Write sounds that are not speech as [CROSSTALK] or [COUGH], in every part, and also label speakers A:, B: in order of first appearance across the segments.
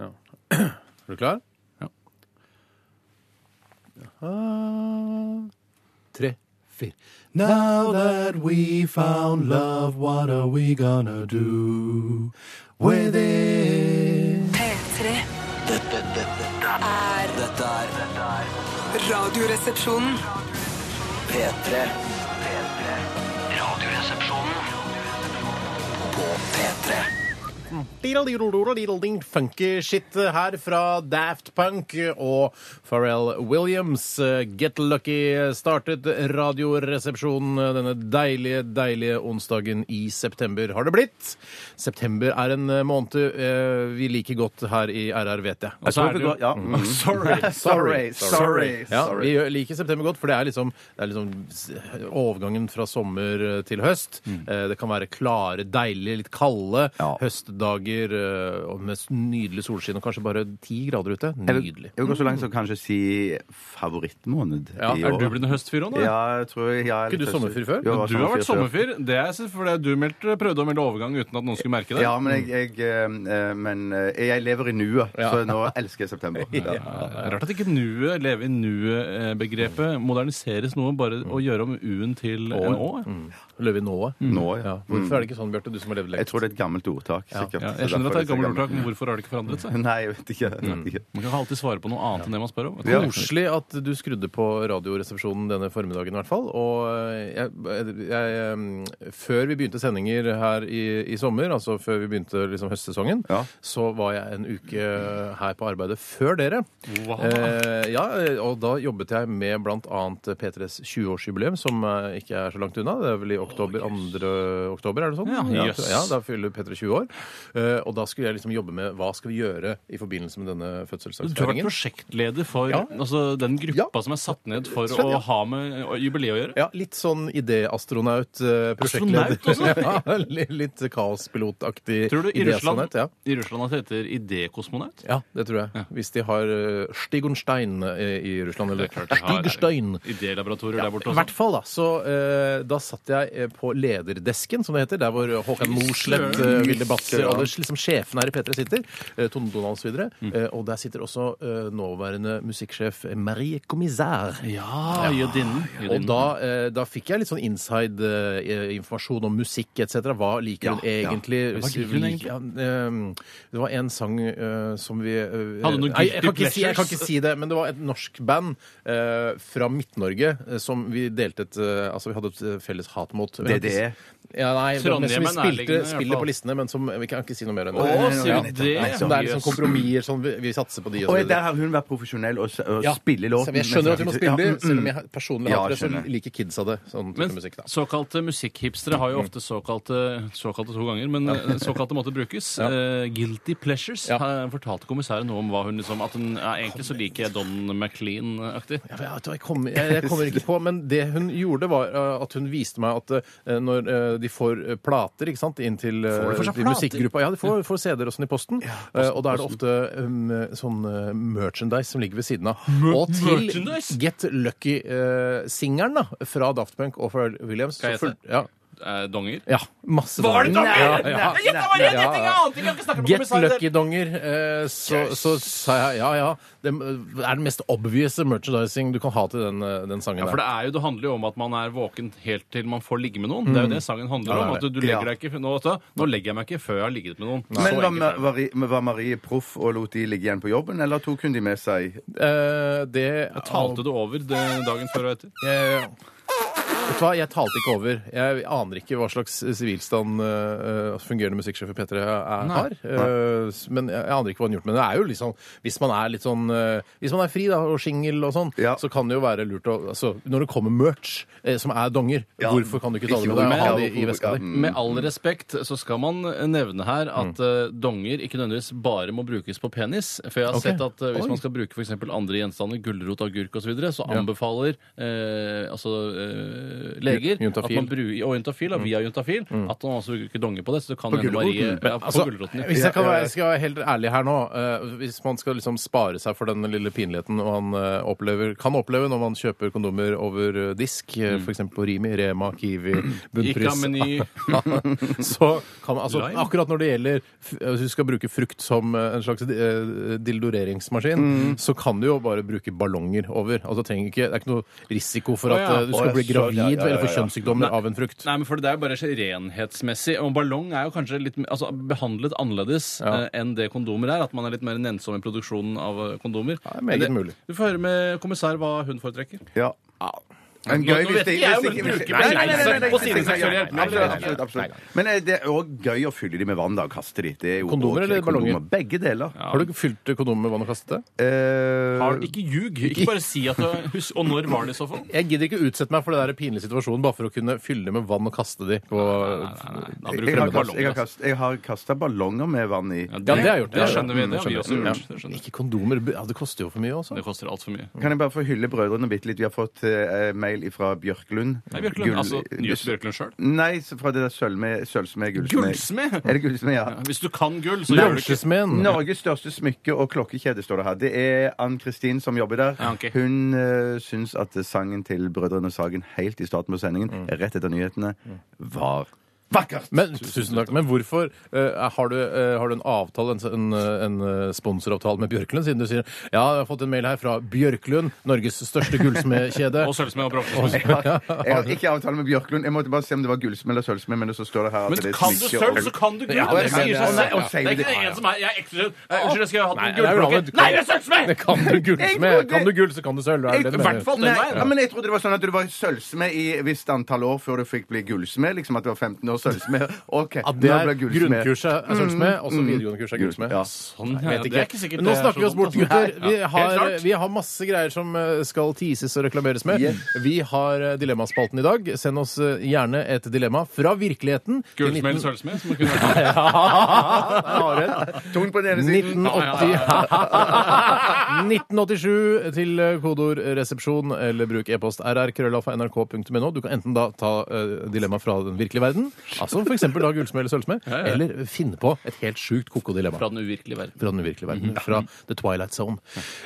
A: Ja. Er du klar?
B: Ja.
A: Aha. Tre, fire.
C: Now that we found love, what are we gonna do with it?
D: P3
E: Dette, dette, dette,
D: er
E: dette er dette er
D: Radioresepsjonen.
E: P3. P3. Radioresepsjonen. På P3.
A: Diddle-diddle-diddle-diddle-ding. Funky shit eh, her fra Daft Punk og Pharrell Williams. Eh, Get Lucky startet Radioresepsjonen eh, denne deilige, deilige onsdagen i september. Har det blitt? September er en måned eh, vi liker godt her i RR, vet jeg.
B: Og så er
F: det
B: det jo
F: går- ja. Mm.
B: Sorry.
F: Sorry, sorry,
A: Ja,
F: sorry.
A: vi gjør- liker september godt, for det er liksom, det er liksom s- overgangen fra sommer eh, til høst. Eh, Det kan være klare, deilige, litt kalde
F: Mm. Ja.
A: høstdager eh, og med s- nydelig solskinn og kanskje bare ti grader ute.
F: Jeg vil,
A: Nydelig.
F: jeg vil gå så langt som kanskje si favorittmåned
A: Ja,
F: i
B: Er
F: år.
B: du blitt en høstfyr nå? da?
F: Ja, jeg tror jeg er
A: Ikke
F: litt
A: du
F: høstfyr.
A: sommerfyr før?
F: Jo, jeg
B: Men
F: var
B: Du har vært
F: før.
B: sommerfyr. Det er s- fordi du meldte, prøvde å melde overgang uten at noen skulle merke det.
F: Ja, men jeg, jeg, eh, men eh, jeg lever i nuet,
A: Ja.
F: så nå elsker jeg september. Ja.
B: [LAUGHS] Ja, det er Rart at ikke nuet, leve i nuet-begrepet moderniseres noe, bare å gjøre om u-en til en å. ja.
A: Løve Mm. i nået.
F: Nå, ja.
A: Ja. Hvorfor er det ikke sånn, Bjarte, du som har levd
F: Mm. Jeg
A: lengst?
F: tror det er et gammelt ordtak, sikkert.
B: Ja,
F: Så
B: jeg skjønner at det er
F: derfor
B: et gammelt
F: så
B: ordtak, Mm. men hvorfor har det ikke forandret seg?
F: Nei, jeg vet ikke. Jeg vet ikke.
B: Man kan alltid svare på noe annet enn det man spør om.
F: Ja.
A: Koselig at du skrudde på Radioresepsjonen denne formiddagen, i hvert fall. Og eh, jeg, jeg, eh, før vi begynte sendinger her i, i sommer, altså før vi begynte liksom høstsesongen,
F: Ja.
A: så var jeg en uke her på arbeidet før dere.
B: Wow.
A: Eh, ja, og da jobbet jeg med blant annet P3s 20-årsjubileum, som eh, ikke er så langt unna. Det er vel i oktober, 2. oktober, er det sånn?
B: Ja,
A: ja,
B: jøss.
A: ja, da fyller P3 20 år. Eh, og da skulle jeg liksom jobbe med hva skal vi gjøre i forbindelse med denne
B: Du har vært
A: fødselsdagsfeiringen.
B: prosjektleder for
A: Ja.
B: altså, den gruppa
A: Ja.
B: som er satt ned for
A: Skjønner, ja.
B: å ha med eh, jubileet å gjøre.
A: Ja, litt sånn idéastronaut, eh, prosjektleder. [LAUGHS]
B: Astronaut
A: ja, li- litt kaospilotaktig
B: Tror du i Russland,
A: idéastronaut, Ja.
B: i Russland at det heter idékosmonaut?
A: ja, det tror jeg. Hvis de har eh, Stig und Stein eh, i Russland, eller
B: Det Sånn er klart de har-
A: Stig Stein.
B: Idélaboratorier der borte
A: I hvert
B: også.
A: fall, da. Så eh, da satt jeg eh, på lederdesken, som det heter, der hvor Håkan Mosleth, eh, Vilde Batzer, alle liksom sjefene her i P3 sitter, eh, Tone Donald osv.
B: Mm.
A: Eh, og der sitter også eh, nåværende musikksjef Marie Commissar.
B: Ja, jødinnen.
A: Og
B: Jødinnen.
A: da, eh, da fikk jeg litt sånn inside eh, informasjon om musikk etc. Hva liker hun
F: ja.
A: egentlig?
B: hva liker hun egentlig?
A: Ja, ehm, det var en sang eh, som vi eh,
B: Hadde du noen
A: nei, jeg, kan
B: guilty
A: ikke si, jeg kan ikke
B: pleasures?
A: si det, men det var et norsk band eh, fra Midt-Norge eh, som vi delte et eh, Altså, vi hadde et eh, felles hat mot. Vi kan ikke
F: DDE.
A: si- Ja, nei, det var
B: Trondheim
A: som
B: er
A: vi spilte,
B: nærliggende, i hvert
A: spiller
B: fall.
A: på listene, men som Vi kan ikke si noe mer enn
B: Å,
A: det.
B: sier
A: Ja.
B: vi det?
A: Nei, så det er liksom kompromisser sånn vi, vi satser på de og så
F: Og jeg-
A: videre.
F: der har hun vært profesjonell og, s- og
A: Ja.
F: spiller
A: Så
F: låten.
A: Jeg skjønner at vi må spille,
F: Ja, mm,
A: selv om jeg personlig
F: Ja,
A: hater det,
F: skjønner.
A: så liker kidsa det. Sånn type
B: Men
A: musikk, da.
B: såkalte musikkhipstere har jo ofte såkalte såkalte to ganger, men eh, såkalte måtte brukes. Eh, guilty pleasures.
A: Ja.
B: Her Fortalte kommissæren noe om hva hun liksom At hun ja, egentlig så liker jeg Don McLean-aktig.
A: Ja, men jeg, vet hva, jeg, kommer, jeg, jeg kommer ikke på, men det hun gjorde, var eh, at hun viste meg at eh, når eh, de får eh, plater ikke sant, inn til eh,
B: Får de for seg
A: til
B: plater?
A: musikkgruppa Ja, de får, får CD-er og sånn i posten. eh, og da er det ofte um, sånn eh, merchandise som ligger ved siden av. og til
B: merchandise?
A: Get Lucky-singeren da, fra Daft Punk og fra Williams
B: Skal jeg
A: så
B: gjette?
A: fulg- ja,
B: Eh, donger.
A: ja, masse
B: Var det donger?
A: Ja, ja.
B: Jeg gjetter bare en
A: Ja,
B: ting, jeg
A: ja.
B: ante ikke, jeg kan snakke med
A: Get
B: kommissæren der.
A: lucky, donger. Eh, Så, så sa jeg ja, ja. Det er den mest obvious merchandising du kan ha til den, eh, den sangen.
B: Ja, for
A: der.
B: det, er jo, det handler jo om at man er våken helt til man får ligge med noen. Det er jo det sangen handler
A: Mm. Ja, det
B: om.
A: er
B: At du, du legger deg ikke, nå, vet du, nå legger jeg meg ikke før jeg har ligget med noen.
F: Men
B: Så
F: var,
B: enkelt
F: Ma-
B: er det.
F: var, i- var Marie proff og lot de ligge igjen på jobben, eller tok hun de med seg?
A: Eh, det
B: Talte du over det dagen før og etter?
A: Jeg, vet du hva, jeg talte ikke over. Jeg aner ikke hva slags sivilstand eh, eh, fungerende musikksjef i P3 er, har. Eh, s- men jeg, jeg aner ikke hva han har gjort. Men det er jo litt sånn, hvis man er litt sånn eh, Hvis man er fri da, og singel og sånn,
F: Ja.
A: så kan det jo være lurt å altså, Når det kommer merch eh, som er donger,
F: Ja.
A: hvorfor kan du ikke ta det med
F: Ikke
A: deg og
F: hvorfor-
A: ha det i
F: ja,
A: veska di?
F: hvorfor-
B: Med all respekt så skal man nevne her at
A: Mm.
B: eh, donger ikke nødvendigvis bare må brukes på penis. For jeg har
A: Ok.
B: sett at eh, hvis
A: Oi.
B: man skal bruke f.eks. andre gjenstander, gulrot, agurk osv., så, videre, så anbefaler eh, altså eh, eh, leger
A: Juntafil. Mm.
B: at man bruker, og juntafil, da, via juntafil, at man også bruker donge på det. Så det kan hende Marie
F: gulroten.
B: ja,
A: Altså,
B: På gulroten.
A: hvis
B: ja.
A: jeg kan være, skal være helt ærlig her nå eh, Hvis man skal liksom spare seg for den lille pinligheten man eh, opplever, kan oppleve når man kjøper kondomer over eh, disk, eh, for f.eks. på Rimi, Rema, Kiwi,
B: Mm. Ikke av
A: Bunnpris
B: meny.
A: Så kan man, altså,
B: Lime?
A: Akkurat når det gjelder f- eh, Hvis du skal bruke frukt som eh, en slags eh, dildoreringsmaskin,
B: Mm.
A: så kan du jo bare bruke ballonger over. Altså, trenger ikke, det er ikke noe risiko for
B: Å
A: at
B: ja.
A: eh, du
F: Å ja,
A: skal bli
F: så- ja,
A: gravid
F: ja, ja,
A: eller
F: ja.
A: få kjønnssykdommer av en frukt.
B: Nei, men for Det er jo bare renhetsmessig. Og ballong er jo kanskje litt mer- altså, behandlet annerledes eh, enn det kondomer er. At man er litt mer nennsom i produksjonen av eh, kondomer.
A: Ja, det er meget
B: Men
A: mulig.
B: Vi får høre med kommissær hva hun foretrekker.
F: Ja. Men
B: Nå- nå
F: gøy hvis
B: vet
F: det
B: ikke jeg om
F: hvis ikke-
B: hun
F: hvis-
B: bruker
F: Nei, nei,
B: det.
F: nei, nei, nei, nei,
B: På
F: nei, nei,
B: sine seksuelle hjelp.
F: nei, nei, nei, Absolutt. absolutt. Men eh, det er òg gøy å fylle de med vann da, og kaste de. Det er jo
A: Kondomer eller ballonger?
F: kondomer. Begge deler.
A: Har du ikke fylt kondomer med vann og kastet det?
F: Eh,
B: Har Ikke ljug. Ikke bare si at [LAUGHS] du husk, Og når var det i så fall?
A: Jeg gidder ikke utsette meg for det der pinlige situasjonen bare for å kunne fylle med vann og kaste de på
B: Da
F: jeg, har
B: bruker
F: kast,
B: du
F: jeg, har
B: ballonger. altså.
F: kast, jeg har kasta ballonger med vann i.
A: Ja, det har jeg gjort.
B: Det skjønner vi. Det har vi
A: Skjønner.
B: også gjort. Det, skjønner jeg.
A: Ikke kondomer. Ja, det koster jo for mye også.
B: det koster altfor mye.
F: Kan jeg bare få hylle brødrene bitte litt? Vi har fått eh, mail fra Bjørklund.
B: Nei, Bjørklund,
F: Gull-
B: altså, Njøs Bjørklund sjøl.
F: Nei, så fra det der sølvmed, sølvsmed, gullsmed.
B: Gullsmed?
F: Er det gullsmed, ja.
B: Ja, Hvis du kan gull, så gjør du ikke
A: Bransjesmenn.
F: Norges største smykke- og klokkekjede står det her. Det er Ann-Kristin som jobber der.
B: Ja, ok.
F: Hun uh, syns at sangen til Brødrene Sagen helt i starten på sendingen,
B: Mm.
F: rett etter nyhetene,
B: [LAUGHS]
F: var vakkert!
A: Men, tusen takk. Men hvorfor eh, har, du, eh, har du en avtale, en, en, en eh, sponsoravtale med Bjørklund, siden du sier ja, jeg har fått en mail her fra Bjørklund, Norges største gullsmedkjede.
B: [LAUGHS] Og sølvsmed og bronse.
F: Jeg har, jeg har ikke avtale med Bjørklund. Jeg måtte bare se om det var gullsmed eller sølvsmed. Men så står det her at
B: Men
F: det er
B: kan du
F: smykke
B: sølv,
F: og-
B: så kan du gull.
F: Ja,
B: det
F: men-
B: sier
F: Å,
B: seg
F: nei,
B: selv.
F: å, sier
B: Det er
F: det.
B: ikke en som er Jeg er ekte sølv. Eh, Unnskyld, jeg skulle hatt
A: Nei,
B: en
A: det er jo
B: gullklokke.
A: langt.
B: Nei, det er sølvsmed!
A: Det kan du gullsmed!
F: Jeg-
A: Kan du gull, så kan du sølv. Er det det du
B: I hvert
A: mener?
B: fall den
F: Nei,
B: veien.
F: ja, men jeg trodde det var sånn at du var sølvsmed i et visst antall år før du fikk bli gullsmed. Liksom at du var 15 år
B: [LAUGHS]
F: sølvsmed. OK,
A: At det
F: nå
A: er
F: ble gullsmed. Mm.
A: grunnkurset er sølvsmed, og så videregående kurs er gullsmed.
F: Ja.
B: Sånn, ja,
A: Vet
B: det
A: ikke.
B: er ikke sikkert
A: Men nå
B: det er
A: snakker vi
B: så
A: oss bort,
B: dumt,
A: gutter.
B: altså.
A: Vi
B: Ja, helt
A: har,
B: klart.
A: vi har masse greier som eh, skal teases og reklameres med.
F: Yes.
A: Vi har eh, dilemmaspalten i dag. Send oss eh, gjerne et dilemma fra virkeligheten. til
B: Gullsmed eller
A: 19
B: sølvsmed? som det kunne vært.
A: [LAUGHS] Ja, der har du den.
F: Tung på
B: [LAUGHS]
F: den ene siden.
A: [LAUGHS] 1980 1987 til eh, kodeord resepsjon eller bruk e-post rrkrøllalfa.nrk.no. Du kan enten da ta eh, dilemma fra den virkelige verden, altså f.eks. da gullsmed eller sølvsmed,
B: ja.
A: eller finne på et helt sjukt koko dilemma
B: Fra Mhm. den uvirkelige verden.
A: fra den uvirkelige verden. Fra The Twilight Zone.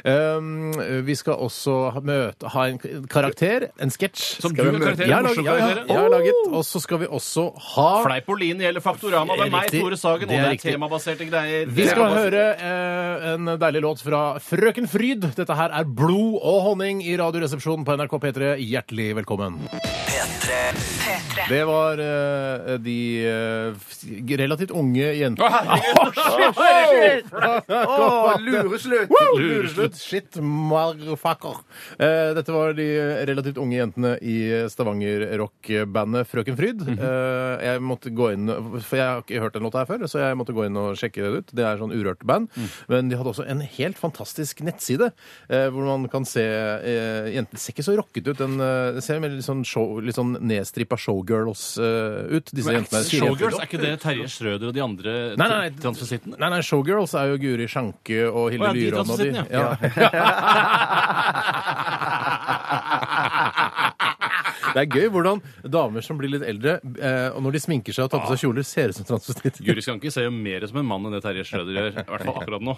A: Um, vi skal også ha, møte, ha en k- karakter, en sketsj.
B: Som
A: Skal
B: du
A: vi
B: er karakter,
A: møte- Jeg har
B: morsom
A: laget- ja, ja,
B: karakter.
A: jeg har laget. Og så skal vi også ha
B: Fleipolini eller Faktorama. Det er meg,
A: Riktig.
B: Tore Sagen, og
A: Det er
B: det er
A: riktig.
B: temabaserte greier.
A: vi skal
B: Temabaserte-
A: høre eh, en deilig låt fra Frøken Fryd. Dette her er Blod og honning i Radioresepsjonen på NRK P3. Hjertelig velkommen.
E: P3
A: Det var eh, de eh, f- relativt unge jentene
F: Å, lureslutt!
A: Woo! Lureslutt. Shit, motherfucker. Eh, dette var de relativt unge jentene i Stavanger-rockbandet Frøken Fryd.
B: Mhm.
A: Eh, jeg måtte gå inn, for jeg har ikke hørt den låta her før, så jeg måtte gå inn og sjekke det ut. Det er sånn urørt band.
B: Mm.
A: Men de hadde også en helt fantastisk nettside, eh, hvor man kan se eh, jenter Det ser ikke så rocket ut. Den eh, det ser mer litt sånn, show, litt sånn nedstrippa showgirls eh, ut. Disse jentene. Fire jenter.
B: Showgirls, er ikke det Terje Schrøder og de andre
A: Nei, nei, nei.
B: transvisittene?
A: Nei, nei, Showgirls er jo Guri Sjanke og Hilde
B: Å, ja, de
A: Lyron og de.
B: transvestittene,
A: Ja.
B: ja.
A: Det er gøy hvordan damer som blir litt eldre, eh, og når de sminker seg og tar på seg kjoler, ser ut som transvestitter.
B: Guri Skanke ser jo mer ut som en mann enn det Terje Schrøder gjør. I hvert fall akkurat nå.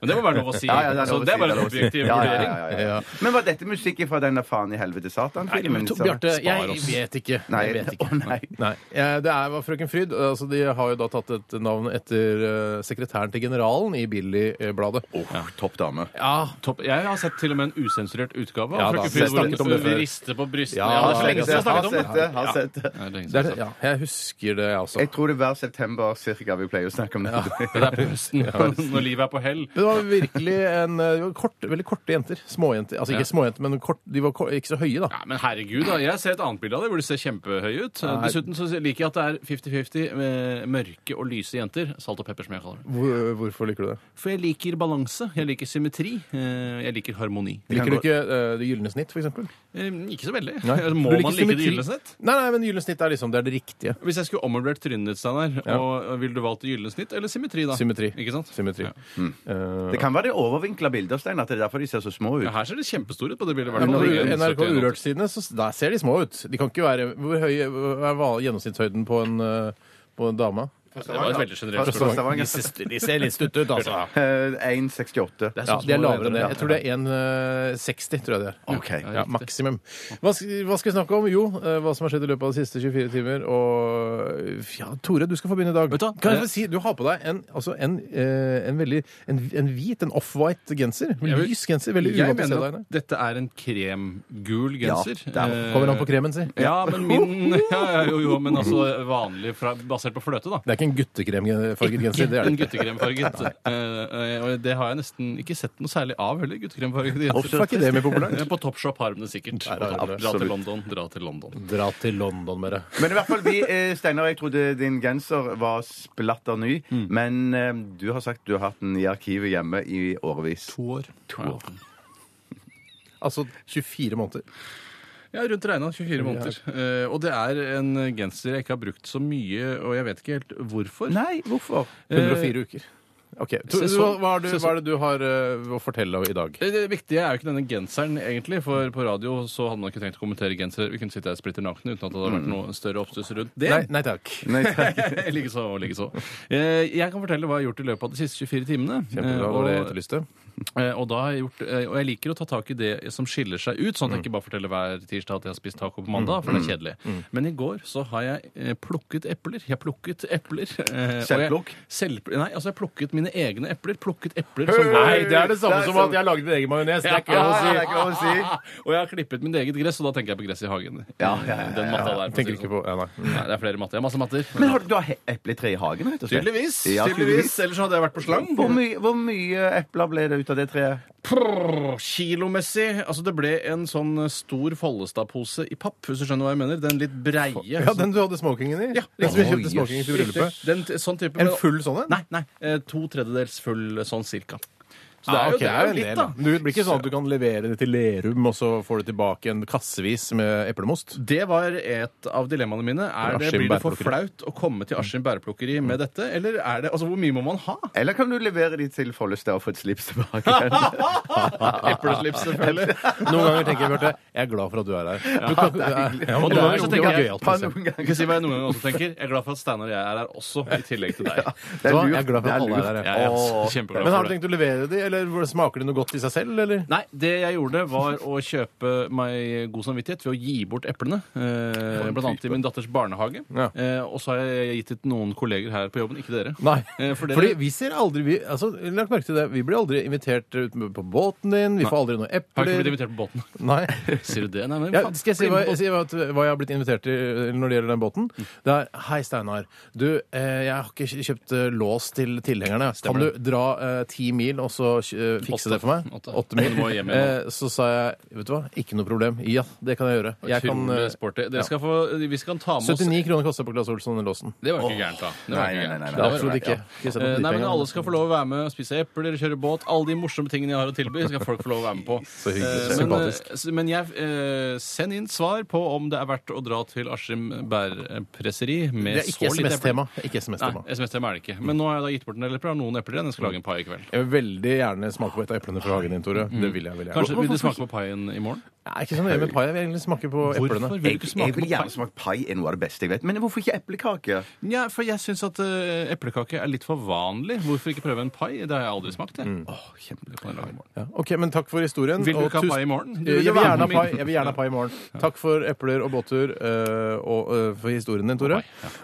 B: Men det må være lov å si.
F: Ja, ja, det er
B: så
F: lov å
B: det
F: si,
B: er bare
F: det er
B: en
F: lov å si.
B: objektiv
F: Ja, ja,
B: vurdering.
F: ja, ja, ja. Men var dette musikk fra den der faen i helvete satan-filmen?
A: To- Bjarte, jeg
B: oss.
A: vet ikke.
F: Nei,
A: jeg vet ikke.
F: å nei.
A: Nei. Eh, Det er, var Frøken Fryd. Altså, de har jo da tatt et navn etter eh, sekretæren til generalen i Billy-bladet.
F: Åh, topp dame.
A: Ja,
B: Topp. Jeg har sett til og med en usensurert utgave
A: Ja,
B: av
A: da,
B: Frøken
A: vi
B: Fryd hvor
A: snakket om det
B: hun
A: før.
B: rister på brystene.
A: Ja,
B: Ja,
A: det er
B: det er lenge siden jeg
F: har
B: snakket om det.
F: sett det. har sett det.
B: Det er lenge
A: det
B: siden
A: er,
B: jeg har sett
A: ja, jeg husker det, jeg også.
F: Jeg tror det er hver september cirka vi pleier å snakke om det.
B: Det Det er på høsten, når livet er på hell.
A: Det var virkelig en, eh, det var kort, veldig korte jenter. Småjenter. Altså ikke småjenter, men kort, de var ko- ikke så høye, da.
B: Ja, men herregud, da. Jeg ser et annet bilde av det hvor de ser kjempehøye ut. Dessuten så liker jeg at det er 50-50 med mørke og lyse jenter. Salt og pepper, som jeg kaller det.
A: Hvor, hvorfor liker du det?
B: For jeg liker balanse, jeg liker symmetri, eh, jeg liker harmoni.
A: Liker du ikke eh, Det gylne snitt, for eksempel?
B: Eh, Ikke så veldig.
A: Nei.
B: [LAUGHS] Må
A: Du liker
B: man like det
A: symmetri?
B: gylne snitt?
A: Nei, nei, men gylne snitt er liksom det er det riktige.
B: Hvis jeg skulle ommøblert trynet ditt, Steinar,
A: Ja.
B: og ville du valgt det gylne snitt eller symmetri da?
A: Symmetri.
B: Ikke sant?
A: Symmetri.
B: Ja.
A: Eh,
F: Det kan være de overvinkla bilder, Stein. At det er derfor de ser så små ut.
B: Ja, her ser de kjempestore ut på det bildet. i hvert
A: Men
B: fall.
A: på
B: Det er
A: NRK
B: 71.
A: Urørt-sidene så der ser de små ut. De kan ikke være Hvor høy er van- gjennomsnittshøyden på en, eh, på en dame?
B: Det var et veldig generelt
F: Fra
B: spørsmål.
F: Stavanger.
A: De ser litt stutt ut, [LAUGHS] altså.
F: Eh, 1,68.
A: Ja,
B: sånn
A: de er lavere enn det. Jeg tror det er 1,60, tror jeg det er.
F: OK.
A: Ja, maksimum. Hva, sk- hva skal vi snakke om? Jo, eh, hva som har skjedd i løpet av de siste 24 timer. Og eh, ja, Tore, du skal få begynne i dag.
B: Vet du hva?
A: Kan jeg bare si, du har på deg en, altså en, eh, en veldig en, en hvit, en offwhite genser. En
B: Jeg vil-
A: Lys genser. Veldig
B: Jeg
A: uvant å se
B: mener
A: deg
B: at
A: inne.
B: dette er en kremgul genser.
F: Ja, der
B: Eh,
A: Kommer an på kremen, si.
B: Ja, men min [LAUGHS] ja, ja, Jo, jo, men altså vanlig fra, basert på fløte, da.
A: Det er ikke en guttekremfarget genser. Det er
B: En
A: det ikke.
B: guttekremfarget. Eh, eh, og det har jeg nesten ikke sett noe særlig av heller. guttekremfarget
A: Hvorfor
B: genser.
A: er ikke det mer populært?
B: Eh, På Topshop har de det sikkert.
A: Nei, det er det.
B: Dra
F: Absolutt.
B: til London. Dra til London.
A: Dra til London med det.
F: Men i hvert fall, vi, eh, Steinar, jeg trodde din genser var splatter ny,
A: Mm.
F: men eh, du har sagt du har hatt den i arkivet hjemme i årevis.
B: To år.
A: Altså 24 måneder.
B: Ja, rundt regna 24 måneder. Eh, og det er en genser jeg ikke har brukt så mye, og jeg vet ikke helt hvorfor.
F: Nei, hvorfor?
A: Eh, 104 uker. OK. Tor, hva,
B: Sesong.
A: hva, er det,
B: Sesong.
A: hva er det du har eh, å fortelle i dag?
B: Det, det viktige er jo ikke denne genseren, egentlig. For på radio så hadde man ikke trengt å kommentere genser. Vi kunne sitte her splitter nakne uten at det hadde vært noe større oppstuss rundt det.
A: Mm.
B: [LAUGHS]
A: Nei, nei takk.
F: [LAUGHS] Nei, takk.
B: Likeså og likeså. Eh, Jeg kan fortelle hva jeg har gjort i løpet av de siste 24 timene. Eh,
A: Kjempebra.
B: og-
A: Var det jeg etterlyste?
B: Eh, Og, da har jeg gjort, eh, og jeg liker å ta tak i det som skiller seg ut, sånn at
A: Mm.
B: jeg ikke bare forteller hver tirsdag at jeg har spist taco på mandag, for det er kjedelig. Men i går så har jeg eh, plukket epler. Jeg har plukket epler. eh, og jeg-
F: Selvplukk?
B: Selv, nei, altså jeg har plukket mine egne epler. Plukket epler som
A: Nei, det er det samme
F: Det er
A: som at
F: sånn-
A: jeg har laget min egen majones. Det er ikke
F: Ja,
A: lov å
F: det er
A: si.
F: ikke lov å si.
B: [LAUGHS] Og jeg har klippet mitt eget gress, og da tenker jeg på gress i hagen.
F: Ja, ja, ja, ja.
B: Den matta der.
A: Jeg tenker ikke på ja, nei.
B: Nei, det er flere matter. Jeg har masse matter.
F: Men har, du har he- epletre i hagen, rett og slett?
B: Tydeligvis.
F: Ja,
B: tydeligvis. Ellers hadde jeg vært på slang.
F: Hvor, mye- hvor mye epler ble det ut av det treet?
B: Prrr, kilomessig. Altså, det ble en sånn stor Follestad-pose i papp, hvis du skjønner hva jeg mener. Den litt breie.
A: ja, den du hadde smokingen i?
B: Ja,
A: den som vi
F: riktig.
A: kjøpte smokingen til bryllupet?
B: Den, t- sånn type.
A: En
B: men-
A: full sånn en?
B: Nei, nei. eh, To tredjedels full sånn cirka. Så
A: Ah, ok,
B: det er jo, det er jo
A: en
B: litt,
A: del,
B: da.
A: Men Det blir ikke sånn at du kan levere det til Lerum, og så får du tilbake en kassevis med eplemost?
B: Det var et av dilemmaene mine. Er det,
A: Askim
B: blir det for
A: bæreplukkeri.
B: flaut å komme til Askim bæreplukkeri med dette, eller er det Altså, hvor mye må man ha?
F: Eller kan du levere de til Follestad og få et slips
A: [LAUGHS]
F: tilbake?
B: Epleslips, selvfølgelig.
A: Noen ganger tenker jeg Bjarte, jeg er glad for at du er her. Du kan, ja,
B: Og
A: men
B: noen
A: det er
B: ganger så
A: jo
B: tenker jeg-
A: gøyalt,
F: Ta
A: liksom.
F: noen
B: Jeg
F: ganger.
B: kan si hva jeg noen ganger også tenker. Jeg er glad for at Steinar og jeg er her også, i tillegg
A: [LAUGHS]
B: til deg.
F: Det er
A: Så
F: lurt.
A: jeg er glad for
F: Det
A: at alle er her,
F: lurt.
A: ja.
B: Jeg er
F: Åh.
B: kjempeglad
A: Men har du
B: for det.
A: tenkt å levere de, eller hvor- smaker det noe godt i seg selv, eller?
B: Nei, det jeg gjorde var å kjøpe meg god samvittighet ved å gi bort eplene. Eh, blant annet i min datters barnehage.
A: Ja.
B: Eh, og så har jeg gitt det til noen kolleger her på jobben, ikke dere.
A: Nei.
B: Eh, for dere-
A: Fordi vi ser aldri vi, altså, Lagt merke til det. Vi blir aldri invitert ut på båten din. Vi får aldri noe
B: Har ikke blitt
A: epler.
B: invitert på båten.
A: Nei.
B: Sier du det? Nei, men
A: Ja,
B: faen,
A: skal jeg si
B: bli
A: hva,
B: med på båten.
A: si hva, hva jeg har blitt invitert til eh, når det gjelder den båten?
B: Mm.
A: Det er Hei, Steinar. Du, eh, jeg har ikke kjøpt eh, lås til tilhengerne. Kan du dra eh, ti mil og så eh, fikse
B: Åtte.
A: det for meg?
B: Åtte.
A: Åtte mil.
B: Men du må hjem igjen
A: Eh, så sa jeg vet du hva, ikke noe problem. Ja, det kan jeg gjøre. Jeg kan,
B: Utrolig
A: eh,
B: sporty. Dere skal få, vi skal ta med oss
A: 79 kroner koster på Claes Olsson den låsen.
B: Det var ikke gærent, da. Det var
F: Nei,
B: ikke
F: nei,
B: gærent.
F: nei, nei,
A: Det er absolutt ikke. Ikke sett på
B: Eh, Nei, men
A: pengene.
B: Alle skal få lov å være med, spise epler, kjøre båt. Alle de morsomme tingene jeg har å tilby, skal folk få lov å være med på.
A: [LAUGHS] Så hyggelig.
B: Eh, men,
A: Sympatisk.
B: eh, s- Men jeg eh, send inn svar på om det er verdt å dra til Askim bærpresseri med
A: Det er ikke
B: så lite epler.
A: SMS-tema. Ikke SMS-tema.
B: Nei, SMS-tema er det ikke. Men nå har jeg da gitt bort en del epler. Jeg har noen epler igjen. Jeg skal lage en pai i kveld.
A: Jeg vil veldig gjerne smake på et av eplene fra hagen din, Tore. Det vil jeg, vil jeg.
B: Mm. Kanskje vil du smake på paien i morgen?
A: Jeg er ikke så nøye med pai. Jeg vil egentlig smake på eplene.
B: Hvorfor vil
F: Jeg,
B: du ikke
F: jeg
B: smake
F: vil
B: på
F: gjerne
B: pai?
F: smake pai, er noe av det beste jeg vet. Men hvorfor ikke eplekake?
B: Ja, for jeg syns at eh, eplekake er litt for vanlig. Hvorfor ikke prøve en pai? Det har jeg aldri smakt. Jeg. Åh, kjempe- det kan jeg lage i morgen.
A: Ja, ok, Mm. men takk for historien.
B: Vil du
A: og
B: ikke ha
A: tusen-
B: pai i morgen?
A: Eh,
B: Du vil
A: Jeg
B: jo
A: vil
B: være
A: gjerne ha
B: med
A: pai,
B: min.
A: jeg vil gjerne ha pai i morgen. Takk for epler og båttur eh, og eh, for historien din, Tore.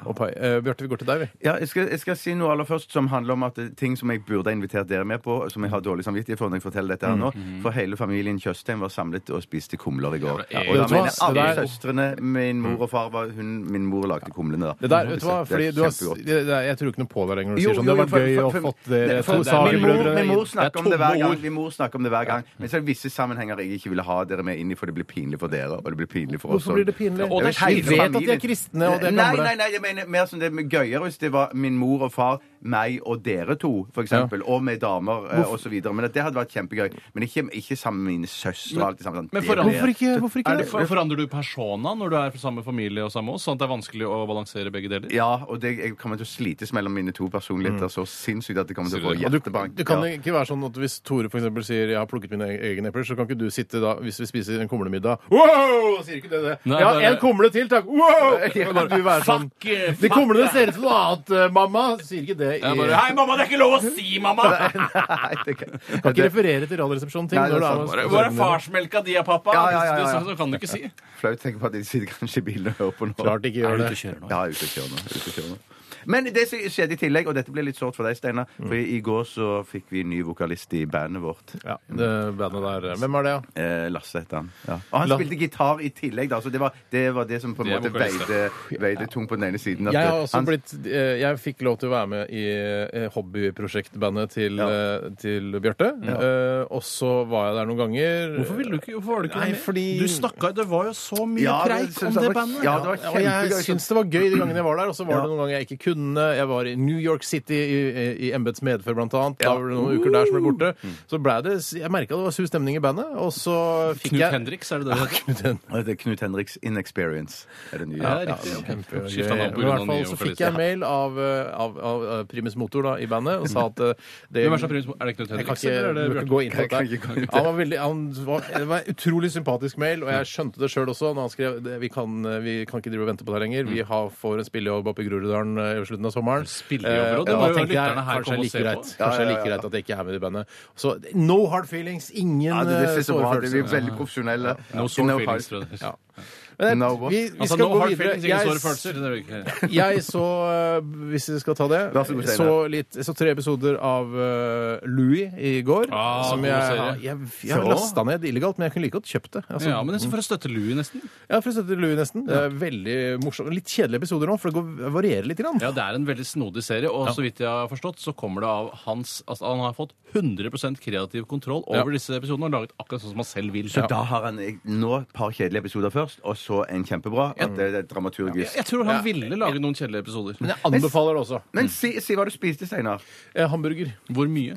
A: Og pai. Eh, Bjarte, vi går til deg, vi.
F: Ja, jeg skal, jeg skal si noe aller først som handler om at det- ting som jeg burde ha invitert dere med på, som jeg har dårlig samvittighet for når jeg forteller dette her nå.
A: Mm,
F: For hele familien Tjøstheim var samlet og spiste kumler i går.
B: Ja, men, eh,
F: og da
A: vet du hva?
F: mener jeg alle
A: Det der-
F: søstrene, min mor og far, var hun, min mor lagde kumlene da.
A: Det der, vet du hva?
F: Det er
A: Fordi du har,
F: kjempegodt.
A: det, det, jeg tror ikke noe på deg lenger når du
F: Jo,
A: sier sånn.
F: jo,
A: Det
F: jo,
A: var
F: for-
A: gøy å
F: for- for-
A: fått eh, dere
F: Nei,
A: to
F: for- min mor-
A: sagerbrødre
F: Min mor
A: inn.
F: snakker om
B: Det er
F: det hver
B: tomme
F: gang.
B: ord.
F: Min mor snakker om det hver gang. Men så er det visse sammenhenger jeg ikke ville ha dere med inn i, for det blir pinlig for dere, og det blir pinlig for oss.
A: Hvorfor blir det pinlig?
F: Og det er
A: Vi
F: hele
A: vet at de er
F: familien.
A: kristne, og de er
F: Nei,
A: gamle.
F: nei, nei, jeg mener mer som det er gøyere hvis det var min mor og far meg og dere to, for eksempel, og med damer eh, og så videre. Men at det hadde vært kjempegøy. Men ikke, ikke sammen med mine søstre og alt det samme. sånn.
B: Men
F: Det
B: for-
F: blir-
B: Hvorfor
A: ikke? Hvorfor ikke?
B: Er det, forandrer du persona når du er for samme familie og samme oss, sånn at det er vanskelig å balansere begge deler?
F: Ja, og det jeg kommer til å slites mellom mine to personligheter så sinnssykt at det kommer til å få
B: Sier
A: Og du,
F: hjertebank.
A: du kan
F: ja. [LAUGHS]
A: ikke være sånn at hvis Tore for eksempel sier 'jeg har plukket mine e- egne epler', så kan ikke du sitte da, hvis vi spiser en kumlemiddag Wow! Sier ikke det det?
B: Nei,
A: ja,
B: bare-
A: en kumle til, takk! Wow!
F: Ja.
A: Kan du være sånn
B: Fuck, eh,
A: De kumlene ser ut som noe annet, eh, mamma! Sier ikke det.
B: Jeg bare,
A: i-
B: Hei, mamma, det er ikke lov å si, mamma!
F: Nei, det kan,
A: kan ikke referere til Radioresepsjonen-ting.
F: Nei, det
A: når
F: er
A: du
F: sant.
A: er-
B: Hvor er farsmelka di, pappa?
F: Ja, ja, ja, ja.
B: Så, så kan du ikke si.
F: Flaut å tenke på at de sitter kanskje i bilen og hører på nå.
A: Klart ikke gjør det.
F: Ja,
B: kjører
F: jeg er ute og kjører nå. jeg er ute og kjører nå. Men det som skjedde i tillegg, og dette ble litt sårt for deg, Steinar, for i går så fikk vi ny vokalist i bandet vårt.
A: Ja, det bandet der. Hvem er det, da?
F: Eh, Lasse heter han. Ja. Og han
A: La-
F: spilte gitar i tillegg, da, så det var det, var det som på en
B: Det er
F: måte
B: vokalist,
F: veide, veide tungt på den ene siden. at
A: Jeg har
F: det-
A: også
F: han-
A: blitt eh, Jeg fikk lov til å være med i eh, hobbyprosjektbandet til,
F: Ja.
A: eh, til Bjarte. Eh, og så var jeg der noen ganger.
B: Hvorfor ville du ikke, hvorfor var du ikke
A: Nei,
B: med?
A: fordi-
B: Du snakka, det var jo så mye
F: Ja, det
B: preik
F: synes
B: om
F: jeg
B: det
F: var-
B: bandet.
F: Ja, det var
A: og jeg
F: kjempegøy.
A: syns det var gøy de gangene jeg var der. Og så var
F: Ja.
A: det noen ganger jeg ikke kunne. Jeg var i New York City i, i embets medfør, blant annet. Da var det noen uker der som ble borte.
B: Mm.
A: Så ble det Jeg merka det var sur stemning i bandet, og så fikk
B: Knut
A: jeg
B: Henriks, er det det?
A: Knut Henrik.
F: Ja, Det er sånn. Knut Henriks Inexperience. Er det nye.
B: Ja, riktig.
F: Ja,
B: Kjempegøy.
A: Men
B: Skiftet navn
A: I
B: på grunn av
A: hvert fall
B: nye
A: så fikk
B: vokalister.
A: jeg mail av, eh, av, av eh, Primus Motor da, i bandet og sa at
B: [LAUGHS]
A: eh, det
B: Hvem er som prins? Er
A: jeg
B: det Knut
A: kan
B: Henriks,
A: ikke,
B: eller er det
A: du kan ikke
B: Bjarte?
A: gå inn på
F: kan
A: dette.
F: ikke gå inn på det.
A: Han var veldig, han var, det var en utrolig sympatisk mail, og jeg skjønte det sjøl også. Når han skrev det, vi kan, vi kan ikke drive og vente på deg lenger. Vi har, får en spillejobb oppe i Groruddalen eh, i slutten av sommeren.
B: Spillejobb, og det
A: Eh,
B: må
A: da
B: jo
A: tenkte jeg,
B: lytterne her
A: kanskje
B: komme
A: er
B: og
A: like
B: se på.
A: greit. Kanskje det er like greit at jeg ikke er med i bandet. Så no hard feelings. Ingen
F: Ja, det, det
A: eh,
F: synes jeg
A: såre
F: var bra. Vi er
A: følelser.
F: veldig profesjonelle.
B: No soul
F: No
B: feelings,
F: hard-
B: tror jeg.
A: Ja.
B: Han
A: Men,
F: No what?
A: vi, vi
B: sa
A: skal
B: no
A: gå
B: hard
A: videre.
B: feelings, ingen såre
A: Jeg,
B: følelser. Det er jo ikke-
A: [LAUGHS] jeg så, eh, hvis vi skal ta det,
F: Vær så god, Steinar.
A: så, litt, så tre episoder av eh, Louis i går.
B: Ah,
A: som
B: god
A: jeg
B: serie.
A: jeg, jeg, har
F: Så?
A: lasta ned illegalt, men jeg kunne like godt kjøpt det. Altså,
B: Ja, men det er så for å støtte Louie, nesten.
A: Ja, for å støtte Louis nesten. Det er veldig morsomt. Litt kjedelige episoder nå, for det går, varierer litt. Grann.
B: Ja, Det er en veldig snodig serie, og så vidt jeg har forstått, så kommer det av hans altså Han har fått 100 kreativ kontroll over disse episodene og laget akkurat sånn som han selv vil.
F: Så da har han eh, nå et par kjedelige episoder først, og så en kjempebra. At det, det er dramaturgisk.
B: Jeg tror han ville lage noen kjedelige episoder.
A: Men jeg anbefaler det også.
F: Men si, si hva du spiste, Steinar.
A: Eh, hamburger.
B: Hvor mye?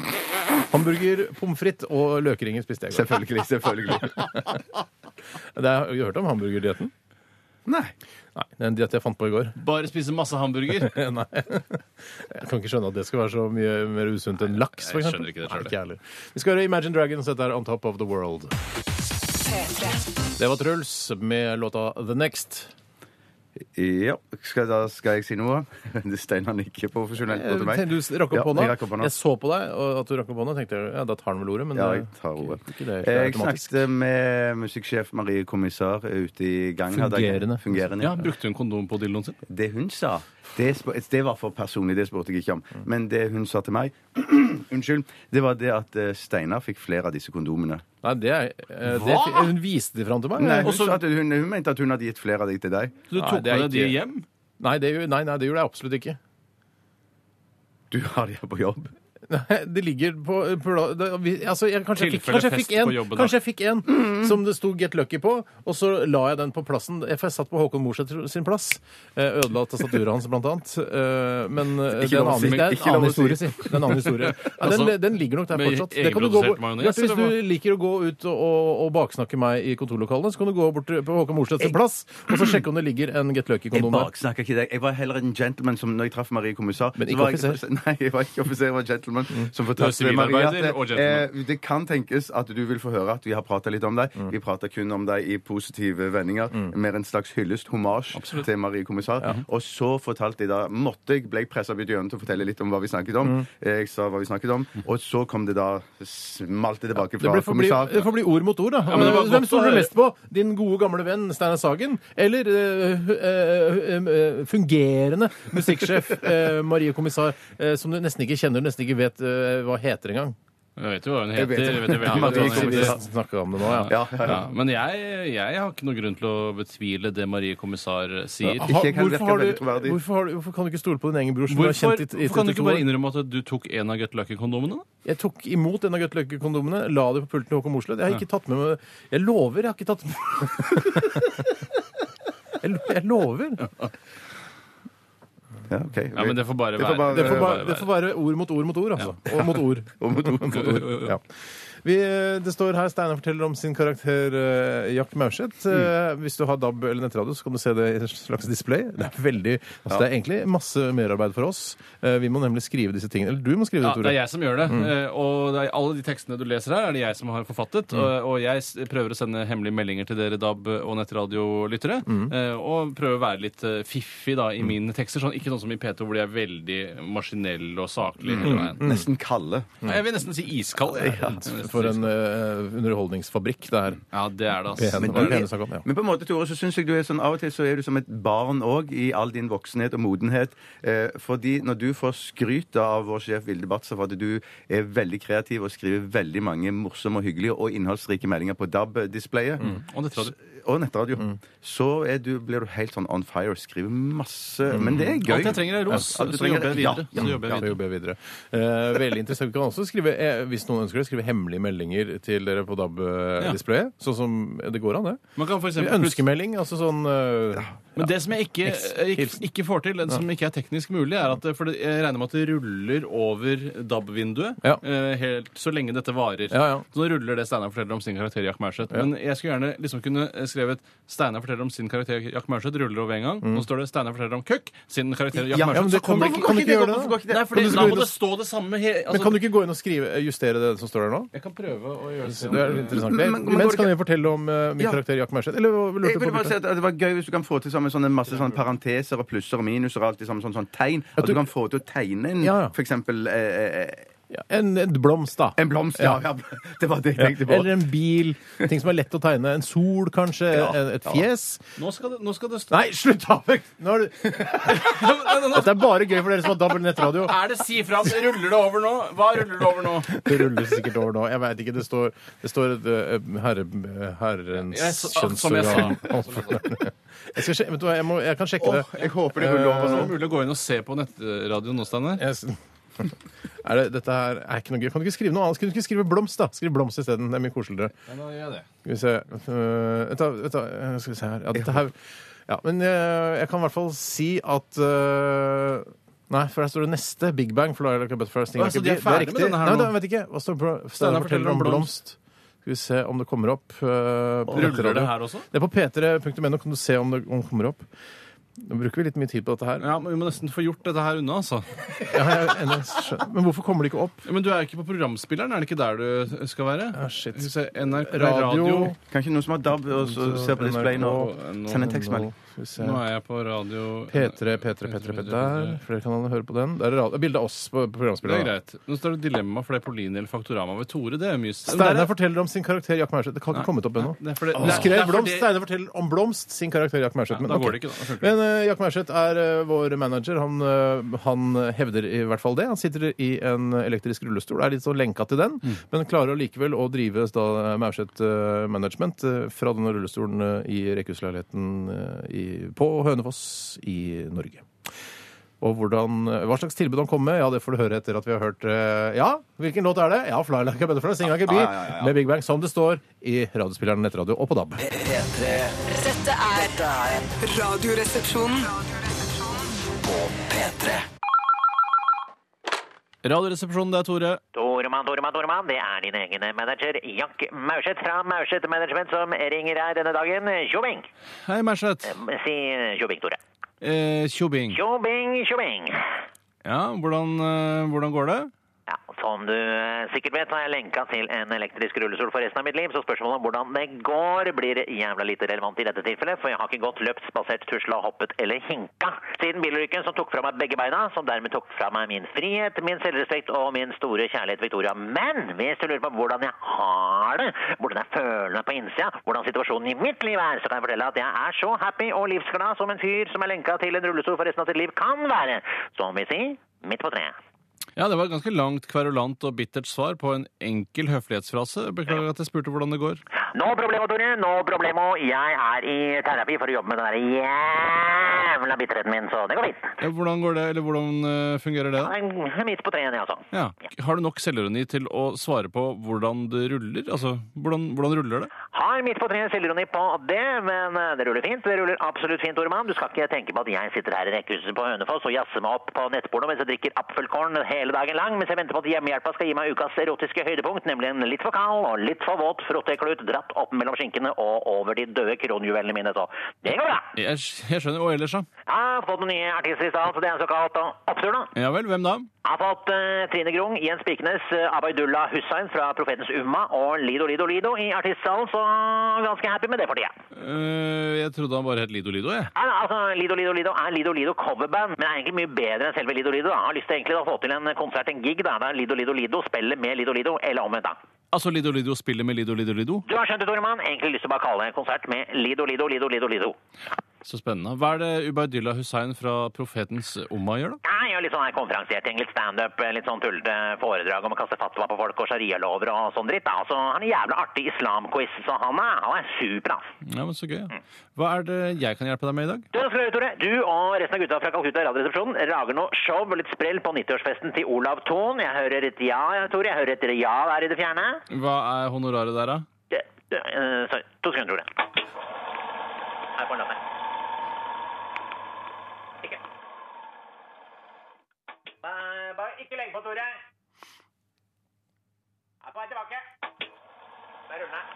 A: Hamburger, pommes frites og løkringer spiste jeg i går.
F: Selvfølgelig. selvfølgelig.
A: Det er- Har du hørt om hamburgerdietten?
F: [LAUGHS] Nei.
A: Nei, det er en diett jeg fant på i går.
B: Bare spise masse hamburger?
A: [LAUGHS] Nei. Jeg kan ikke skjønne at det skal være så mye mer usunt enn laks, for
B: jeg
A: eksempel.
B: skjønner ikke det
A: Nei,
B: selv.
A: ikke jeg heller. Vi skal høre Imagine Dragons, dette er On Top of the World. Det var Truls med låta The Next.
F: Ja, skal, da skal jeg si noe? [LAUGHS] Det er Steinar nikker profesjonelt mot meg.
A: Du rakk
F: Eh, Ja,
A: opp hånda.
F: jeg rakk opp hånda.
A: Jeg så på deg og at du rakk opp hånda. Tenkte jeg, ja, da tar han vel ordet, men
F: Ja,
A: eh,
F: jeg tar ordet. Eh,
A: Ikke det, ikke
F: Jeg
A: automatisk.
F: snakket med musikksjef Marie Kommissar ute i gangen. hadde jeg-
A: Fungerende.
F: Fungerende.
B: Ja, Brukte hun kondom på dildoen sin?
F: Det hun sa, det, sp- det var for personlig, det spurte jeg ikke om. Men det hun sa til meg, [CLEARS THROAT] unnskyld, det var det at eh, Steinar fikk flere av disse kondomene.
A: Nei, det er, eh, det,
B: Hva?
A: hun viste det fram til meg.
F: Nei,
A: Nei,
F: hun, sa at hun, hun mente at hun hadde gitt flere av de til deg.
B: Du
A: Nei,
B: tok
A: det er
B: med deg de
A: ikke-
B: hjem?
A: det, gjorde- nei, nei, det gjorde jeg absolutt ikke.
F: Du har de her på jobb.
A: Nei, [LAUGHS] Det ligger på, på det, vi- altså, jeg, Kanskje jeg fikk,
B: Tilfelle
A: kanskje jeg
B: fest
A: fikk en,
B: på jobben, da.
A: kanskje jeg fikk en som det sto Get Lucky på, og så la jeg den på plassen. For jeg satt på Håkon Morseth sin plass. Eh, Ødela tastaturet hans, blant annet. Eh, Men eh, det er en
F: lov å si,
A: annen, det er
F: ikke
A: en annen
F: lov å si.
A: historie, si. Det er en annen
B: [LAUGHS]
A: historie. Ja, den,
B: Altså,
A: den ligger nok der
B: med
A: fortsatt. Det kan du gå
B: egenprodusert
A: bort.
B: majones,
A: Bjarte,
B: altså.
A: Hvis
B: eller
A: du liker å gå ut og, og baksnakke meg i kontorlokalene, så kan du gå bort på Håkon Morseth sin plass og så sjekke om det ligger en Get
F: Jeg
A: Lucky-kondom der.
F: baksnakker ikke deg. Jeg var heller en gentleman som når jeg traff Marie Kommissar.
A: Men
F: så
A: ikke Mm.
F: var jeg-
A: offiser.
F: [LAUGHS] Nei, jeg var ikke offiser, jeg var gentleman. Som
B: Du
F: fortalte
B: er
F: meg, Marie at
B: sivilarbeider og
F: eh,
B: gentleman.
F: det kan tenkes at du vil få høre at vi har prata litt om deg.
A: Mm.
F: Vi prater kun om deg i positive vendinger. Mer en slags hyllest, hommage, til Marie Kommissar. Og så fortalte jeg da Måtte jeg, ble jeg pressa ut i hjørnet til å fortelle litt om hva vi snakket
A: Mm.
F: om. Jeg sa hva vi snakket om, og så kom det da Smalt det tilbake
A: Det,
F: fra
A: blir- får bli,
F: kommissar.
A: det får bli ord mot ord, da.
B: men det var
A: Hvem
B: godt å
A: står du
B: høre.
A: mest på? Din gode, gamle venn Steinar Sagen? Eller eh, hu- eh, hu- eh, fungerende musikksjef
B: [LAUGHS]
A: eh, Marie Kommissar, eh, som du nesten ikke kjenner, nesten ikke vet eh, hva heter engang?
B: Jeg vet jo hva hun
F: Jeg
B: heter.
F: vet det.
B: Jeg vet jo
F: Ja,
B: veldig godt
F: Marie
B: hva hun
F: Kommissar.
B: heter.
A: Snakka om det nå, ja.
F: Ja, ja, ja.
B: Ja, men jeg, jeg har ikke noen grunn til å betvile det Marie Kommissar sier.
A: Ha,
F: Ikke jeg kan
A: hvorfor,
F: virke
A: har du,
F: veldig troverdig.
A: hvorfor, har du, hvorfor kan du ikke stole på din egen bror, som du har
B: Hvorfor,
A: kjent i, i
B: hvorfor kan du
A: 32
B: ikke bare
A: år?
B: innrømme at du tok en av Get Lucky-kondomene? da?
A: Jeg tok imot en av Gutløkke-kondomene, la det på pulten til Håkon Mosleth. Jeg har ikke tatt med meg Jeg lover, jeg har ikke tatt med [LAUGHS] Jeg lo- Jeg lover.
F: Ja, ok.
B: Ja, men det får bare
F: Det får
B: være.
F: bare-
A: Det får, bare, det får være ord mot ord mot ord, altså. Og mot
B: [LAUGHS]
A: ord.
F: Og mot ord, mot ord.
A: Ja. Vi, det står her Steinar forteller om sin karakter eh, Jack Maurseth.
B: Mm.
A: Eh, Hvis du har DAB eller nettradio, så kan du se det i en slags display. Det er veldig altså, Det er egentlig masse merarbeid for oss. Eh, Vi må nemlig skrive disse tingene. Eller du må skrive
B: Ja,
A: det,
B: det
A: Tore.
B: er jeg som gjør det. eh, Og det er alle de tekstene du leser her, er det jeg som har forfattet. Og, og jeg s- prøver å sende hemmelige meldinger til dere DAB- og nettradiolyttere. eh, Og prøver å være litt eh, fiffig da i mine tekster. Sånn, ikke sånn som i P2, hvor de er veldig maskinell og saklig. hele veien.
F: Nesten kalde.
B: Nei, Jeg vil nesten si iskald. jeg. Jeg vil nesten
A: For
B: si
A: en eh, underholdningsfabrikk det er.
B: Ja, det er det, altså.
A: Pen,
F: Men,
A: men,
F: du,
A: pen, sak om, ja.
F: men på en måte, Tore, så synes jeg du er sånn av og til så er du som et barn òg, i all din voksenhet og modenhet. Eh, fordi når du får skryt av vår sjef Vilde Batzer for at du er veldig kreativ og skriver veldig mange morsomme og hyggelige og innholdsrike meldinger på DAB-displayet
A: Mm.
B: Og nettradio.
F: og nettradio, så er du, blir du helt sånn on fire. Skriver masse
A: Mm.
F: Men det er gøy.
B: Alt jeg trenger, er ros.
F: Ja, du
B: så
F: trenger-
B: jobber jeg videre.
F: Ja,
B: Så jobber jeg
A: Ja, vi
B: videre.
A: jobber videre. Eh, veldig interessant. Du kan også skrive, eh, hvis noen ønsker det, skrive hemmelige meldinger til dere på DAB-displayet. Sånn som det går an, det.
B: Man kan for eksempel
A: Ønskemelding, altså sånn eh,
B: Men det som jeg ikke, eh, ikke,
A: Hilsen.
B: ikke får til, den som ikke er teknisk mulig, er at det- for det- jeg regner med at det ruller over DAB-vinduet
A: Ja.
B: eh, helt så lenge dette varer.
A: Ja, ja.
B: Så nå ruller det Steinar forteller om sin karakter Jack Maurseth. Men jeg skulle gjerne liksom kunne skrevet Steinar forteller om sin karakter Jack Maurseth, ruller over en gang. Nå står det Steinar forteller om Køkk, sin karakter
F: Ja,
B: Jack
A: Mm. Ja, men
B: Maurseth.
A: det
B: Så
A: kan,
B: kommer
A: du
B: det
A: ikke, kan du ikke gjøre det? da?
F: Hvorfor går ikke
B: Nei,
F: det?
B: for det-
A: Men du
B: da må
A: skulle-
B: det stå det samme he, altså,
A: Men kan du ikke gå inn og skrive, justere det som står der nå?
B: Jeg kan prøve å gjøre det. [LAUGHS]
A: Det er litt interessant.
F: Men-
A: Men,
F: men- men går
A: Mens
F: det
A: kan
F: ikke-
A: jeg fortelle om eh, min
F: Ja.
A: karakter Jack Maurseth. Eller hva lurte
F: Jeg
A: du på?
F: ville bare si
A: Bjarte?
F: at Det var gøy hvis du kan få til sammen sånne masse sånne parenteser og plusser og minuser og alt i sammen sånn, sånn tegn. At du kan få til å tegne en,
A: Ja, ja.
F: for eksempel eh, eh,
A: Ja, En, en blomst, da.
F: En blomst, ja. ja. [LAUGHS] Det var det jeg tenkte på.
A: Eller en bil. Ting som er lett å tegne. En sol, kanskje. En, et fjes.
B: Nå skal det, nå skal det stå
A: Nei, slutt, Abek! Nå er du... Dette er bare gøy for dere som har dobbel nettradio.
B: Er det si fra? Ruller det over nå? Hva ruller det over nå?
A: Det ruller sikkert over nå. Jeg veit ikke. Det står, det står et eh, herre,
B: Jeg
A: herrens
B: sa- som jeg sa.
A: kjønnsorgan. Jeg, skal sje- vet du hva, jeg, må, jeg kan sjekke det.
F: Åh, jeg håper det går
A: Eh,
F: over
B: Det
F: nå.
B: er mulig å gå inn og se på nettradioen nå, Steinar.
A: Jeg s- Er det, dette her er ikke noe gøy. Kan du ikke skrive noe annet? Kan du ikke skrive blomst, da? Skriv blomst isteden. Det er mye koseligere. Skal vi se Øh, Vent, da. vent da. Øh, Skal vi se her. Ja, dette her ja, men øh, jeg kan i hvert fall si at øh, Nei, for her står det neste. Big Bang. For da er det ikke Butterflies. Ting
B: Å, så de
A: ikke-
B: er
A: det
B: ferdig med
A: riktig.
B: denne her
A: Nei,
B: nå?
A: da, jeg vet ikke. Hva står det på- Steinar forteller om blomst. Skal vi se om det kommer opp. øh, på
B: Ruller det
A: nettradio.
B: her også?
A: Det er på p3.no. Kan du se om det, om det kommer opp? Nå bruker vi litt mye tid på dette her.
B: Ja, men Vi må nesten få gjort dette her unna, altså.
A: Ja, jeg er enig. Skjønner. Men hvorfor kommer det ikke opp?
B: Ja, Men du er jo ikke på programspilleren, er det ikke der du skal være?
A: Ah, shit.
B: Skal vi se, NRK
A: Radio.
B: Radio.
F: Kanskje noen som har DAB og så ser på displayen og
B: Nå,
F: sender en tekstmelding.
A: Skal vi se.
B: nå er jeg på radio
A: P3, P3, P3, P3 Der. Flere kanaler hører på den. Der er radio- bilde av oss på
B: Det er
A: programspilleren.
B: greit. Nå står det dilemma for det er Pauline eller Faktorama ved Tore. Altså, Det er mye st- Men der
A: Steinar
B: er-
A: forteller om sin karakter Jack Maurseth. Det kan ikke kommet opp ennå.
B: Det er fordi-
A: Du
B: det er- det
A: skrev
B: er
A: blomst.
B: fordi-
A: Steinar forteller om blomst, sin karakter Jack Maurseth.
B: Ja,
A: Men,
B: da går
A: ok.
B: det ikke, da. Da funker
A: [LAUGHS]
B: det
A: men eh, Jack Maurseth er eh, vår manager. Han, eh, han hevder i hvert fall det. Han sitter i en elektrisk rullestol, er litt sånn lenka til den, men klarer allikevel å drive da Maurseth eh, Management eh, fra denne rullestolen eh, i rekkehusleiligheten eh, i- på Hønefoss i Norge. Og hvordan, eh, hva slags tilbud han kom med, ja, det får du høre etter at vi har hørt eh, Ja, hvilken låt er det? Ja, 'Fly Like a Butterfly', 'Sing Like a Bee' med Big Bang, som det står i radiospilleren nettradio og på DAB.
E: P3
D: Dette er Radioresepsjonen.
E: P3
B: Eh, Radioresepsjonen, det er Tore.
G: Toremann, Toremann, Toremann, det er din egen manager, Jack Maurseth fra Maurseth Management, som ringer her denne dagen. Tjobing!
B: Hei, Merseth.
G: Si eh, tjobing, Tore.
B: Eh, Tjobing.
G: Tjobing, tjobing.
B: Ja, hvordan, eh, hvordan går det?
G: Ja, som du eh, sikkert vet, så er jeg lenka til en elektrisk rullestol for resten av mitt liv, så spørsmålet om hvordan det går, blir jævla lite relevant i dette tilfellet, for jeg har ikke gått, løpt, spasert, tusla, hoppet eller hinka siden bilulykken som tok fra meg begge beina, som dermed tok fra meg min frihet, min selvrespekt og min store kjærlighet, Victoria. Men hvis du lurer på hvordan jeg har det, hvordan jeg føler meg på innsida, hvordan situasjonen i mitt liv er, så kan jeg fortelle at jeg er så happy og livsglad som en fyr som er lenka til en rullestol for resten av sitt liv kan være, som vi sier, midt på treet.
B: Ja, det var et ganske langt, kverulant og bittert svar på en enkel høflighetsfrase. Beklager at jeg spurte hvordan det går.
G: No problemo, Tore. No problemo. Jeg er i terapi for å jobbe med den der jævla bitterheten min, så det går fint.
B: Ja, hvordan går det, eller hvordan eh, fungerer det? da?
G: Nei, Midt på treet, jeg altså.
B: Ja. Har du nok selvironi til å svare på hvordan det ruller? Altså, hvordan, hvordan ruller det?
G: Har midt på treet selvironi på det, men eh, det ruller fint. Det ruller absolutt fint, Tore Mann. Du skal ikke tenke på at jeg sitter her i rekkehuset på Hønefoss og jazzer meg opp på nettporno mens jeg drikker apfelkorn hele dagen lang, mens jeg venter på at hjemmehjelpa skal gi meg ukas erotiske høydepunkt, nemlig en litt for kald og litt for våt frottéklut dratt opp mellom skinkene og over de døde kronjuvelene mine, så det går bra.
B: Jeg, jeg skjønner. Og ellers, da?
G: Jeg har fått noen nye artister i stad, så det er såkalt eh, opptur, da.
B: Ja vel, hvem da?
G: Jeg har fått eh, Trine Grung, Jens Birkenes, eh, Abaidullah Hussein fra Profetens Umma og Lido Lido Lido i artistsalen, så ganske happy med det for tida.
B: Eh, jeg trodde han bare het Lido Lido, jeg.
G: Ja, ja, altså, Lido Lido Lido er Lido Lido coverband, men er egentlig mye bedre enn selve Lido Lido. Da. Jeg har lyst til egentlig å få til en konsert, en gig, da, der Lido Lido Lido spiller med Lido Lido, eller omvendt, da.
B: Altså Lido Lido spiller med Lido Lido Lido?
G: Du har skjønt det, Toremann. Egentlig lyst til å bare kalle det en konsert med Lido Lido Lido Lido Lido.
B: Så spennende. Hva er det Ubaydullah Hussein fra Profetens Umma gjør, da?
G: Ja, jeg gjør litt sånn her konferansierting, litt standup, litt sånn tullete foredrag om å kaste fatwa på folk og sharialover og sånn dritt. da. Altså, han er jævla artig islamquiz, så han er, han er super, ass.
B: Ja, men Så gøy. ja. Hva er det jeg kan hjelpe deg med i dag?
G: Du, nå skal du høre, Tore. Du og resten av gutta fra Kalkutta Radioresepsjon lager nå show og litt sprell på 90-årsfesten til Olav Thon. Jeg hører et ja, ja, Tore. Jeg hører et ja der i det fjerne.
B: Hva er honoraret der, da?
G: Det- det- eh, Sorry. To sekunder, Tore. Her får han lappen. Ikke. Nei, Bare ikke lenge på, Tore. Her får jeg tilbake. Der ruller den.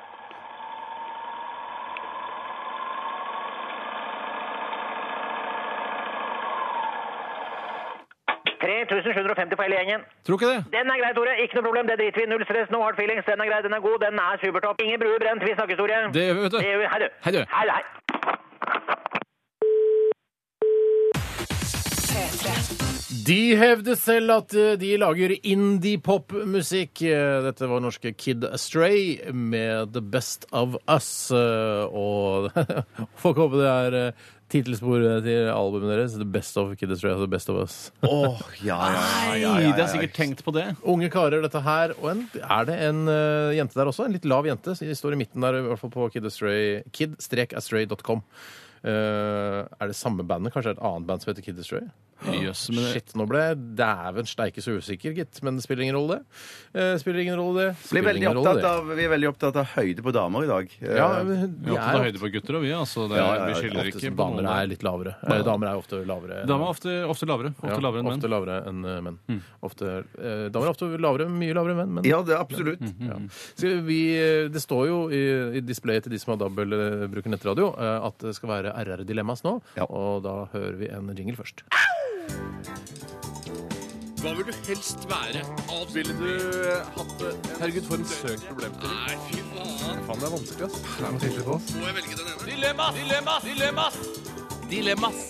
G: Tre tusen sju hundre og femti for hele gjengen.
B: Tror ikke det.
G: Den er grei, Tore. Ikke noe problem. Det driter vi i. Null stress, no hard feelings. Den er grei, den er god, den er supertopp. Ingen bruer brent. Vi snakkes, Tore.
B: Det gjør vi, vet
G: Det
B: du.
G: gjør vi. Hei, du.
B: Hei, du.
G: Hei, hei.
A: De hevder selv at eh, de lager indie-pop-musikk. Eh, Dette var norske Kid Astray med The Best of Us. eh, Og [LAUGHS] folk håper det er eh, tittelsporet til albumet deres. The Best of Kid Astray og The Best of Us.
F: Åh, ja, ja, ja, ja, ja,
B: Nei, de har sikkert
F: ja.
B: tenkt på det.
A: Unge karer, dette her. Og en, er det en eh, jente der også? En litt lav jente. De står i midten der, i hvert fall på Kid Astray. Kid-astray.com. Eh, er det samme bandet? Kanskje det er et annet band som heter Kid Astray?
B: Jøss, men det-
A: Shit, nå ble jeg dæven steike så usikker, gitt. Men det spiller ingen rolle, det. Eh, Spiller ingen rolle, det.
F: Blir
A: Spiller
F: veldig opptatt av, vi er veldig opptatt av høyde på damer i dag. Eh,
A: Ja, men
B: Vi
A: de
B: er opptatt av
A: er
B: høyde på gutter, og vi, altså. Det,
F: Ja, ja,
B: vi
F: ja,
B: skiller
A: ofte,
B: ikke på
A: damer
B: noen.
A: er litt lavere. Eh, Damer er ofte lavere.
B: Damer er ofte, ofte lavere. Ofte
A: Ja,
B: lavere enn menn. Mm.
A: Ofte lavere enn eh, menn. Ofte, eh, damer er ofte lavere, mye lavere enn menn. Men
F: ja, det er absolutt.
A: Ja. Skal vi, eh, det står jo i, i displayet til de som har dobbel eh, bruker nettradio, eh, at det skal være RR Dilemmas nå.
F: Ja.
A: Og da hører vi en jingle først.
B: Hva vil du helst være? Ville du hatt det? Herregud, for en søk problemstilling. Nei, fy faen. Faen, det er vanskelig, ass. Må jeg velge den ene? Dilemmas! Dilemmas! Dilemmas! Dilemmas!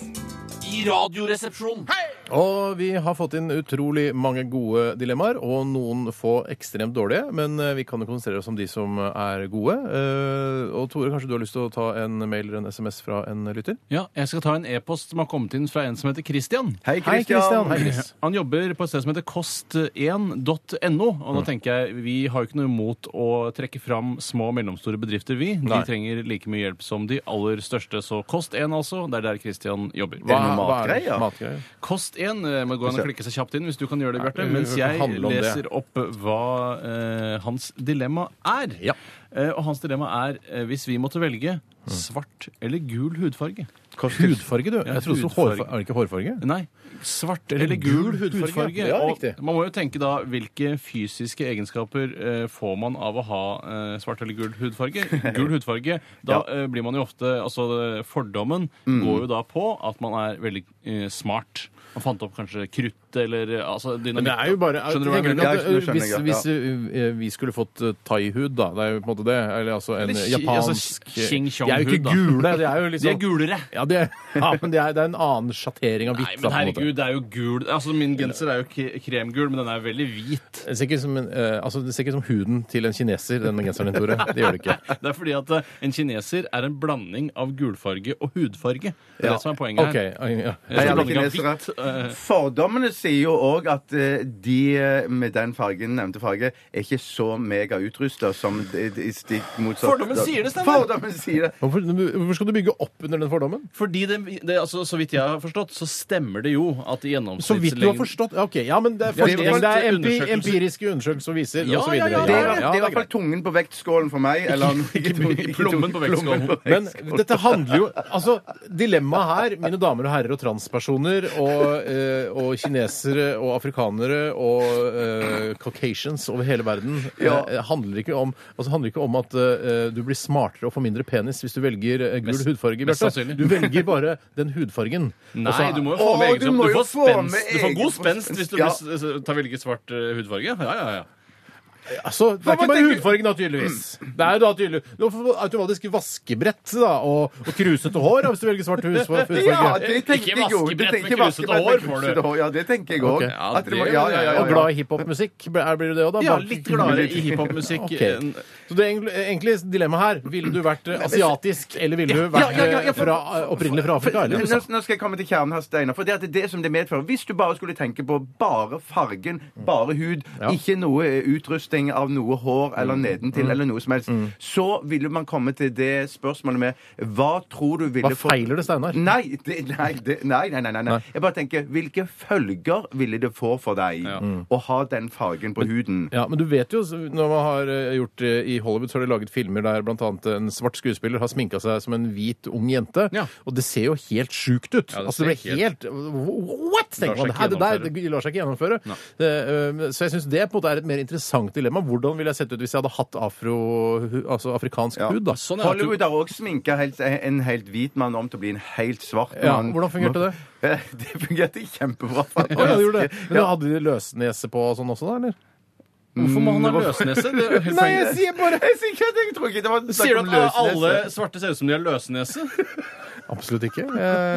B: I radioresepsjonen!
A: Og vi har fått inn utrolig mange gode dilemmaer, og noen få ekstremt dårlige. Men eh, vi kan jo konsentrere oss om de som er gode. Eh, Og Tore, kanskje du har lyst til å ta en mail eller en SMS fra en lytter?
B: Ja, jeg skal ta en e-post som har kommet inn fra en som heter Christian.
F: Hei, Kristian.
A: Christian. Hei, Chris.
B: [CLEARS THROAT] Han jobber på et sted som heter kost1.no. Og da
A: Mm.
B: tenker jeg, vi har jo ikke noe imot å trekke fram små og mellomstore bedrifter, vi. De
A: Nei.
B: trenger like mye hjelp som de aller største. Så Kost1, altså. Det er der Christian jobber.
A: Hva,
F: noe
A: hva er det?
F: matgreier?
A: Matgreier.
B: Kost1 eh, må gå an å klikke seg kjapt inn hvis du kan gjøre det,
A: Ja,
B: Bjarte.
A: vi-
B: Mens
A: vi
B: jeg
A: handler om det.
B: leser opp hva eh, hans dilemma er.
A: Ja. Mm.
B: Eh, og hans dilemma er eh, hvis vi måtte velge svart eller gul hudfarge.
A: Hudfarge, du.
B: Ja,
A: Jeg trodde så
B: hudfarge.
A: hårfarge. Er det ikke hårfarge?
B: Nei, svart eller gul hudfarge.
A: Ja,
B: Og
A: riktig.
B: man må jo tenke da hvilke fysiske egenskaper eh, får man av å ha eh, svart eller gul
A: [LAUGHS]
B: hudfarge. Gul hudfarge, da eh, blir man jo ofte Altså fordommen
A: Mm.
B: går jo da på at man er veldig eh, smart. Man fant opp kanskje krutt eller eh, altså
A: Men
B: dynamitt.
A: det er jo bare
B: Skjønner du hva jeg
A: tenker
B: mener?
A: at,
F: Ja, jeg skjønner,
A: ø, Hvis,
F: skjønner,
A: hvis ø, vi skulle fått ø, thaihud, da Det er jo på en måte det. Eller altså en
B: Eller ki-
A: japansk
B: altså, King
A: De er jo
B: Chong-hud, da.
A: ikke gule. De er jo
B: De er
A: liksom
B: gulere!
A: ja, de er, ja, men det er, det er en annen sjattering av
B: Nei,
A: hvitt. da,
B: men
A: på en måte.
B: herregud, det er jo gul Altså, min genser er jo k- kremgul, men den er veldig hvit.
A: Det ser, ikke ut som en, ø, altså, det ser ikke ut som huden til en kineser, den genseren din, Tore. Det gjør det ikke.
B: Det er fordi at eh, en kineser er en blanding av gulfarge og hudfarge. Det er
F: Ja.
B: det som er poenget
A: OK.
B: her.
A: ja.
B: Jeg
F: Hei,
B: tror
F: alle
B: blanding av
F: kinesere.
B: hvitt, eh,
F: Fordommene sier jo òg at eh, de eh, med den fargen, nevnte farge, er ikke så megauutrusta som de, de stikk motsatt.
B: Fordommen sier det, Steinar.
F: Fordommen sier det.
A: Hvorfor, hvorfor skal du bygge opp under den fordommen?
B: Fordi det, det, altså, Så vidt jeg har forstått, så stemmer det jo
A: Så vidt
B: at
A: du har
B: gjennomsnittslengden
A: forstått ja, Ok, ja, men det er,
B: Ja, det er
A: forskning, det er empi,
B: undersøkelser.
A: empiriske undersøkelser som viser,
B: Ja,
A: og så videre.
B: ja, ja,
F: Det
B: ja,
F: er,
B: ja,
F: det er i
A: det er
F: hvert fall tungen på vektskålen for meg. Eller
B: Ikke plommen på vektskålen.
F: Plommen på
A: Men
F: vektskålen.
A: dette handler jo Altså, dilemmaet her, mine damer og herrer og transpersoner og, eh, og kinesere og afrikanere og eh, caucasians over hele verden, eh, handler ikke om Altså handler ikke om at eh, du blir smartere og får mindre penis hvis du velger eh, gul
B: Mest-
A: hudfarge,
B: mest
A: Bjarte.
B: sannsynlig.
A: Du velger bare den hudfargen.
B: Nei,
A: Og så-
B: du må jo få
F: Å,
B: med egen
F: du
B: kropp.
F: må
B: Du,
F: jo
B: får
F: få med
B: spenst. du får
F: egen
B: god spenst hvis du
F: Ja.
B: blir- s- tar velger svart eh, hudfarge. Ja, ja, ja.
A: Altså, det er
F: Hva
A: ikke bare
F: tenker-
A: hudfargen, da, tydeligvis. Det er jo da tydeligvis Du får automatisk vaskebrett da, og, og krusete hår da, hvis du velger svart
B: [LAUGHS]
A: hus. for- for-
F: Ja,
A: farge.
F: det tenker
B: Ikke
F: jeg også.
B: vaskebrett
F: Du tenker
B: med krusete
F: vaskebrett med
B: hår, får du.
F: krusete hår. Ja, det tenker jeg
A: Ok.
F: òg.
B: Ja, det-
A: Og glad i hiphopmusikk, blir blir du det òg, da?
B: Ja,
A: Bak-
B: litt gladere i hiphopmusikk.
A: Ok.
B: enn-
A: eh, Så det Sånn er egentlig- egentlig dilemmaet her Ville du vært eh, asiatisk, eller ville du vært
F: ja, ja, ja,
A: eh, fra, opprinnelig fra Afrika? Eller
F: Men
A: USA?
F: Nå, nå skal jeg komme til kjernen her, Steinar. For det, at det er det som det medfører. Hvis du bare skulle tenke på bare fargen, bare hud,
A: Ja. Mm.
F: ikke noe eh, utrusting av noe hår eller nedentil eller noe som helst, så ville man komme til det spørsmålet med hva tror du ville
A: Hva feiler det, Steinar?
F: Nei, det, nei, det, nei, nei, nei, nei, nei. Jeg bare tenker hvilke følger ville det få for deg å ha den fargen på huden?
A: Ja, men du vet jo, så når man har eh, gjort eh, i Hollywood, så har de laget filmer der bl.a. en svart skuespiller har sminka seg som en hvit, ung jente.
B: Ja.
A: Og det ser jo helt sjukt ut.
B: Ja, det
A: altså, det
B: ser
A: blir helt What?! tenker
B: seg
A: man.
B: ikke
A: Hæ, det der det lar seg ikke gjennomføre. Eh, eh, Så jeg syns det på en måte er et mer interessant dilemma. Hvordan ville jeg sett ut hvis jeg hadde hatt afro, altså afrikansk hud? da?
B: Sånn er at du,
F: Hollywood har også sminka helt, en helt hvit mann om til å bli en helt svart
A: Ja,
F: mann.
A: hvordan fungerte det?
F: Eh, [LAUGHS] Det fungerte kjempebra.
A: Ja, det gjorde det.
F: faktisk.
A: Men da hadde de løsnese på og sånn også, da? eller?
B: hvorfor må han ha løsnese? Det er jo helt poenget.
A: sier bare
F: Jeg sier ikke at jeg tror ikke det var
B: Sier
F: snakk
B: du
F: om
B: at
F: løsnese.
B: alle svarte ser ut som de har løsnese?
A: Absolutt ikke. Jeg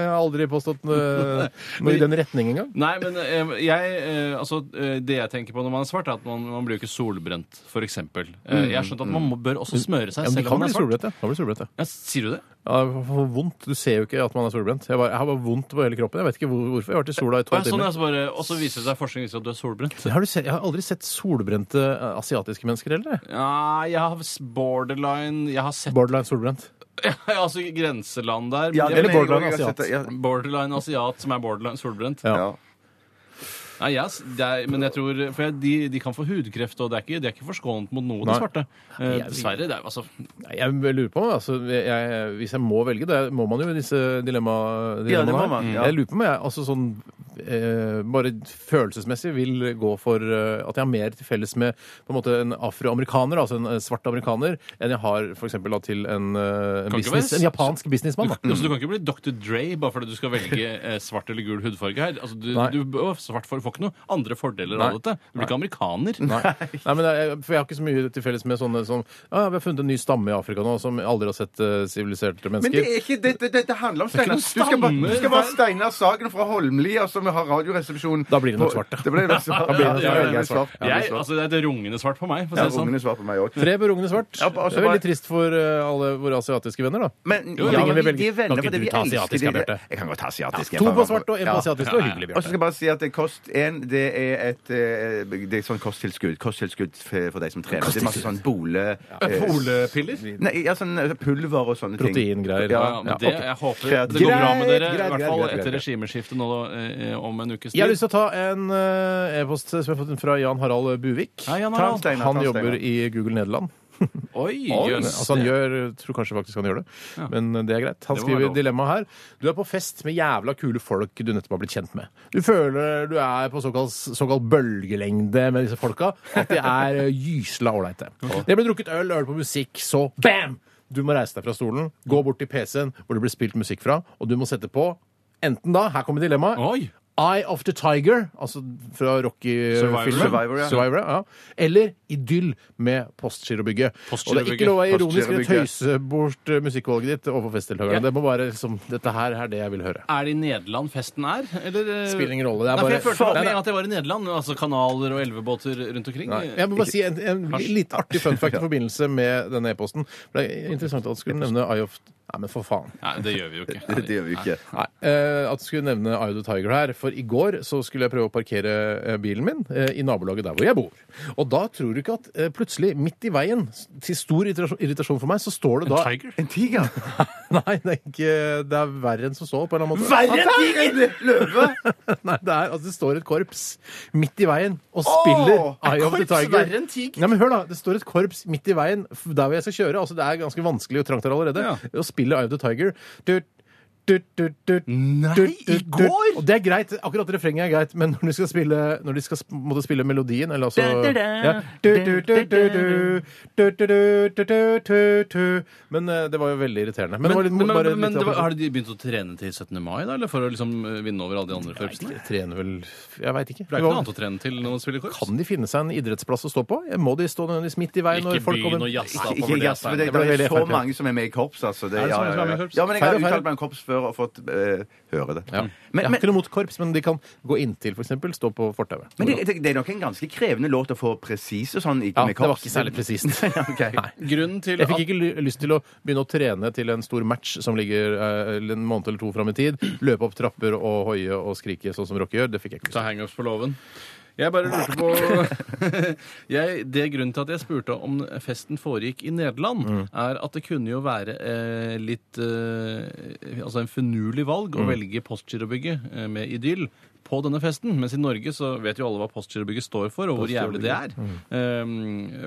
A: har aldri påstått eh, noe i den retning engang.
B: Nei, men eh, jeg, eh, altså, eh, det jeg tenker på når man er svart, er at man, man blir jo ikke solbrent, for eksempel. Eh, Jeg har skjønt at man må, bør også smøre seg
A: Ja, men du
B: selv om
A: kan
B: man
A: bli
B: er svart.
A: solbrent, ja. Kan bli solbrent, ja.
B: Ja, sier du det?
A: Ja, jeg får vondt. Du ser jo ikke at man er solbrent. Jeg, bare, jeg har bare vondt på hele kroppen. Jeg vet ikke hvor, hvorfor. Jeg har vært i sola i
B: Og
A: tolv
B: sånn,
A: timer.
B: altså bare, og så viser det seg forskning viser at du er solbrent.
A: Har du sett, jeg har aldri sett solbrente eh, asiatiske mennesker heller. jeg.
B: Ja, jeg har s- borderline Jeg har sett [LAUGHS]
A: Borderline solbrent.
B: altså grenseland der. men
F: Ja,
B: jeg-
A: Eller
F: det mener jeg
A: borderline
F: også, jeg har sett det. Ja.
B: borderline asiat som er borderline solbrent.
A: altså. Ja.
F: Ja.
B: Nei, jeg, s- det er, men jeg tror For jeg, de, de kan få hudkreft, og det er ikke, de er ikke forskånet mot noe,
A: Nei.
B: de svarte. Eh,
A: jeg-
B: dessverre. Det er, jo altså,
A: Nei, Jeg lurer på altså, jeg, Hvis jeg må velge, det må man jo i disse dilemma,
F: Ja, det
A: dilemmaene.
F: må
A: her.
F: man, ja.
A: Jeg lurer på om jeg altså, sånn, eh, bare følelsesmessig vil gå for eh, at jeg har mer til felles med på en, måte, en afroamerikaner, altså en eh, svart amerikaner, enn jeg har for eksempel, da, til en, eh, en,
B: Kan ikke
A: business,
B: være-
A: en japansk businessmann.
B: [LAUGHS]
A: Da.
B: altså, du kan ikke bli Dr. Dre bare fordi du skal velge eh, svart eller gul hudfarge her. Altså, du,
A: Nei.
B: du, å, svart for, får ikke noen andre fordeler
A: Nei.
B: av dette. Du blir ikke amerikaner.
A: Nei. Nei, men jeg, for jeg har ikke så mye til felles med sånne som ja, Vi har funnet en ny stamme i Afrika nå som aldri har sett eh, siviliserte
F: Men
A: mennesker.
F: det er ikke dette dette handler om Steinar. Du
B: noen
F: skal bare,
B: stammer.
F: du skal bare Steinar Sagen fra altså, Holmlia, som har Radioresepsjonen
A: Da blir det nok
F: på-
A: svart, ja.
F: Det blir nok
A: [LAUGHS]
F: svart.
A: Da blir det nok
F: Ja,
A: svart.
F: det blir svart. Ja, det blir
B: Jeg,
F: svart.
B: altså, det er et rungende svart på meg. For å
F: Ja,
B: si det sånn.
F: ungene svarer på meg òg.
A: Tre berungende svart.
F: Ja, altså bare-
A: det er veldig trist for eh, alle våre asiatiske venner, da.
F: Men
A: Jo,
F: ja,
A: ingen vil
F: vi,
A: velge.
F: vi er venner
A: Kan ikke
F: fordi
A: du
F: vi
A: ta
F: elsker
A: asiatisk,
F: de
A: Bjarte?
F: der. Jeg kan godt ta asiatisk. jeg
A: To
F: bare-
A: på svart og en på
F: Ja.
A: asiatisk. Det var hyggelig,
F: Og så skal
A: Bjarte.
F: jeg bare si at det kost 1 det er et, eh, det er sånn kosttilskudd. Kosttilskudd f- for deg som trener. Det er masse sånn bole... eh,
B: Polepiller?
F: Nei, ja, sånn eh, pulver og sånne ting.
A: Proteingreier.
B: Ja,
F: Ja,
B: men det,
F: ok.
B: Jeg håper
F: Greit,
B: det går bra med dere,
A: greit,
B: i hvert
A: greit,
B: fall
A: greit,
B: etter
A: greit.
B: regimeskiftet nå eh, om en ukes
A: Jeg har
B: tid.
A: lyst til å ta en eh, e-post som jeg har fått fra Jan Harald Buvik.
B: Hei,
F: Ta
B: Jan
F: en
B: Harald.
F: stein, ta
A: Han
F: en stein,
A: jobber
F: ja.
A: i Google Nederland.
B: Oi,
A: Men,
B: jøss.
A: Altså han gjør, tror kanskje faktisk han gjør det, men eh, det er greit. Han
B: Det må være
A: skriver
B: lov.
A: dilemmaet her. Du er på fest med jævla kule folk du nettopp har blitt kjent med. Du føler du er på såkalt, såkalt bølgelengde med disse folka, at de er eh, gysla ålreite. Det blir drukket øl, øl på musikk, så bam! Du må reise deg fra stolen, gå bort til PC-en hvor det blir spilt musikk fra, og du må sette på enten da, her kommer dilemmaet,
B: Oi!
A: Eye of the Tiger, altså fra Rocky-filmen.
B: Survivor.
F: Survivor, ja.
A: ja. Eller Idyll med Postgirobygget. Og det er ikke lov å være ironisk eller
F: Postgirobygget.
A: tøyse bort eh, musikkvalget ditt overfor festdeltakerne.
B: Ja.
A: Det må være liksom Dette her er det jeg vil høre.
B: Er det i Nederland festen er? Eller, eh,
A: Spiller ingen rolle, det er
B: nei, for
A: bare-
B: Jeg følte
A: Nei,
B: med
A: nei.
B: at jeg var i Nederland. altså Kanaler og elvebåter rundt omkring.
A: Jeg må bare si en, en litt artig fun fact i forbindelse med denne e-posten. For Det er interessant at du skulle nevne Eye of Nei, men for faen.
B: Nei, det gjør vi
A: [LAUGHS]
B: jo ikke.
F: Det gjør vi jo ikke.
A: Nei, eh, At jeg skulle nevne Eye of the Tiger her. For i går så skulle jeg prøve å parkere eh, bilen min eh, i nabolaget der hvor jeg bor. Og da tror du ikke at eh, plutselig, midt i veien, s- til stor irritasjon irritasjon for meg, så står det da
B: Tiger?
F: [LAUGHS] En tiger!
A: [LAUGHS] Nei, det er, ikke, det er verre enn som så, på en eller annen måte.
F: tiger! Løve!
A: [LAUGHS] Nei, det er, altså det står et korps midt i veien og spiller Eye of the
F: korps
A: Tiger.
F: verre enn tig?
A: Nei, men hør da, Det står et korps midt i veien f- der hvor jeg skal kjøre. altså Det er ganske vanskelig og trangt her allerede. Å spille Eye of the Tiger. Tut, tut, tut, tut,
F: Nei,
A: tut,
F: i
A: tut, tut.
F: går?
A: Og det er greit, Akkurat refrenget er greit, men når de skal spille, når de skal sp- måtte spille melodien eller altså, ja. Du, du, du, du, du. Du, du, du, du, du, du, du. Men eh, det var jo veldig irriterende. Men, det var litt,
B: men,
A: bare
B: men, men
A: litt
B: det var, Har de begynt å trene til 17. mai, da? Eller for å liksom eh, vinne over alle de andre korpsene?
A: Jeg trener vel Jeg veit ikke.
B: Det er ikke noe annet å trene til når man spiller korps.
A: Kan de finne seg en idrettsplass å stå på? Må de stå nødvendigvis midt i veien når folk
B: begynn
A: kommer?
B: å jazze
F: Ikke-
B: opp
F: Ikke
B: over det.
F: jazz, for det,
A: ble
F: det er
A: veldig
F: så
A: FrP.
F: mange som er med i korps. Altså. Det,
B: Er det så
F: ja,
B: mange som
F: ja,
B: er med i
F: ja.
B: korps?
F: ja, men jeg har
A: Færre og færre.
F: uttalt meg om korps før og fått eh, høre det.
A: Ja. Jeg
F: Men,
A: har
F: men,
A: ikke noe mot korps, men de kan gå inntil, f.eks. Stå på fortauet.
F: men det, det er nok en ganske krevende låt å få presis og sånn i-
A: Ja,
F: med
A: det var
F: korps.
A: ikke særlig presist.
F: [LAUGHS] Ok.
A: Nei.
B: Grunnen til
A: Jeg
B: at
A: fikk ikke ly- lyst til å begynne å trene til en stor match som ligger eh, en måned eller to fram i tid. Løpe opp trapper og hoie og skrike sånn som Rocky gjør. Det fikk jeg ikke lyst
B: Ta hangups på låven. Jeg bare lurte på [LAUGHS] jeg, Det er grunnen til at jeg spurte om festen foregikk i Nederland,
A: Mm.
B: er at det kunne jo være eh, litt eh, Altså en finurlig valg
A: Mm.
B: å velge Postgirobygget eh, med idyll på denne festen. Mens i Norge så vet jo alle hva Postgirobygget står for, og hvor jævlig det er. Um,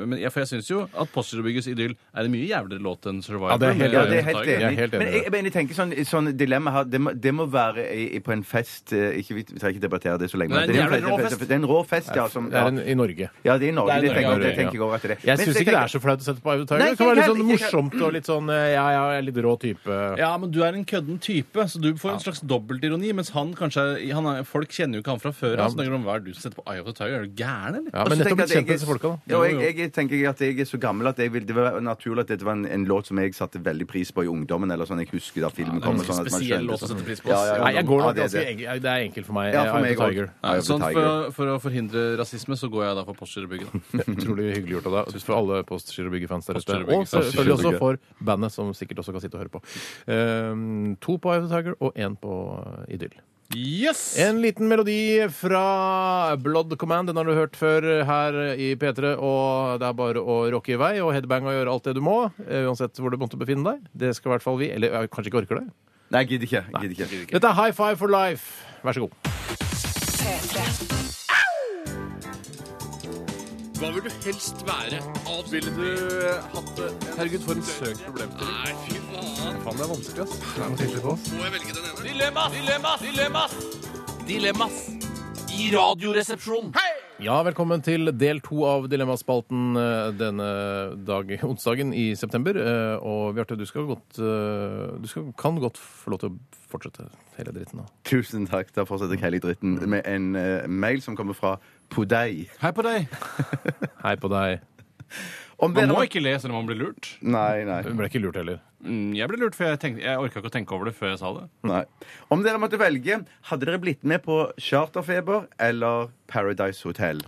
B: men jeg, for jeg syns jo at Postgirobyggets idyll er en mye jævligere låt enn Survivor.
A: Ja, det er helt-
B: med
F: Ja, det er
B: Iron
F: helt
B: Tiger.
A: Jeg er helt enig
F: enig. Men
A: i
F: jeg,
A: det.
F: men jeg tenker sånn, sånn dilemma her, det må, det må være i, i, på en fest eh, ikke, Vi vi trenger ikke debattere det så lenge.
B: Nei,
F: men
B: det er en rå
F: fest-
B: fest.
F: Det er en rå fest, ja. Som,
A: til. Det
F: ja.
A: er en, I Norge.
F: ja, det er i Norge.
B: Det er i
F: Det tenker,
B: Norge,
F: det tenker jeg
B: ja.
F: også at det er.
A: Jeg
F: Men
A: syns ikke
F: så
A: det
F: tenker-
A: er så flaut å sette på Ivan Tiger.
F: Nei,
A: Det kan være litt
F: ikke
A: sånn
F: helt, ikke helt.
A: morsomt og litt sånn eh, ja, ja, jeg er litt rå type.
B: Ja, men du er en kødden type, så du får en slags dobbeltironi. Mens han kanskje er, han er, Folk kjenner jo ikke han fra før.
A: Ja.
B: Ja. Altså, hva er det du som setter på Eye of the Tiger? Er du gæren, eller?
A: Ja,
F: Og
A: men
F: så
A: nettopp
F: tenker
A: blitt
F: jeg
A: kjent med
F: at
A: disse folka, da.
F: jeg- Ja, jeg, jeg tenker at jeg er så gammel at jeg vil, det var naturlig at dette var en, en låt som jeg satte veldig pris på i ungdommen. eller sånn, Jeg husker da filmen
B: det er
F: kom.
B: en
F: og sånn at man
B: spesiell
F: skjønte
B: låt å
F: sånn.
B: sette pris på,
F: Ja,
B: ass.
F: ja, ja,
A: Nei, jeg går
F: ja,
A: nok
F: det er
A: ganske
F: det.
A: enk- Det er enkelt for meg.
F: Ja,
A: eh,
F: for
A: Eye
F: meg
A: of the Tiger.
F: òg.
B: Nei, sånn, for, for å forhindre rasisme så går jeg da for [LAUGHS] Postgirobygget.
A: Utrolig hyggelig gjort av deg. Tusen for alle Postgirobygget-fans der ute.
B: Postgirobygget.
A: Og selvfølgelig også for bandet, som sikkert også kan sitte og høre på. Ehm, to på Eye of the Tiger og én på eh, Idyll.
B: Yes!
A: En liten melodi fra Blood Command. Den har du hørt før her i P3. Og det er bare å rocke i vei og headbang og gjøre alt det du må. eh, Uansett hvor du måtte befinne deg. Det skal i hvert fall vi. Eller eh, kanskje ikke orker det.
F: Nei, jeg gidder ikke. jeg Gidder ikke.
A: Dette er High Five for Life. Vær så god.
D: P3.
B: Hva vil du helst være? Ville du eh, hatt det? Herregud, for en søk problem til. Nei, fy faen. Faen, det er vanskelig, ass. Må jeg velge den ene? Dilemmas! Dilemmas! Dilemmas! Dilemmas! I radioresepsjonen!
A: Ja, velkommen til del to av Dilemmaspalten eh, denne dag, onsdagen i september. Eh, Og Bjarte, du, skal godt, eh, du skal, kan godt få lov til å fortsette hele dritten. Da.
F: Tusen takk. Da fortsetter jeg hele dritten
B: Mm.
F: med en eh, mail som kommer fra Podei.
B: Hei på deg!
A: Hei på deg.
F: Om
B: Man
F: dere-
B: må ikke le selv om man blir lurt.
F: Nei, nei.
A: Hun ble ikke lurt heller.
B: Mm, Jeg ble lurt, for jeg, tenkte, jeg orka ikke å tenke over det før jeg sa det.
F: nei. Om dere måtte velge, hadde dere blitt med på Charterfeber eller Paradise Hotel?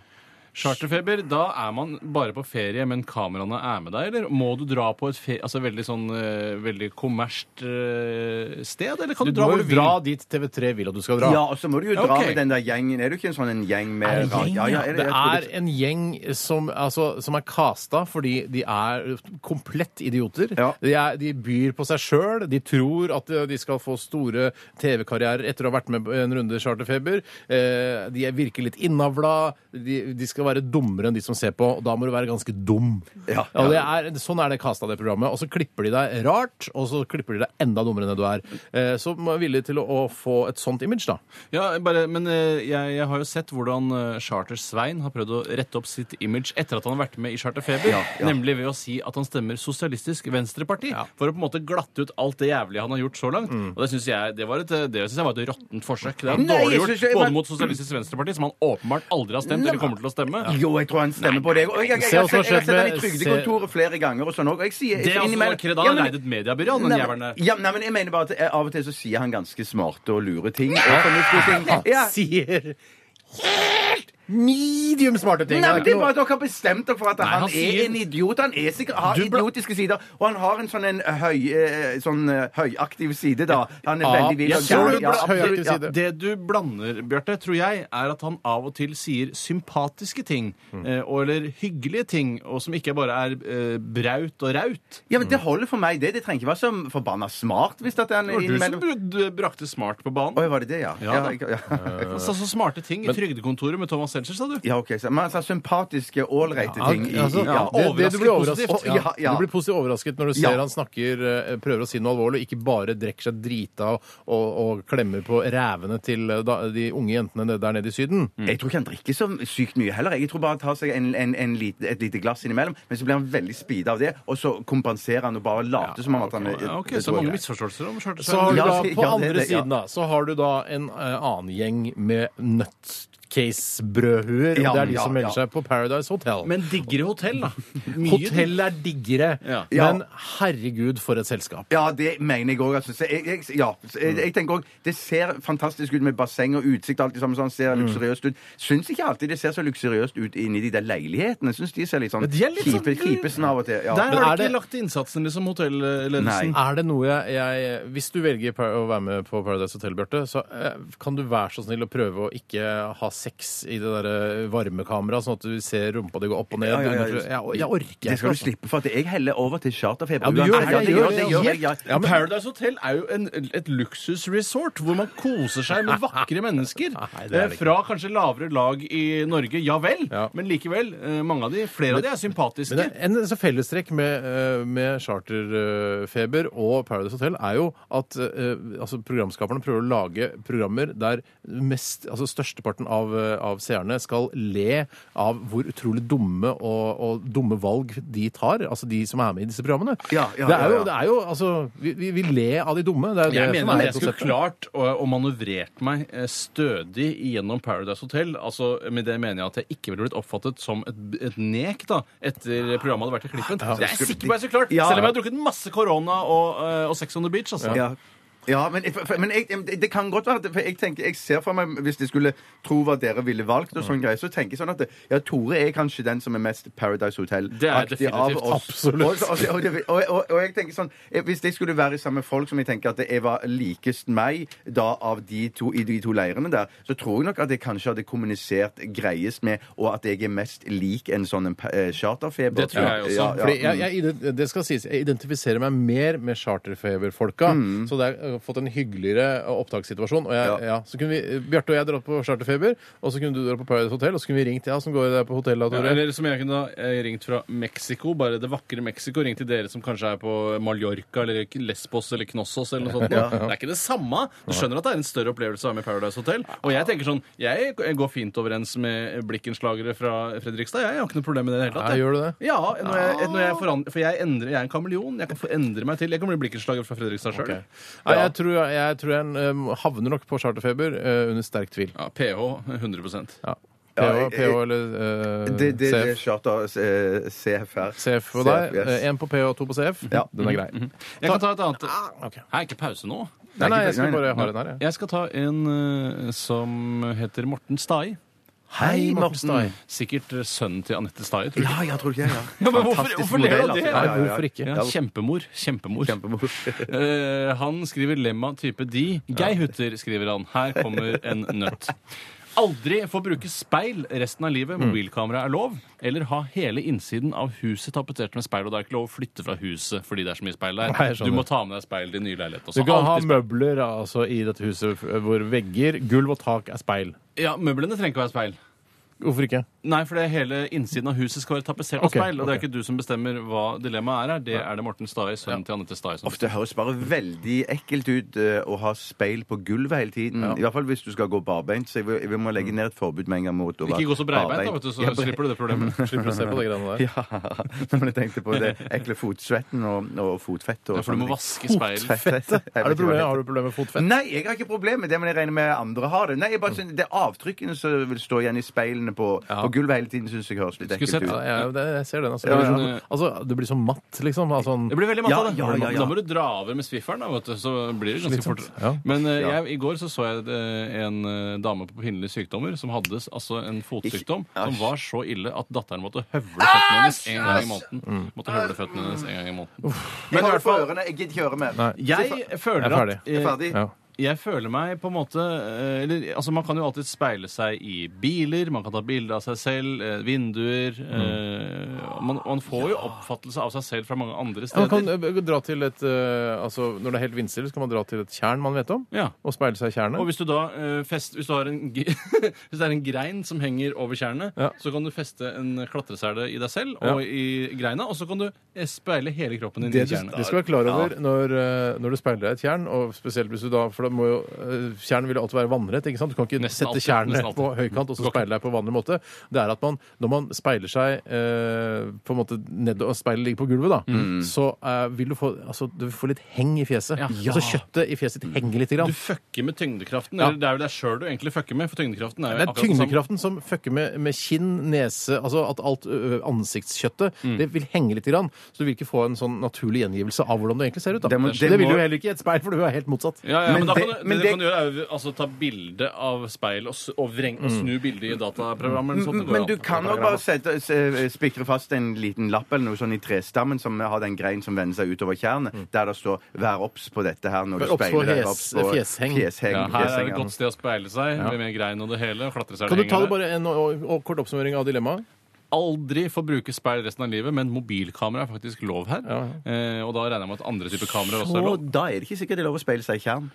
B: Charterfeber, da er man bare på ferie, men kameraene er med deg, eller må du dra på et fe altså, veldig sånn eh, veldig kommersielt eh, sted, eller
A: Du,
B: kan du, dra
A: må
B: hvor
A: jo
B: du vil?
A: dra dit TV3 vil at du skal dra.
F: Ja, og så må du jo dra
B: Ok.
F: med den der gjengen. Er du ikke en sånn en gjeng med
A: Er det en gjeng,
F: Ja, ja,
A: ja?
F: er
A: det
F: jeg tror
A: er en gjeng som, altså, som er casta fordi de er komplett idioter.
F: Ja.
A: De, er, de byr på seg sjøl. De tror at eh, de skal få store TV-karrierer etter å ha vært med på en runde Charterfeber. Eh, de er- virker litt innavla. De, de skal være dummere enn de som ser på. Og da må du være ganske dum.
F: Ja.
A: og det er, sånn er det casta, det programmet. Og så klipper de deg rart, og så klipper de deg enda dummere enn det du er. Eh, så man er villig til å, å få et sånt image, da.
B: Ja, bare, men eh, jeg, jeg har jo sett hvordan eh, Charter-Svein har prøvd å rette opp sitt image etter at han har vært med i Charterfeber, nemlig ved å si at han stemmer Sosialistisk Venstreparti, for å på en måte glatte ut alt det jævlige han har gjort så langt.
A: Mm.
B: Og det syns jeg, det var et, eh, det synes jeg var et råttent forsøk. Det er
F: Nei,
B: dårlig
F: jeg
B: gjort
F: synes jeg-
B: både mot Sosialistisk Venstreparti, som han åpenbart aldri har stemt eller kommer til å stemme.
F: Jo, jeg tror han stemmer på det. Og jeg, jeg, jeg,
A: Se
F: jeg,
A: hva som har
F: jeg, jeg har
A: skjedd
F: sett han i
A: med-
F: Trygdekontoret flere ganger og sånn òg. Jeg sier
B: Det er altså
F: innimellom-
B: ikke det da
F: Ja,
B: han
F: men-
B: leide et mediebyrå,
F: Nei,
B: den
F: men-
B: jævelen der.
F: Ja, nei, men jeg mener bare at eh, av og til så sier han ganske smarte og lure ting. Og fornuftige ting. Ja,
A: Sier medium smarte ting. Det er
F: Nei, men det
A: ikke
F: er
A: noe-
F: bare at dere har bestemt dere for at han,
B: han
F: er
B: sier-
F: en idiot. Han er sikkert, har
A: Du bla-
F: idiotiske sider, og han har en sånn en høy, eh, sånn eh, høyaktiv side, da. Han er
B: Ja,
F: veldig vill
B: jeg
F: og
B: tror
F: gæren. Ja,
B: du
A: bla-
F: absolutt,
A: høyaktiv
F: ja.
A: side.
B: Det du blander, Bjarte, tror jeg, er at han av og til sier sympatiske ting.
F: Mm.
B: eh, og- Eller hyggelige ting, og som ikke bare er eh, braut og raut.
F: Ja, men Det holder for meg, det. Det trenger ikke være så forbanna smart. hvis at han
B: Mm. Det var
F: er
B: du som
F: innimellom...
B: br- brakte smart på banen.
F: Oi, var det det, ja?
B: Ja, da.
F: ikke- ja. [LAUGHS]
B: Altså, så smarte ting i Trygdekontoret med Thomas Seltzer, sa du.
F: Eh. ja ok. Så, men han sa sympatiske, ålreite
A: Ja,
F: ting. i-
A: altså,
F: i- ja.
A: det, det du blir
B: Overraskende
A: overrasket, ja,
B: positivt.
F: Ja, ja.
A: Du blir positivt overrasket når du ser
F: Ja.
A: han snakker, eh, prøver å si noe alvorlig, og ikke bare drekker seg drita og, og, og klemmer på rævene til eh, da, de unge jentene nede- der nede i Syden.
F: Jeg tror ikke han drikker så sykt mye heller. Jeg tror bare han tar seg en, en, en lite, et lite glass innimellom, men så blir han veldig speeda av det, og så kompenserer han og bare later som om at han er
B: Ja, ok,
F: det
B: Så
F: tror jeg
B: mange
F: er greit.
B: misforståelser om Charter
A: Så har du
F: Ja,
A: da,
F: ja,
A: på
F: det-
A: andre
F: det- ja.
A: siden da, så har du da en eh, annen gjeng med nøttcase-brødhuer, og
F: Ja,
A: det er de
F: ja,
A: som melder
F: ja.
A: seg på Paradise Hotel.
B: Men diggere hotell, da. Mye
A: Hotell er diggere,
B: Ja.
A: men herregud for et selskap.
F: Ja, det mener jeg òg. Altså. Så Jeg, jeg, ja. Så
A: Mm.
F: jeg, jeg tenker også, Det ser fantastisk ut med basseng og utsikt. og alt det samme, sånn
A: Mm.
F: ser luksuriøst ut. Syns ikke alltid det ser så luksuriøst ut inni de der leilighetene. Syns de ser litt sånn
B: Men de er litt sånn-
F: kjipe kjipesen av og til. Ja.
B: Der
A: Men
B: har
A: er
B: de
A: det-
B: ikke lagt innsatsen, liksom, hotellledelsen.
F: Nei.
A: Er det noe jeg, jeg Hvis du velger par- å være med på Paradise Hotel, Bjarte, så eh, kan du være så snill å prøve å ikke ha sex i det derre varmekameraet, sånn at du ser rumpa di gå opp og ned.
F: Ja, ja, ja.
A: under- Jeg, jeg orker ikke.
F: det skal du
A: altså.
F: slippe for. at Jeg heller over til charterfeber.
A: Ja, du gjør det,
F: Ja,
A: jeg gjør det,
F: jeg, ja.
B: Ja, men Paradise Hotel er jo en, et luksusresort hvor man koser seg [LAUGHS] med vakre mennesker.
A: Nei, det er det
B: Eh, Fra kanskje lavere lag i Norge, ja vel,
A: Ja.
B: men likevel. eh, Mange av de, flere av de er sympatiske.
A: Men det, en så fellestrekk med, eh, med charterfeber og Paradise Hotel er jo at eh, altså, programskaperne prøver å lage programmer der mest, altså, størsteparten av, eh, av seerne skal le av hvor utrolig dumme og, og dumme valg de tar, altså de som er med i disse programmene.
F: Ja, ja,
A: det, er
F: ja,
A: jo,
F: ja.
A: det er jo altså Vi, vi, vi le av de dumme. Det er jo
B: jeg
A: det
B: mener
A: som
B: at
A: er
B: jeg skulle
A: konseptet.
B: klart å, å manøvrert meg eh, stødig gjennom Paradise Hotel. Altså, Med det mener jeg at jeg ikke ville blitt oppfattet som et, et nek da, etter programmet hadde vært i klippen. Det er jeg sikker på jeg skulle klart,
F: Ja.
B: Selv om jeg har drukket masse korona og, eh, og Sex on the Beach. altså.
F: Ja. Ja, men, for- for- men jeg, det- det kan godt være at- for jeg, tenker, jeg ser for meg, hvis jeg skulle tro hva dere ville valgt, og sånn
B: Mm.
F: greier, så tenker jeg sånn at det- ja, Tore er kanskje den som er mest Paradise Hotel-aktig
B: definitivt.
F: av oss.
A: Absolutt.
F: Og, og, og, og, og, og jeg tenker sånn eh, Hvis jeg skulle være sammen med folk som jeg tenker at jeg var likest meg da av de to, i de to leirene der, så tror jeg nok at jeg kanskje hadde kommunisert greiest med, og at jeg er mest lik en sånn en, pa- eh, charterfeber.
B: Det tror jeg også.
A: Fordi jeg, jeg, ident- det skal sies, jeg identifiserer meg mer med charterfeber-folka. Så det er- jeg har fått en hyggeligere eh, opptakssituasjon. Og jeg, ja.
F: Mm. Ja.
A: så kunne vi, eh, Bjarte og jeg dratt på charterfeber, og så kunne du dratt på Paradise Hotel, og så kunne vi ringt ja, som går det der på hotellet,
B: Ja,
A: Tore.
B: eller som jeg kunne ha eh, ringt fra Mexico, bare det vakre Mexico. Ringt til dere som kanskje er på Mallorca eller Lesbos eller Knossos eller noe sånt. Det er ikke det samme. Du skjønner at det er en større opplevelse å være med i Paradise Hotel. Og jeg tenker sånn, jeg går fint overens med blikkenslagere fra Fredrikstad. Jeg har ikke noe problem med det i det hele tatt.
A: Ja,
B: jeg.
A: gjør du det?
B: Ja, når jeg, når
A: Ah.
B: jeg forandrer, for jeg, endrer, jeg er en kameleon. Jeg kan forandre meg til Jeg kan bli blikkenslager fra Fredrikstad sjøl.
A: Nei, jeg tror jeg, jeg, tror jeg em, havner nok på charterfeber eh, under sterk tvil.
B: Ja, PH 100
A: Ja. PH,
F: Ja, jeg-
A: PH eller eh,
F: Det, det, det er
A: CF.
F: charter eh, CF her.
A: CF for deg. Eh,
F: yes.
A: Én på PH og to på CF.
F: Ja. Mhm.
A: Den er grei.
B: Jeg kan ta et annet.
A: Ah, ok.
B: Her er ikke pause nå.
A: Nei, nei, jeg
F: Nei,
A: skal
F: nei,
A: bare ha den her, jeg.
B: Jeg skal ta en eh, som heter Morten Stai.
F: Hei, Morten Stein.
B: Sikkert eh, sønnen til Anette Stai. Tror jeg.
F: Ja, jeg tror
A: [LAUGHS]
F: ikke jeg, ja.
B: men hvorfor-
F: Fantastisk
B: hvorfor ler du av
F: modell, altså.
B: det?
F: Ja, ja, ja.
A: Nei, hvorfor ikke?
B: Ja, kjempemor. Kjempemor.
F: Kjempemor.
B: [LAUGHS] Eh, han skriver lemma type de. Geirhutter, skriver han. Her kommer en nøtt. Aldri få bruke speil resten av livet. Mobilkamera er lov. Eller ha hele innsiden av huset tapetsert med speil. Og det er ikke lov å flytte fra huset fordi det er så mye speil der.
A: Nei, jeg skjønner.
B: du må ta med deg speil i din nye leilighet.
A: Du
B: Også.
A: kan ha
B: Alltid speil.
A: møbler altså, i dette huset f- hvor vegger, gulv og tak er speil.
B: Ja, Møblene trenger ikke å være speil.
A: Hvorfor ikke?
B: Nei, for det er hele innsiden av huset skal være tapetsert
A: Ok,
B: av speil. Og det
A: ok.
B: er ikke du som bestemmer hva dilemmaet er her. Det er det Morten Stae, sønnen til Anette Stae. som
F: Ofte høres bare veldig ekkelt ut eh, å ha speil på gulvet hele tiden. I hvert fall hvis du skal gå barbeint. Så jeg vil- vi må legge ned et forbud med en gang mot å
B: Ikke gå så breibeint, da, vet du, så
F: Ja, bre-
B: slipper du det
A: [LAUGHS]
B: problemet.
A: Slipper å se på de greiene der.
F: [LAUGHS] Ja, men jeg tenkte på det ekle fotsvetten og, og fotfett. Og
B: Ja, for du må
F: sånne
B: vaske speil.
F: ting. Fettet? Jeg
A: Er det
F: vet ikke hva
A: problemer, har
F: det heter. Mm.
A: du problemer med fotfett? Mm.
F: Nei, jeg har ikke problem med det, men jeg regner med andre har det. Nei, jeg bare synes Det er avtrykkene som vil stå igjen i speilene føttene på, på gulvet hele tiden, syns jeg høres litt
B: Skulle
F: ekkelt
B: sett-
F: ut.
A: Ja, ja, det, jeg ser den. Altså.
F: Ja,
A: Det blir
B: ja.
A: sånn, altså, du blir så matt, liksom. Av sånn
B: Det blir veldig matt av det.
F: Ja, ja, ja, ja.
B: Da må du dra over med svifferen, da, vet du. Så blir det ganske fort.
A: Slitsomt. Ja.
B: Men eh,
F: Ja.
B: jeg, i går så, så jeg eh, en eh, dame på pinlige sykdommer som hadde s- altså en fotsykdom som
F: Æsj.
B: var så ille at datteren måtte høvle føttene hennes en gang i
A: Mm.
B: måneden. Måtte høvle føttene hennes en gang i måneden.
F: Jeg holder for ørene, jeg gidder ikke høre mer.
A: Nei.
B: Jeg
A: Jeg
B: føler
A: er
B: at
A: ferdig.
F: Jeg er
B: eh,
F: ferdig.
A: ja.
B: jeg føler meg på en måte eh, eller, altså Man kan jo alltid speile seg i biler, man kan ta bilde av seg selv, eh, vinduer
A: Mm.
B: eh, man, man får jo oppfattelse av seg selv fra mange andre
A: Man
B: steder.
A: kan eh, dra til et eh, altså, Når det er helt vindstille, så kan man dra til et tjern man vet om,
B: Ja.
A: og speile seg i
B: Og
A: tjernet.
B: hvis du da eh, fest, hvis, du har en, g- [LAUGHS] hvis det er en grein som henger over tjernet,
A: Ja.
B: så kan du feste en klatresele i deg selv
A: Ja.
B: og i greina, og så kan du eh, speile hele kroppen din
A: Det
B: i
A: du,
B: tjernet.
A: det skal være klar over når, eh, når du speiler deg i et tjern, og spesielt hvis du da For da må jo eh, Tjern vil jo alltid være vannrett, ikke sant? Du kan ikke
B: Nesten
A: sette
B: alltid,
A: tjernet
B: nesten
A: på
B: alltid.
A: høykant og
B: Du
A: så
B: kan ikke.
A: speile deg på vanlig måte. Det er at man, når man speiler seg eh, på en måte nedover, og speilet ligger på gulvet, da, så eh, vil du få altså, du vil få litt heng i fjeset.
B: Mm. Ja.
A: Altså kjøttet i fjeset ditt henger litt. Grann.
B: Du fucker med tyngdekraften.
A: Ja.
B: Eller det er jo deg sjøl du egentlig fucker med, for tyngdekraften er jo
A: Det er
B: akkurat den samme.
A: tyngdekraften som fucker med, med kinn, nese Altså at alt ø, ansiktskjøttet Det vil henge litt, grann, så du vil ikke få en sånn naturlig gjengivelse av hvordan du egentlig ser ut. Da.
F: Det
A: Det,
F: må- det
A: vil
F: må-
A: du jo heller ikke i et speil, for du er helt motsatt.
B: Ja, ja, men,
F: Men
B: da kan
F: det-
B: du,
F: men
B: det, du
F: det-
B: kan gjøre er jo altså, ta bilde av speilet og, s- og, vreng, og snu bildet i dataprogrammet. eller sånt, det går
F: Mm. Men
B: an.
F: du kan nok bare sette, se- spikre fast en liten lapp eller noe sånn i trestammen som har den grein som vender seg utover tjernet,
B: Mm.
F: der det står 'vær obs på dette her' når
A: Vær
F: du
A: obs på
F: speiler deg'.
A: hes- fjesheng.
F: fjesheng,
B: ja, Her er
F: fjesheng,
B: det et
F: ja.
B: godt sted å speile seg, med mer grein og det hele. og klatre seg
A: Kan du
B: det
A: ta det
B: hengende.
A: bare en og, og kort oppsummering av dilemmaet?
B: aldri få bruke speil resten av livet, men mobilkamera er faktisk lov her. Eh, og da regner jeg med at andre typer kameraer også
F: Så
B: er lov.
F: da er det ikke sikkert det er lov å speile seg i tjern.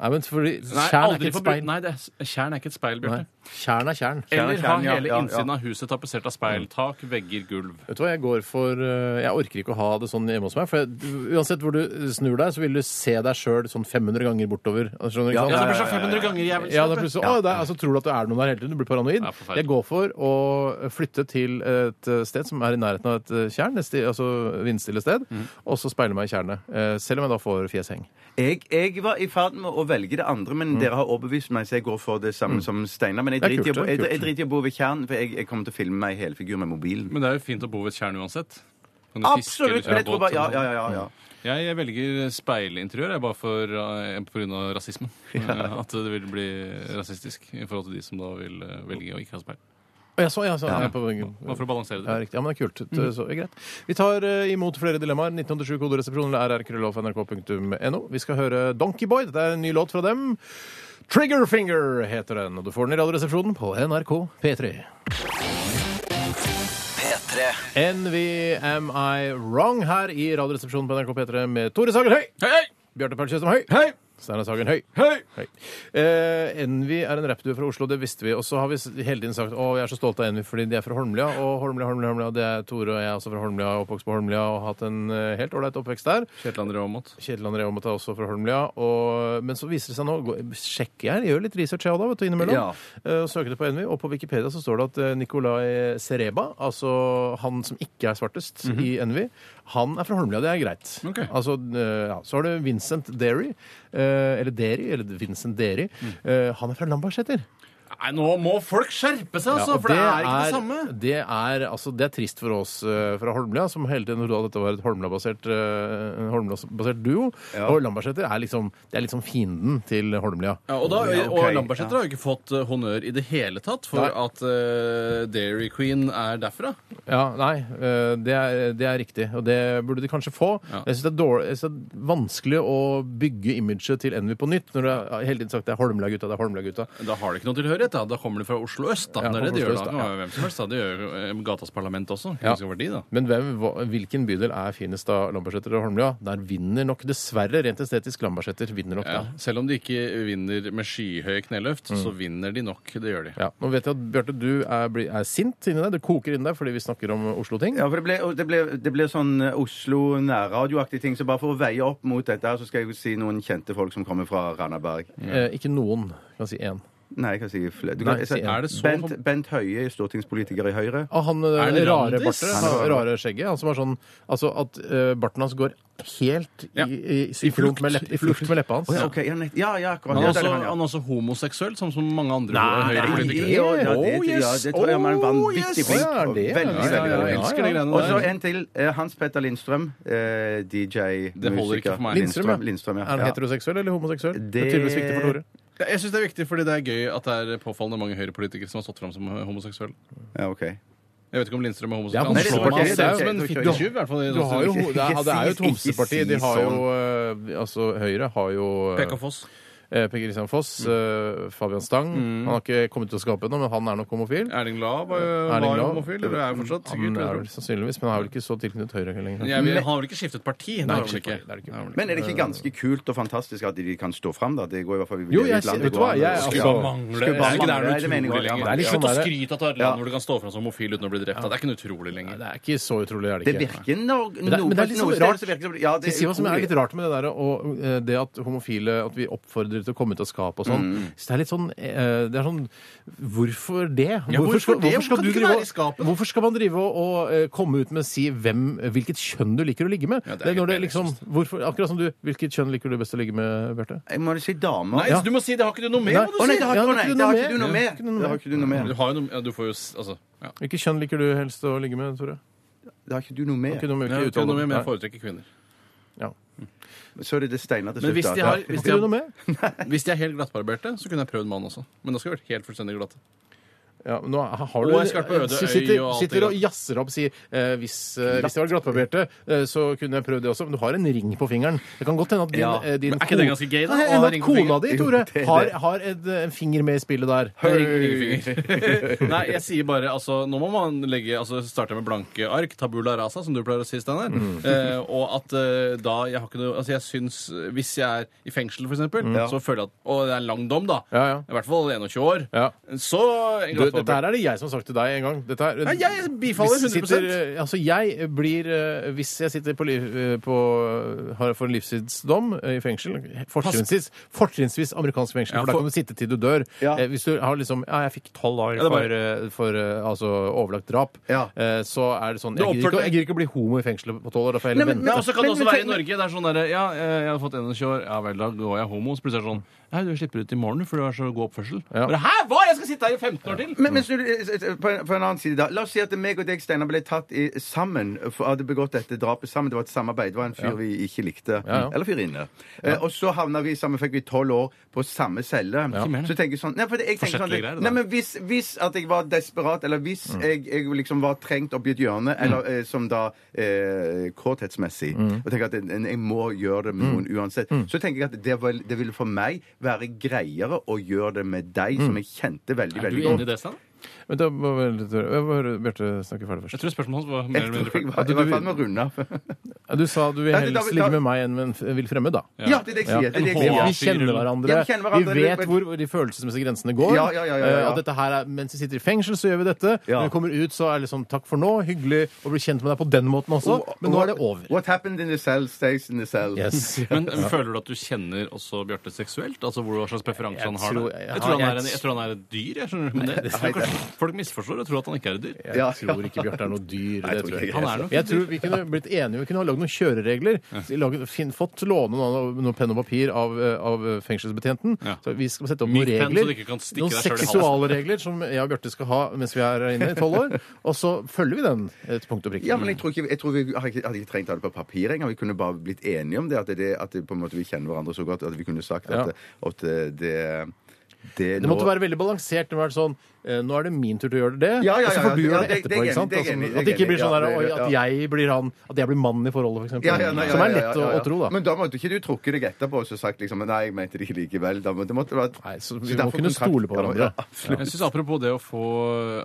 A: Nei, men fordi
B: Nei,
A: Tjern er
B: aldri
A: ikke et
B: få bruke-
A: speil.
B: Nei, det er, tjern er ikke et speil,
A: Nei.
B: Bjarte.
A: Tjern er tjern.
B: Eller
F: Tjern er
B: ha
F: tjern, ja,
B: hele
F: ja, Mm. ja.
B: innsiden av huset tapetsert av speil, tak, vegger, gulv.
A: Vet du hva, Jeg går for ø, Jeg orker ikke å ha det sånn hjemme hos meg. For jeg, uansett hvor du snur deg, så vil du se deg sjøl sånn 500 ganger bortover. Skjønner du? Ikke
F: Ja,
A: sant?
B: Ja, det blir så 500 ganger jævlig
A: Ja, det er
B: kjapt.
A: plutselig, å, det er, altså, tror du at det er noen der hele tiden? Du blir paranoid.
B: Ja, forferdelig.
A: jeg går for å flytte til et eh, sted som er i nærheten av et eh, tjern, et sti- altså vindstille sted, og så speile meg i tjernet. eh, Selv om jeg da får fjesheng.
F: Jeg, jeg var i ferd med å velge det andre,
B: Mm.
F: men dere har overbevist meg, så jeg går for det samme som Steinar. Men jeg
A: Det er kult,
F: driter i å bo-
A: det er
F: jeg-
A: kult.
F: jeg driter i å bo ved tjern, for jeg, jeg kommer til å filme meg i helfigur med mobilen.
B: Men det er jo fint å bo ved et tjern uansett. Kan du fiske eller
F: Absolutt!
B: kjøre
F: Men jeg tror
B: båt Mm.
F: bare, ja,
B: eller
F: ja, ja,
B: noe
F: ja, ja.
B: sånt. Jeg, jeg velger speilinteriør, jeg, bare for, eh, på grunn av
A: [LAUGHS]
B: rasismen. Eh, At det vil bli rasistisk i forhold til de som da vil eh, velge å ikke ha speil.
A: Å, jeg så, jeg så, jeg er på,
B: Bare for å balansere
A: ja,
B: det.
A: riktig. Ja, men det er kult. Så, så, ja, greit. Vi tar eh, imot flere dilemmaer. 1987 koderesepsjon eller rrkrøllalfa.nrk.no. Vi skal høre Donkey Boy. Dette er en ny låt fra dem. Triggerfinger heter den. Og du får den i Radioresepsjonen på NRK P3.
E: P3
A: Envy Am I Wrong her i Radioresepsjonen på NRK P3 med Tore Sagen Høy,
B: Hei, hei!
A: Bjarte Perl Tjøstheim Høy,
B: Hei!
A: Steinar Sagen Høy.
B: Hei!
A: Høy. Eh, Envy er en rappduo fra Oslo, det visste vi. Og så har vi s- hele tiden sagt å, jeg er så stolt av Envy fordi de er fra Holmlia. Og Holmlia, Holmlia, Holmlia, det er Tore og jeg er også fra Holmlia, oppvokst på Holmlia og hatt en eh, helt ålreit oppvekst der.
B: Kjetil André Aamodt.
A: Kjetil André Aamodt er også fra Holmlia. Og, men så viser det seg nå gå- Sjekker jeg, jeg gjør litt research jeg også da, vet du, innimellom.
F: Ja.
A: Eh, og søker det på Envy, og på Wikipedia så står det at eh, Nicolai Sereba, altså han som ikke er svartest i Envy, han er fra Holmlia. Det er greit.
B: Ok.
A: Altså, eh, ja. Så har du Vincent Derry, eh, eller Derry, eller Vincent Derry. Eh, han er fra Lambertseter.
B: Nei, nå må folk skjerpe seg, altså!
A: Ja, og
B: for det er ikke det samme.
A: Det er, altså, det er trist for oss eh, fra Holmlia, som hele tiden trodde at dette var et Holmlia-basert eh, en Holmlia-basert duo. Og Lambertseter er liksom, det er liksom fienden til Holmlia.
B: Ja, og da,
F: Ja, ok,
B: og Lambertseter har jo ikke fått eh, honnør i det hele tatt for
A: Nei.
B: at eh, Dairy Queen er derfra.
A: Ja, nei, eh, det er, det er riktig, og det burde de kanskje få.
B: Ja.
A: Jeg syns det, er dårlig- jeg synes det er vanskelig å bygge imaget til Envy på nytt, når det er hele tiden sagt det er Holmlia-gutta, det er Holmlia-gutta.
B: Da har de ikke noe tilhørighet. Da Da kommer de fra Oslo øst. Da.
A: Ja,
B: det er det de
A: Oslo
B: gjør
A: øst,
B: da.
A: da,
B: Det kan være Hvem som helst, da. Det gjør jo eh, Gatas Parlament også.
A: Ja.
B: Ja. De, da.
A: Men hvem, hva- hvilken bydel er finest av Lambertseter og Holmlia? Der vinner nok dessverre, rent estetisk, Lambertseter vinner nok
B: Ja.
A: der.
B: Selv om de ikke vinner med skyhøye kneløft, så vinner de nok. Det gjør de.
A: Mm. Ja, nå vet jeg at Bjarte, du er, bli- er sint inni deg. Det koker inni deg fordi vi snakker om Oslo-ting.
F: Ja, for det ble, og det ble, det ble sånn eh, Oslo nærradioaktig ting, så bare for å veie opp mot dette her, så skal jeg jo si noen kjente folk som kommer fra Randaberg.
A: Eh, ikke noen. Jeg kan si én.
F: Nei, jeg kan si flere. Du kan,
A: Nei,
F: jeg sa-
A: si- er
B: det så-
F: Bent, Bent Høie, stortingspolitiker i Høyre.
A: Og han eh,
B: Er det
A: rare
B: Randis?
A: bartet, han rare skjegget, han som har sånn Altså at eh, barten hans går helt i,
B: Ja.
A: i, synkron
B: flukt.
A: med lepp- i flukt med leppa hans.
F: Å ja, ok, ja, nett- ja, ja, akkurat.
B: Han er
F: Ja, det er
B: også,
F: han, ja.
B: han er også homoseksuell, som så mange andre
A: Nei,
B: høyrepolitikere.
F: Ja, ja, det,
A: Oh,
F: ja,
A: yes.
F: det tror jeg han er en
A: Oh,
F: vanvittig
A: yes. Å,
F: flink.
A: ja, er det?
F: Veldig,
B: Ja, ja,
F: veldig,
B: ja,
F: veldig
B: jeg
F: flink.
B: elsker de greiene
F: Og så
B: der.
F: en til. eh, Hans Petter Lindstrøm. eh, DJ,
B: Det holder ikke for meg.
A: Lindstrøm, ja.
F: Lindstrøm, ja.
A: Er han
F: Ja. heteroseksuell
A: heteroseksuell eller homoseksuell? Det,
F: Det-
A: er tydeligvis viktig for Tore.
B: Ja, Jeg syns det er viktig fordi det er gøy at det er påfallende mange høyrepolitikere som har stått fram som homoseksuelle.
F: Ja, ok.
B: Jeg vet ikke om Lindstrøm er
A: Ja,
B: homoseksuell.
A: men
B: Han
A: det
B: slår
A: tror
B: meg
A: jeg ikke.
B: ser ut som en
F: Det tror jeg ikke.
B: fittetjuv, i hvert fall.
A: [LAUGHS]
B: i
A: Du
B: sånn
A: har jo,
B: stil.
A: det, er, det er jo et
F: Ikke si- ikke
A: homseparti.
F: si
A: De har jo eh, Altså, Høyre har jo eh,
B: Pekka Foss.
A: eh, Per Christian Foss, eh, Fabian Stang Han har ikke kommet til å skape noe, men han er nok homofil.
B: Erling Lae var jo
A: Erling
B: var jo
A: Lae.
B: homofil, eller er jo fortsatt.
A: Han
B: sikkert,
A: er
B: men
A: vel sannsynligvis, men han er vel ikke så tilknyttet Høyre lenger.
B: jeg vil, han har vel ikke skiftet parti? Det har han vel
A: skiftet
B: ikke.
A: parti, det er det ikke.
B: Det har han vel
F: Men er det ikke ganske kult og fantastisk at de kan stå fram, da? Det går i hvert fall
A: Eh. Jo, jeg sier- vet du hva, jeg-
B: Skulle
A: altså-
B: bare mangle.
F: Skulle bare
B: Er ikke det
F: mangle, det
B: er noe
F: mener jeg
B: utrolig
F: også, ja.
A: Det
B: lenger.
A: er litt
B: Slutt
A: sånn
B: å
A: der-
B: skryte av et
F: Ja.
B: land hvor du kan stå fram som homofil uten å bli drept. da. Det er ikke noe utrolig lenger.
A: Det er ikke så utrolig, er det
F: Det
A: ikke.
F: virker nok
A: Men det, men det er
F: noe-
A: litt
F: noe
A: sånn
F: sted
A: rart.
F: så virker det- ja,
A: De
F: det
A: sier hva som er
F: utrolig.
A: litt rart med det der, og eh, det at homofile At vi oppfordrer til å komme ut av skapet og sånn.
B: Mm.
A: Så det er litt sånn eh, Det er sånn Hvorfor det?
B: hvorfor
A: skal, hvorfor
B: det?
A: skal
B: Hvorfor
A: du
B: kan det ikke
A: drive
B: være i skapet?
A: og Hvorfor skal man drive og, og eh, komme ut med å si hvem, hvilket kjønn du liker å ligge med?
B: Ja, det
A: det
B: er
A: er når det
B: helt
A: liksom hvorfor, Akkurat som du Hvilket kjønn liker du best å ligge med, Bjarte?
F: Jeg må jo si damer.
B: Nei, så du må si det har ikke du noe med,
A: Nei.
F: Å
B: må du
F: nei,
B: si!
F: det har
A: Ja,
F: å,
A: det
F: nei,
A: er ikke
F: det har
A: noe
F: ikke du noe
A: mer. Det
F: med!
A: er ikke noe
F: Det har
A: mer.
F: ikke du noe med.
B: Du har jo noe ja, Du får jo s- Altså. Ja.
A: Hvilket kjønn liker du helst å ligge med, Tore?
F: Det har ikke du noe
A: Ikke
F: med.
A: noe med,
B: Jeg har
A: ikke
B: ikke noe med, men jeg
A: uttale.
B: foretrekker kvinner.
F: Så er det det steina til
B: Men
F: slutt.
B: hvis de
F: da.
B: har-
F: Ja.
A: Hvis det er noe med?
B: Hvis de er helt glattbarberte, så kunne jeg prøvd mann også. Men da skal de vært helt fullstendig glatte.
A: Ja, men nå har
B: Og
A: du,
B: jeg skal på Øde
A: si-
B: Øy
A: sitter,
B: og alt det
A: sitter og
B: der.
A: jazzer opp og sier eh, hvis, eh, hvis det var glattbarberte, eh, så kunne jeg prøvd det også. Men du har en ring på fingeren. Det kan godt hende at din,
F: Ja.
A: eh, din
B: Men er ikke det ganske gay, da,
A: Nei,
B: å ha
A: enn at
B: ring på
A: kona di,
F: fingeren?
A: Tore,
F: Jo, det er
A: har,
F: det.
A: har et, eh, en finger med i spillet der.
B: [LAUGHS] Nei, jeg sier bare altså, Nå må man legge, altså, starte med blanke ark, tabula rasa, som du pleier å si, Steinar.
A: Mm.
B: [LAUGHS] Eh, og at eh, da Jeg har ikke noe Altså, jeg syns eh, Hvis jeg er i fengsel, for eksempel, så føler jeg at Og det er en lang dom, da.
A: Mm. Ja, ja.
B: I hvert fall 21 år.
A: Ja.
B: Så en
A: Du, dette
B: glattbarbert.
A: her er det jeg som har sagt til deg en gang. Dette er,
B: Nei, jeg bifaller
A: Hvis jeg
B: 100%.
A: sitter, eh, Altså, jeg blir eh, Hvis jeg sitter på, liv, eh, på har for en livstidsdom eh, i fengsel, fortrinnsvis, fortrinnsvis amerikansk fengsel,
B: Ja,
A: for da
B: for-
A: kan du sitte til du dør.
F: Ja.
A: Eh, Hvis du har liksom Ja, jeg fikk tolv år
B: det er bare-
A: for, eh, for eh, altså, overlagt drap,
F: Ja.
A: eh, så er det sånn
B: Du
A: Jeg gidder ikke,
B: oppførte-
A: jeg gidder ikke å bli homo i fengselet på tolv år. Da får jeg heller
F: Nei, men-
B: Men
A: vente.
B: også kan det
F: Men-
B: også
F: men-
B: være i Norge. Det er sånn derre Ja, eh, jeg har fått 21 år. Ja vel, da går jeg homo. Så plutselig er det sånn Nei, du slipper ut i morgen fordi du har så god oppførsel.
A: Ja.
B: Bare, Hæ, hva? Jeg skal sitte her i 15 år til?
F: Men, men snu det- eh, på, en, på en annen side, da. La oss si at meg og deg, Steinar, ble tatt i, sammen. For, hadde begått dette drapet sammen. Det var et samarbeid. Det var en fyr vi ikke likte.
A: Ja, ja.
F: Eller fyrinne. Eh, og så havna vi sammen, fikk vi tolv år på samme celle.
B: mer,
F: Så tenker jeg sånn Nei, for det, jeg tenker sånn
B: Forsettlige greier, da.
F: nei men hvis, hvis at jeg var desperat, eller hvis jeg, jeg liksom var trengt opp i et hjørne, eller eh, som da eh, kåthetsmessig Og tenker at en- en- jeg må gjøre det med noen uansett, så tenker jeg at det, vil, det ville for meg være greiere å gjøre det med deg, som jeg kjente veldig,
B: Er du
F: veldig
B: enig i det, Stein?
A: Men da må vi vente litt. Jeg må høre Bjarte snakke ferdig først.
B: Jeg tror spørsmålet hans var mer eller mindre
F: Jeg
B: ferdig.
F: var jeg var i ferd med å runde av.
A: Ja, Du sa du vil
F: Nei, det- da-
A: helst
F: da-
A: ligge med meg enn med en f- vill fremmed, da.
F: Ja, det er det jeg sier. Det er det jeg
A: Vi
F: sier.
B: Ja.
A: kjenner hverandre.
F: Ja, vi kjenner hverandre.
A: Vi vet hvor de følelsesmessige grensene går.
F: Ja, ja, ja, ja, ja.
A: Eh, At dette her er, mens vi sitter i fengsel, så gjør vi dette.
F: Ja.
A: Når vi kommer ut, så er det sånn takk for nå. Hyggelig å bli kjent med deg på den måten også. Men nå er det over.
F: What happened in the cell stays in the cell. [LAUGHS]
A: Yes.
B: Men føler du at du kjenner også Bjarte seksuelt? Altså hvor- Hva slags preferanse
A: Jeg
B: han har?
A: tror-
B: da?
A: jeg
B: Jeg tror han
A: har-
B: er, en, jeg tror han er et dyr. Jeg skjønner, men det, det er kanskje, folk misforstår og tror at han ikke er et dyr.
A: Jeg
F: Ja.
A: tror ikke Bjarte er noe dyr.
F: Nei, jeg
A: Det tror
F: tror
A: jeg
F: ikke
A: ikke.
B: Han er nok
A: Jeg tror Vi kunne blitt enige, vi kunne ha lagd noen kjøreregler. Laget, fin, fått låne noe, noe penn og papir av, eh, av fengselsbetjenten.
B: Ja.
A: Så vi skal sette opp noen
B: Myk penn, så
A: regler.
B: du ikke kan stikke
A: noen
B: deg selv i halsen.
A: seksualregler som jeg og Bjarte skal ha mens vi er her inne i tolv år. Og så følger vi den eh, til punkt og prikke.
F: Ja, men jeg tror, ikke, jeg tror vi har ikke- hadde ikke trengt å ha det på papir engang. Vi kunne bare blitt enige om det, at, det, at det, på en måte, vi kjenner hverandre så godt at vi kunne sagt at, at eh, det, det,
A: Det måtte være veldig balansert. Det må være sånn, eh, Nå er det min tur til å gjøre det,
F: Ja, ja,
A: og så
F: ja,
A: får du
F: ja,
A: gjøre
F: ja,
A: det
F: det- det er
A: etterpå. ikke
F: enig,
A: sant?
F: det er
A: Altså,
F: enig, det er
A: at det ikke blir
F: enig,
A: sånn
F: ja,
A: der,
F: det-
A: oi,
F: ja.
A: at jeg blir han, at jeg blir mannen i forholdet, f.eks.
F: Ja, ja, nei, ja,
A: Som er
F: ja,
A: lett
F: ja,
A: å,
F: ja, ja.
A: å tro, da.
F: Men da måtte ikke du trukket deg etterpå og så sagt liksom Nei, jeg mente det ikke likevel. Da må, det måtte være
A: Nei, så vi
F: Så
A: må
F: derfor
A: kunne
F: kontrakt-
A: stole på
F: Ja, men-
A: hverandre.
F: ja.
B: Jeg synes Apropos det å få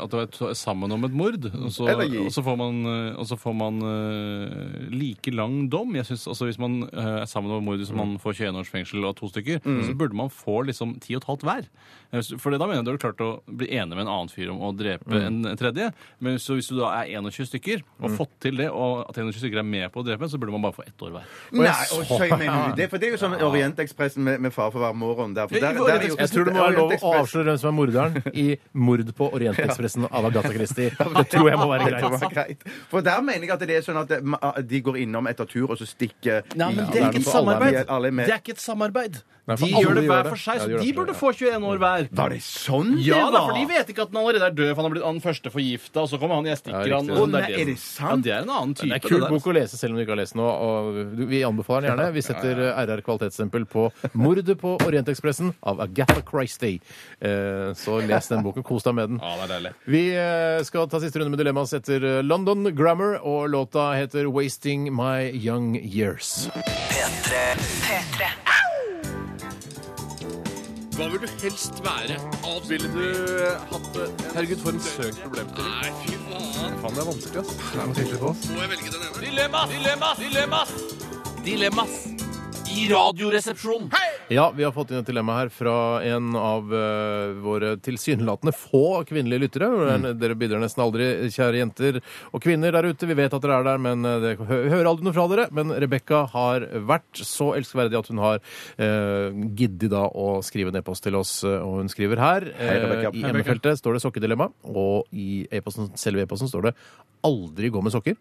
B: at du er to- sammen om et mord, og så,
F: Eller gi.
B: og så får man, eh, og så får man eh, like lang dom. Jeg synes, altså Hvis man eh, er sammen om et mord hvis
F: Mm.
B: man får 21 års fengsel og to stykker, så burde man få liksom 10 og et halvt hver. Eh, så- For det da mener jeg du har klart å bli enig med en annen fyr om å drepe
F: Mm.
B: en tredje. Men så hvis du da er 21 stykker, og fått til det, og at 21 stykker er med på å drepe, så burde man bare få ett år hver.
F: Nei, og så mener du det, for det er jo som Orientekspressen med, med far for hver morgen. Der, for
B: Ja,
F: der,
B: i
F: der, er jo-
A: Jeg tror det må være lov å
F: Orientekspress-
A: avsløre hvem som er morderen i 'Mord på Orientekspressen' av Agatha
F: [LAUGHS]
A: Christie. Det tror jeg må være
F: Det var
A: greit.
F: greit. For der mener jeg at det er sånn at det- ma- de går innom etter tur, og så stikker
B: Nei, men
F: i-
B: det er ikke et
F: alle er med-
B: samarbeid.
F: alle er med.
B: Det er ikke et samarbeid.
A: Nei, for
B: de
A: alle
B: gjør det
A: gjør
B: hver
A: det.
B: for seg,
A: Ja,
B: så
A: de gjør
B: de
A: det.
B: burde få 21 år hver.
F: Var det sånn
B: Ja
F: det
B: da,
F: var?
B: for de vet ikke at den allerede er død, for han har blitt han første forgifta, og så kommer han, jeg stikker
A: Ja,
B: han.
A: riktig.
B: og
F: Å,
B: sånn,
F: nei, er det
B: Ja,
F: sant?
B: det er en annen type.
A: Det er kul
B: der,
A: bok å lese selv om du ikke har lest den. nå, Og du- vi anbefaler den gjerne. Vi setter eh, RR kvalitetsstempel på 'Mordet på Orientekspressen' av Agatha Christie. Eh, Så les den boken. Kos deg med den.
B: altså. Ja, det er deilig.
A: Vi eh, skal ta siste runde med dilemmas etter eh, London Grammar, og låta heter 'Wasting My Young Years'.
D: P3.
B: Hva vil du helst være? Ville du hatt det? Herregud, for en søk problemstilling. Nei, fy faen. Faen, det er vanskelig, ass. Må jeg velge den ene? Dilemmas! Dilemmas! Dilemmas! Dilemmas! I radioresepsjonen.
A: Ja, vi har fått inn et dilemma her fra en av eh, våre tilsynelatende få kvinnelige lyttere.
F: Mm.
A: Og Dere bidrar nesten aldri, kjære jenter og kvinner der ute. Vi vet at dere er der, men eh, det, hø- hører aldri noe fra dere. Men Rebekka har vært så elskverdig at hun har eh, giddet da å skrive en e-post til oss, eh, og hun skriver her. eh,
F: Hei,
A: I
F: Rebekka. Hei, Rebekka.
A: emnefeltet står det sokkedilemma, og i e-posten, selve e-posten står det 'aldri gå med sokker'.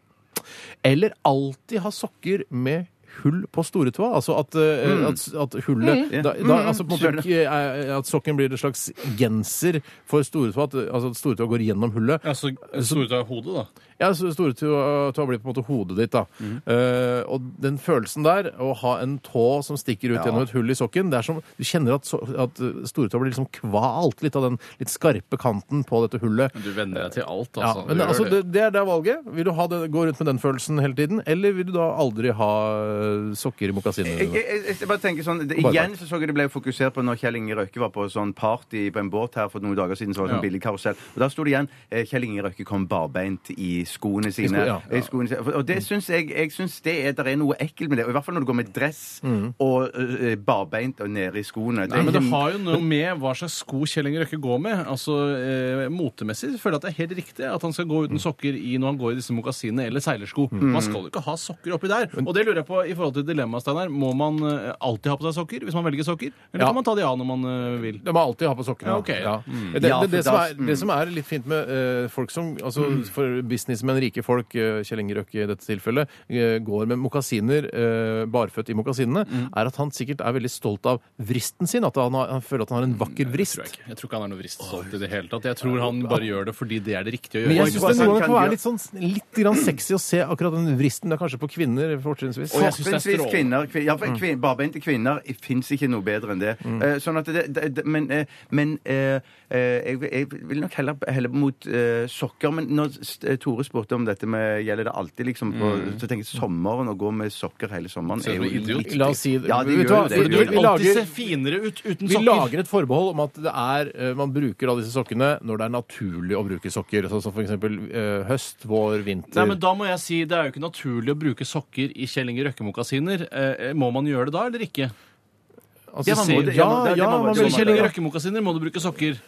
A: Eller alltid ha sokker med hull på stortåa. Altså at, eh, at, at hullet da, da, altså på en måte, ikke, eh, At sokken blir en slags genser for stortåa. At, altså at stortåa går gjennom hullet.
B: Ja, så store ut av hodet, da.
A: Ja, så stortåa tåa blir på en måte hodet ditt, da. Eh, og den følelsen der, å ha en tå som stikker ut gjennom et hull i sokken det er som, Du kjenner at, so at stortåa blir liksom kvalt litt av den litt skarpe kanten på dette hullet.
B: Du venner deg til alt,
A: Ja,
B: altså.
A: men
B: Du
A: altså,
B: gjør
A: det, det er der valget. Vil du ha det, gå rundt med den følelsen hele tiden, eller vil du da aldri ha eh, sokker i
F: Jeg,
B: eh,
A: mokkasinene?
F: jeg, jeg, jeg bare tenker sånn, det,
A: Bare
F: Igjen så så jeg det ble fokusert på når Kjell Inge Røkke var på sånn party på en båt her for noen dager siden. så var det sånn
B: Ja.
F: billig karusell. Og Da sto det igjen eh, Kjell Inge Røkke kom barbeint i skoene sine.
A: sko- ja.
F: I skoene sine. Og
B: Mm.
F: det syns jeg, jeg synes det er, der er noe ekkelt med det. Og I hvert fall når du går med dress og eh, barbeint og nede i skoene. Det
B: Nei,
F: er
B: Mm. men det
F: ikke-
B: har jo noe med hva slags sko Kjell Inge Røkke går med. Altså, eh, Motemessig føler jeg at det er helt riktig at han skal gå
A: Mm.
B: uten sokker i når han går i disse mokasinene eller seilersko. Man skal jo ikke ha sokker oppi der. Og det lurer jeg på i forhold til dilemmaet, Steinar. Må man eh, alltid ha på seg sokker hvis man velger sokker? Eller
A: Ja.
B: kan man ta de av når man eh, vil?
A: Det må alltid ha på sokkene.
B: Ja, Mm. ok, ja.
A: Det, det,
F: Ja,
A: det,
F: for
A: som
F: da- mm.
A: er, det som er litt fint med eh, folk som altså
B: Mm.
A: For businessmenn, rike folk, eh, Kjell Inge Røkke i dette tilfellet, eh, går med mokasiner, eh, barføtt i mokasinene,
B: Mm.
A: er at han sikkert er veldig stolt av vristen sin. At han, har, han føler at han har en vakker vrist.
B: Mm, Tror jeg, ikke. jeg tror ikke han er noe vriststolt i det hele tatt. Jeg tror han bare gjør det fordi det er det riktige å
A: Men
B: gjøre.
A: jeg
F: synes
A: syns
F: det
A: det
F: noen ganger
A: kan
F: kan
A: være
F: være
A: litt, sånn, litt grann sexy å se akkurat den vristen. Det er kanskje på kvinner fortrinnsvis.
B: Og jeg synes det er
F: Fortrinnsvis
B: strålende. Mm.
F: kvinner. kvin- ja, for kvin, barbeinte kvinner fins ikke noe bedre enn det. Eh, sånn at det, det, det Men, eh, men eh, eh, jeg, vil- jeg vil nok heller heller mot eh, sokker. Men når S- eh, Tore spurte om dette med Gjelder det alltid, liksom, på,
B: Mm.
F: så tenker jeg sommeren å gå med sokker hele sommeren
B: Ser
F: er jo
B: ut som en idiot.
F: litt-
A: La oss si det.
F: Ja, det
A: Vet du
F: gjør
A: hva?
F: jo det.
A: Du
F: det.
A: vil
F: Gjør det.
A: alltid se
B: alltid se finere ut uten
A: Vi
B: sokker.
A: lager et forbehold om at det er, eh, man bruker alle disse sokkene når det er naturlig å bruke sokker. Sånn som for eksempel eh, høst, vår, vinter.
B: Nei, men da må jeg si Det er jo ikke naturlig å bruke sokker i Kjell Inge Røkke-mokasiner. Eh, må man gjøre det da, eller ikke?
A: Altså,
F: Ja, man
A: se-
F: må det-
A: ja,
F: ja, man- det-
A: ja,
F: det må man-
A: man vil
F: det må man-
B: Kjell
A: Kjell
B: Inge
A: Inge Røkke.
B: Røkke-mokasiner må du bruke sokker.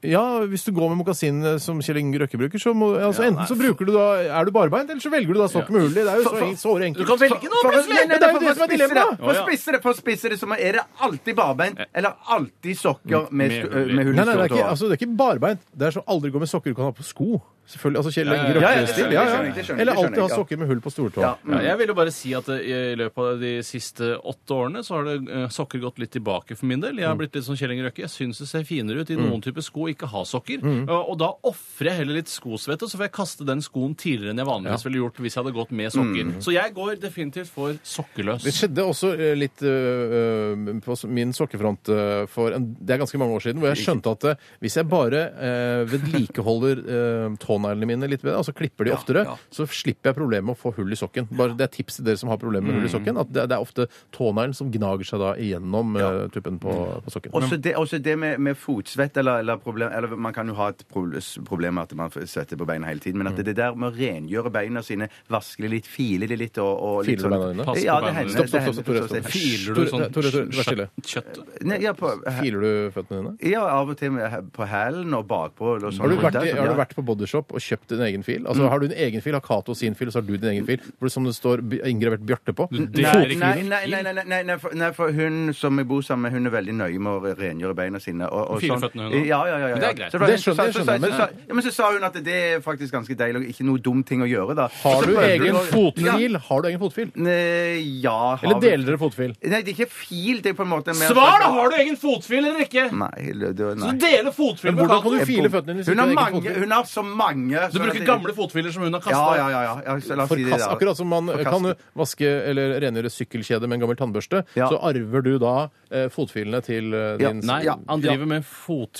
A: Ja, hvis du går med mokasinene som Kjell Inge Røkke bruker, så må altså, enten så bruker du da Er du barbeint, eller så velger du da sokk med hull i. Det er jo så, så enkelt.
B: Du kan velge nå,
F: For- for-
B: plutselig!
F: nei, nei,
A: Men det er jo
F: for-
A: det
F: for
A: som er
F: å spisse
A: dilemmaet.
F: det- For
B: Å,
F: å
B: ja. Eh.
F: spisse det, for å spisse det, så er det alltid barbeint eller alltid sokker med,
B: Mm. Med
F: sk-
B: hull i.
F: med hull i
A: Nei, nei, det er, ikke,
F: stortåa.
A: altså, det er ikke barbeint. Det er så aldri gå med sokker du kan ha på sko. Selvfølgelig, altså Kjell Inge
B: ja, ja, det
A: Røkke-stil. Ja,
B: skjønner jeg,
F: skjønner
B: det
A: ja.
F: jeg, det skjønner jeg,
A: Eller
F: det skjønner
A: alltid ha
F: jeg, ja.
A: sokker med hull på stortå.
F: Ja, mm.
B: Ja, jeg vil jo bare si at eh, i løpet av de siste åtte årene så har det, eh, sokker gått litt tilbake for min del.
A: Mm.
B: Jeg har blitt litt som Kjell Inge Røkke. Jeg syns det ser finere ut i noen typer sko å ikke ha sokker.
A: Mm.
B: Eh, Og da ofrer jeg heller litt skosvette, så får jeg kaste den skoen tidligere enn jeg vanligvis ville gjort hvis jeg hadde gått med sokker.
A: Mm.
B: Så jeg går definitivt for sokkeløs.
A: Det skjedde også eh, litt øh, øh, på s- min sokkefront øh, eh, for en, det er ganske mange år siden, hvor jeg skjønte at eh, hvis jeg bare øh, eh, vedlikeholder øh, tåa tåneglene mine litt bedre, og så klipper de oftere,
H: ja.
A: så slipper jeg problemet med å få hull i sokken. Bare Det er tips til dere som har problemer med hull i
H: Mm.
A: sokken, at det, det er ofte tåneglen som gnager seg da igjennom eh, tuppen på, på sokken.
F: Også det, også det med, med fotsvett eller, eller problem eller Man kan jo ha et pro- problem med at man får svette på beina hele tiden,
A: Mm.
F: men at det, det der med å rengjøre beina sine, vaske det litt, file det litt og, og litt
A: Filer du
F: sånn-
A: beina dine?
B: Pass på
F: Ja,
B: beina
F: det
B: dine.
F: hender.
A: Stopp, stopp,
F: det
A: stopp,
F: hender,
A: Tore, stopp.
F: forstås det.
B: Filer du sånn
A: Tore, Tore, Tore, vær stille.
B: kjøtt- kjøtt?
F: Nei, ja, på,
A: Filer du føttene dine?
F: ja, av og til med- på hælen og bakpå. Eller
A: Har du, vært, i- har du vært på Bodyshop og kjøpt din egen fil?
H: Mm.
A: Altså, Har du din egen fil, har Cato sin fil, så har du din egen fil, hvor det som det står b- inngravert Bjarte på?
B: Det er ikke
F: Nei,
B: fil.
F: nei, nei, nei, nei, nei, nei, for, nei, for hun som jeg bor sammen med, hun er veldig nøye med å rengjøre beina sine. Og, og sånn.
B: Fire føttene, hun også.
F: Ja, ja, ja, ja.
B: Men det er greit.
F: Så var
A: Det skjønner-
F: så-
A: det
F: så- så-
A: skjønner jeg, men-
F: så- ja, Men så sa hun at det er faktisk ganske deilig, og ikke noe dum ting å gjøre, da.
A: Har
F: Så
A: du
F: prøvde
A: egen
F: å-
A: fotfil? Har du egen fotfil?
F: Ja. Nei, ja har
A: Eller
F: vi-
A: deler dere fotfil?
F: Nei, det er ikke fil, det er på en måte mer-
B: Har du egen fotfil eller ikke?
F: Nei, det, det, nei.
B: deler fotfil
A: Men hvordan kan du file føttene dine hvis
F: Hun har
A: ikke har egen
F: mange,
A: fotfil?
F: hun har så mange
B: Du
F: sånn at
B: bruker
F: det-
B: gamle fotfiler som hun har kasta.
F: Ja, ja, ja, ja. ja. så La oss si det
A: Forkast,
F: da.
A: akkurat som man
F: Forkast.
A: kan vaske eller rengjøre sykkelkjedet med en gammel tannbørste,
F: Ja.
A: så arver du da eh, fotfilene til eh,
F: Ja.
A: din
B: Nei,
F: Ja.
B: han driver med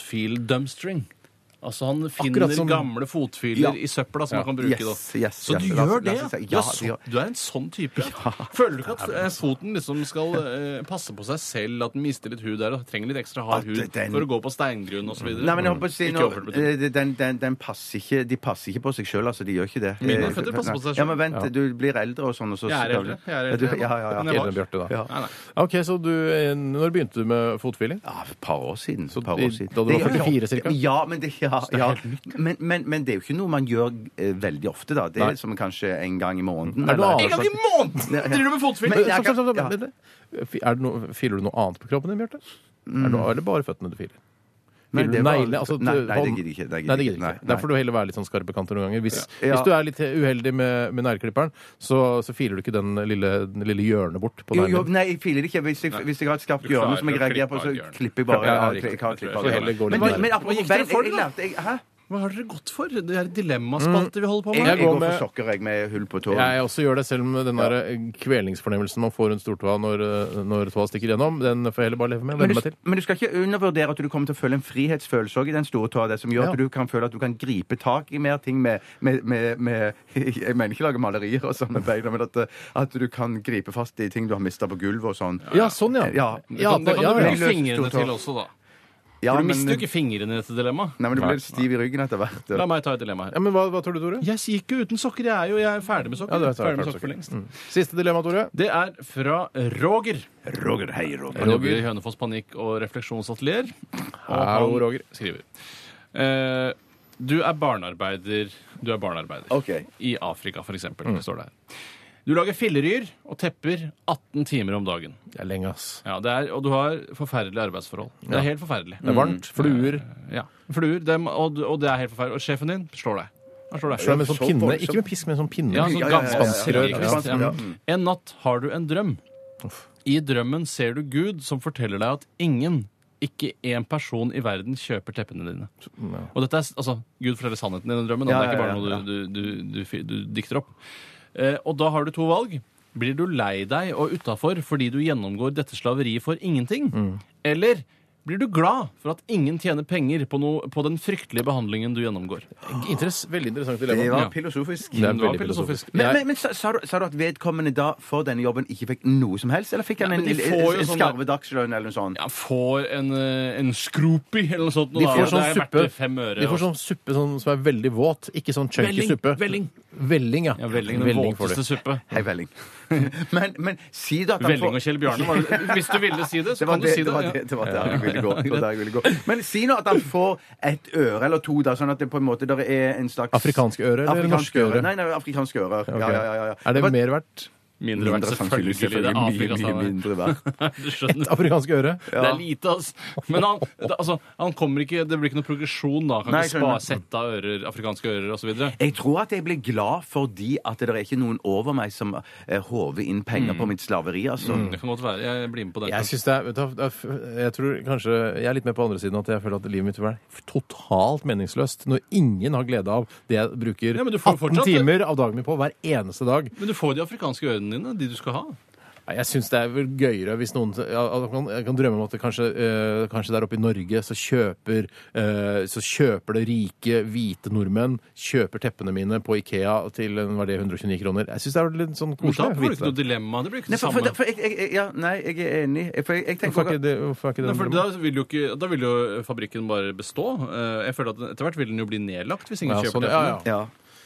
B: fotfil-dumpstring. Altså Han finner
A: Akkurat som-
B: gamle fotfiler
F: Ja.
B: i søpla som han kan bruke.
F: Yes,
B: da.
F: yes,
B: så
F: yes.
B: du
F: La oss-
B: gjør
F: la
B: det?
F: oss si-
B: ja,
F: ja,
B: så,
F: det gjør-
B: du er en
F: [LAUGHS]
B: sånn type. Føler du ikke at
F: altså-
B: eh, foten liksom skal eh, passe på seg selv, at den mister litt hud der og trenger litt ekstra hard
F: At
B: hud
F: den-
B: for å gå på steingrunn osv.?
F: Nei, men jeg håper å si
B: Ikke
F: nå,
B: overført betydning.
F: eh, den, den, den passer ikke, De passer ikke på seg sjøl, altså. De gjør ikke det.
B: Mine
F: Eh,
B: føtter passer på seg selv.
F: Ja, men vent, du blir eldre og sånn, og så
B: Jeg er eldre. Jeg er
F: Ja,
B: eldre.
F: du- Ja, ja,
B: Men
F: ja.
A: Eldre
B: jeg
A: Bjarte, da.
F: Ja.
B: Nei, nei.
A: OK, så du eh, Når begynte du med fotfiling?
F: Ja, et par år siden. et par
A: i-
F: år siden.
A: da du
F: Det
A: var
F: gjør-
A: 44 cirka?
F: Ja, men det, ja, ja. Men, men, men det er jo ikke noe man gjør eh, veldig ofte, da. Det
A: Nei.
F: er som kanskje en gang i måneden.
A: Er det noe
F: eller-
A: annet slags-
B: måneden driver du med fotfil!
F: Men-
A: Men,
F: jeg
A: stopp,
F: kan-
A: stopp, stopp,
F: ja.
A: vent litt. Fi- Er det noe, filer du noe annet på kroppen din, Bjarte?
F: Mm.
A: Er det, er det bare føttene du filer?
F: Men
A: Filer du
F: det var-
A: neglene? Altså,
F: nei,
A: du-
F: nei, det
A: hånd-
F: gidder jeg ikke. Det
A: Nei, det gidder jeg
F: Nei,
A: ikke.
F: nei.
A: Der får du heller være litt sånn skarp i kanten noen ganger. Hvis,
F: Ja.
A: hvis du er litt uheldig med, med negleklipper'n, så, så filer du ikke den lille, den lille hjørnet bort på
F: Jo, jo,
A: neglen.
F: nei, jeg filer det ikke. Hvis jeg, hvis jeg har et skarpt
B: Du
F: hjørne
B: klarer
F: som jeg
B: å klippe
F: reagerer på,
B: av et
F: så
B: hjørne.
F: klipper jeg bare.
A: Ja, ja,
F: Ja,
A: riktig.
F: jeg kan klippe
B: Så
F: av
A: heller
F: hjørnet.
A: går det
F: Men-
A: bare.
F: Men
B: Hva gikk
F: apropos
B: dere
F: bein,
B: for,
F: jeg, jeg
B: da?
F: lærte jeg, Hæ?
B: Hva har dere gått for? Det er
F: Mm.
B: dilemmaspalte vi holder på
F: Jeg,
A: Jeg
B: med.
F: jeg
A: går
F: går for
A: med-
F: sokker, jeg, med hull på tåen.
A: Jeg også gjør det, selv om den der kvelningsfornemmelsen man får rundt stortåa når, eh, når tåa stikker gjennom, den får jeg heller bare leve med. Venne
F: Men du,
A: meg til.
F: men du skal ikke undervurdere at du kommer til å føle en frihetsfølelse også i den store tåa, det som gjør
A: Ja.
F: at du kan føle at du kan gripe tak i mer ting med, med, med, med [LAUGHS] Jeg mener ikke lage malerier og sånne beina, men at, at du kan gripe fast i ting du har mista på gulvet og sånn.
A: Ja, sånn, ja.
F: Ja.
A: Ja,
B: Det kan, det kan
A: ja,
B: du
A: ja.
F: veldig
B: bruke
F: løst
B: fingrene
F: stortå.
B: til også, da.
F: Ja,
B: For du
F: men-
B: mister jo ikke fingrene i dette dilemmaet.
F: Nei, men du blir stiv i ryggen etter hvert.
B: La meg ta et dilemma her.
A: ja, men hva, hva tror du, Tore?
B: Jeg gikk jo uten sokker. Jeg er jo jeg er ferdig med sokker.
A: Ja, du er ferdig
B: ferdig
A: med
B: med sokker for lengst.
A: Mm. Siste dilemma, Tore.
B: Det er fra Roger.
F: Roger, hei, Roger.
B: Roger i Hønefoss Panikk og Refleksjonsatelier. Og
A: Hallo, Roger.
B: skriver eh, Du er barnearbeider. Du er barnearbeider.
F: Ok.
B: I Afrika, for eksempel.
A: Mm.
B: Står det her. Du lager filleryer og tepper 18 timer om dagen.
A: Det er lenge, ass.
B: Ja, det er, og du har forferdelige arbeidsforhold. Det er helt forferdelig.
F: Mm.
A: Det er varmt. Fluer.
B: Ja. Fluer, dem, og, og det er helt forferdelig. Og sjefen din slår deg. Han slår deg.
A: Slå med en sånn
F: Så
A: pinne.
F: voldsomt.
A: Ikke med pisk, men en sånn pinne.
B: Ja,
F: Ja,
B: sånn
F: ja, ja,
B: gammel
F: ja, ja, ja.
B: spanskekvist,
F: Ja, ja, ja.
B: ja. En natt har du en drøm. I drømmen ser du Gud som forteller deg at ingen, ikke én person i verden, kjøper teppene dine. Og dette er, altså, Gud forteller sannheten i den drømmen. da.
F: Ja,
B: det er ikke
F: ja, ja,
B: bare noe du, du, du, du, du dikter opp. Eh, og da har du to valg. Blir du lei deg og utafor fordi du gjennomgår dette slaveriet for ingenting?
A: Mm.
B: Eller blir du glad for at ingen tjener penger på, noe, på den fryktelige behandlingen du gjennomgår?
A: Interess, veldig interessant
F: Det
A: dilemma.
F: var
B: Ja.
F: filosofisk.
A: Det er
B: Det var
A: veldig filosofisk.
B: filosofisk.
F: Men,
A: Jeg-
F: men, men sa, sa, du, sa du at vedkommende da for denne jobben ikke fikk noe som helst? Eller fikk han
B: Nei,
F: en,
B: men de
F: en,
B: får jo
F: en
B: sånn-
F: skarve dagslønn eller noe sånt?
B: Ja, får en, eh, en skropi eller noe sånt. nå
A: De
B: da.
A: får
B: Det
A: sånn
B: er verdt
A: suppe,
B: det fem øre,
A: de får
B: altså.
A: sånn suppe sånn, som er veldig våt. Ikke sånn chunky
B: Velling,
A: suppe.
B: velling.
A: Velling, ja.
B: ja, velling, den
A: får de.
B: våteste suppe.
F: Hei, Velling. [LAUGHS] men, men si du at han
B: Velling og Kjell Bjarne.
F: [LAUGHS]
B: var det- [LAUGHS] Hvis du ville si det, så
F: Det var
B: kan du
F: det,
B: si
F: det,
B: det.
F: var
B: ja.
F: det, det var der jeg ville gå. Det var der jeg ville gå.
B: [LAUGHS]
F: Men si nå at han får et øre eller to, da, sånn at det på en måte der er en slags
A: Afrikansk øre eller
F: Afrikansk
A: norsk øre?
F: Nei, nei, afrikanske ører.
A: Ok.
F: Ja, ja, ja, ja.
A: Er det
F: var-
A: mer verdt? [LAUGHS]
B: Mindre verdt, selvfølgelig. Det er
F: Mye,
B: Afrika, sa
F: mye
B: han.
F: mindre verdt.
B: [LAUGHS] Du skjønner.
A: [LAUGHS] Afrikansk øre?
B: Det er lite, ass. Men han, det, altså, han kommer ikke, det blir ikke noe progresjon da. Han Kan
F: Nei,
B: ikke spa,
F: skjønner.
B: sette av ører, afrikanske ører osv. videre
F: Jeg tror at jeg blir glad fordi at det er ikke noen over meg som eh, håver inn penger
B: Mm.
F: på mitt slaveri, altså.
B: Det kan godt være. Jeg blir med på den.
A: Jeg synes det er, vet du, hva, det er f- jeg tror kanskje jeg er litt mer på andre siden at jeg føler at livet mitt er totalt meningsløst når ingen har glede av det jeg bruker
B: Ja, men du får
A: 18
B: fortsatt-
A: timer av dagen min på hver eneste dag.
B: Men du får de afrikanske ørene dine, de du skal ha.
A: Nei, Jeg syns det er vel gøyere hvis noen ja, Jeg kan, jeg kan drømme om at det kanskje, eh, kanskje der oppe i Norge så kjøper, eh, så kjøper det rike, hvite nordmenn kjøper teppene mine på Ikea til eh, var det 129 kroner. Jeg syns det er litt sånn
B: Da
A: koselig. å
B: blir det
A: vite
B: ikke noe
A: det.
B: dilemma. Det blir ikke
F: Nei,
B: det
F: for, for,
B: samme.
F: for jeg, jeg, jeg- ja, nei, jeg er enig. For jeg, jeg tenker
A: Hvorfor er ikke det, hvorfor er ikke det
B: Nei, for
A: noe
B: da, vil jo ikke, da vil jo fabrikken bare bestå. Eh, Jeg føler at Etter hvert vil den jo bli nedlagt hvis ingen
A: Ja,
B: kjøper
A: sånn,
B: det.
A: ja, ja.
F: ja.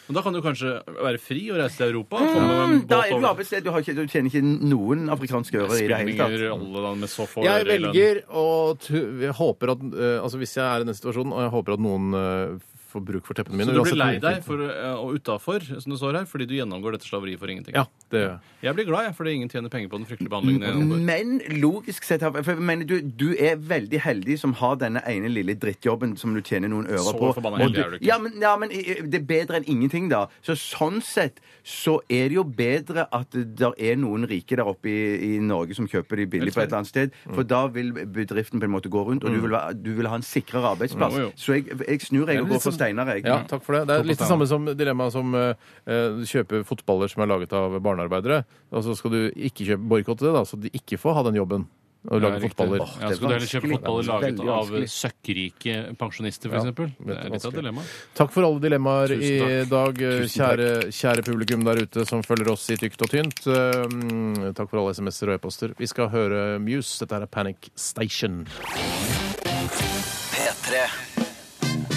B: Men da kan du kanskje være fri og reise til Europa. og komme med en
F: Mm. Da
B: båt
F: er du
B: over.
F: arbeidsledig. Du, har ikke- du tjener ikke noen afrikanske øre i det
B: Spiller
F: hele
B: ingen
F: tatt.
B: rolle da, med så få
A: Jeg
B: øre i lønn.
A: velger å tu jeg håper at, eh, altså Hvis jeg er i den situasjonen, og jeg håper at noen eh, får bruk for teppene mine
B: Så du
A: uansett
B: blir lei
A: hvor-
B: deg for, eh, og utafor, som det står her, fordi du gjennomgår dette slaveriet for ingenting.
A: Ja, det gjør jeg.
B: Jeg blir glad, jeg, fordi ingen tjener penger på den fryktelige behandlingen jeg gjennomgår.
F: Men logisk sett har- for jeg mener, du, du er veldig heldig som har denne ene lille drittjobben som du tjener noen øre
B: Så
F: på.
B: forbanna
F: Og
B: heldig
F: du-
B: er du ikke.
F: Ja, men, ja, men i- i- det er bedre enn ingenting, da. Så sånn sett så er det jo bedre at det er noen rike der oppe i, i Norge som kjøper de billig på et eller annet sted, for da vil bedriften på en måte gå rundt, og du vil, være- du vil ha en sikrere arbeidsplass.
B: Mm. Jo, liksom jo.
F: Så jeg, jeg snur jeg og
A: litt
F: går for
A: sånn-
F: Steinar, jeg.
B: Mm.
A: Ja, takk for det. Det er litt det samme som dilemmaet som eh, eh, kjøpe fotballer som er laget av barnearbeidere. Og så skal du ikke kjøpe boikotte det, da, så de ikke får ha den jobben. Å lage
B: riktig.
A: fotballer.
B: Åh,
F: det
B: Ja,
F: er
B: skulle du heller kjøpe
F: vanskelig.
B: fotballer laget
F: Veldig
B: av
F: vanskelig.
B: søkkrike pensjonister,
A: Ja,
B: f.eks.? eksempel
A: det er
B: det er litt av
A: vanskelig.
B: dilemma.
A: Takk for alle dilemmaer i
B: Tusen
A: dag, eh, kjære, kjære publikum der ute som følger oss i tykt og tynt. Eh, mm, Takk for alle SMS-er og e-poster. Vi skal høre Muse. Dette er Panic Station.
E: P3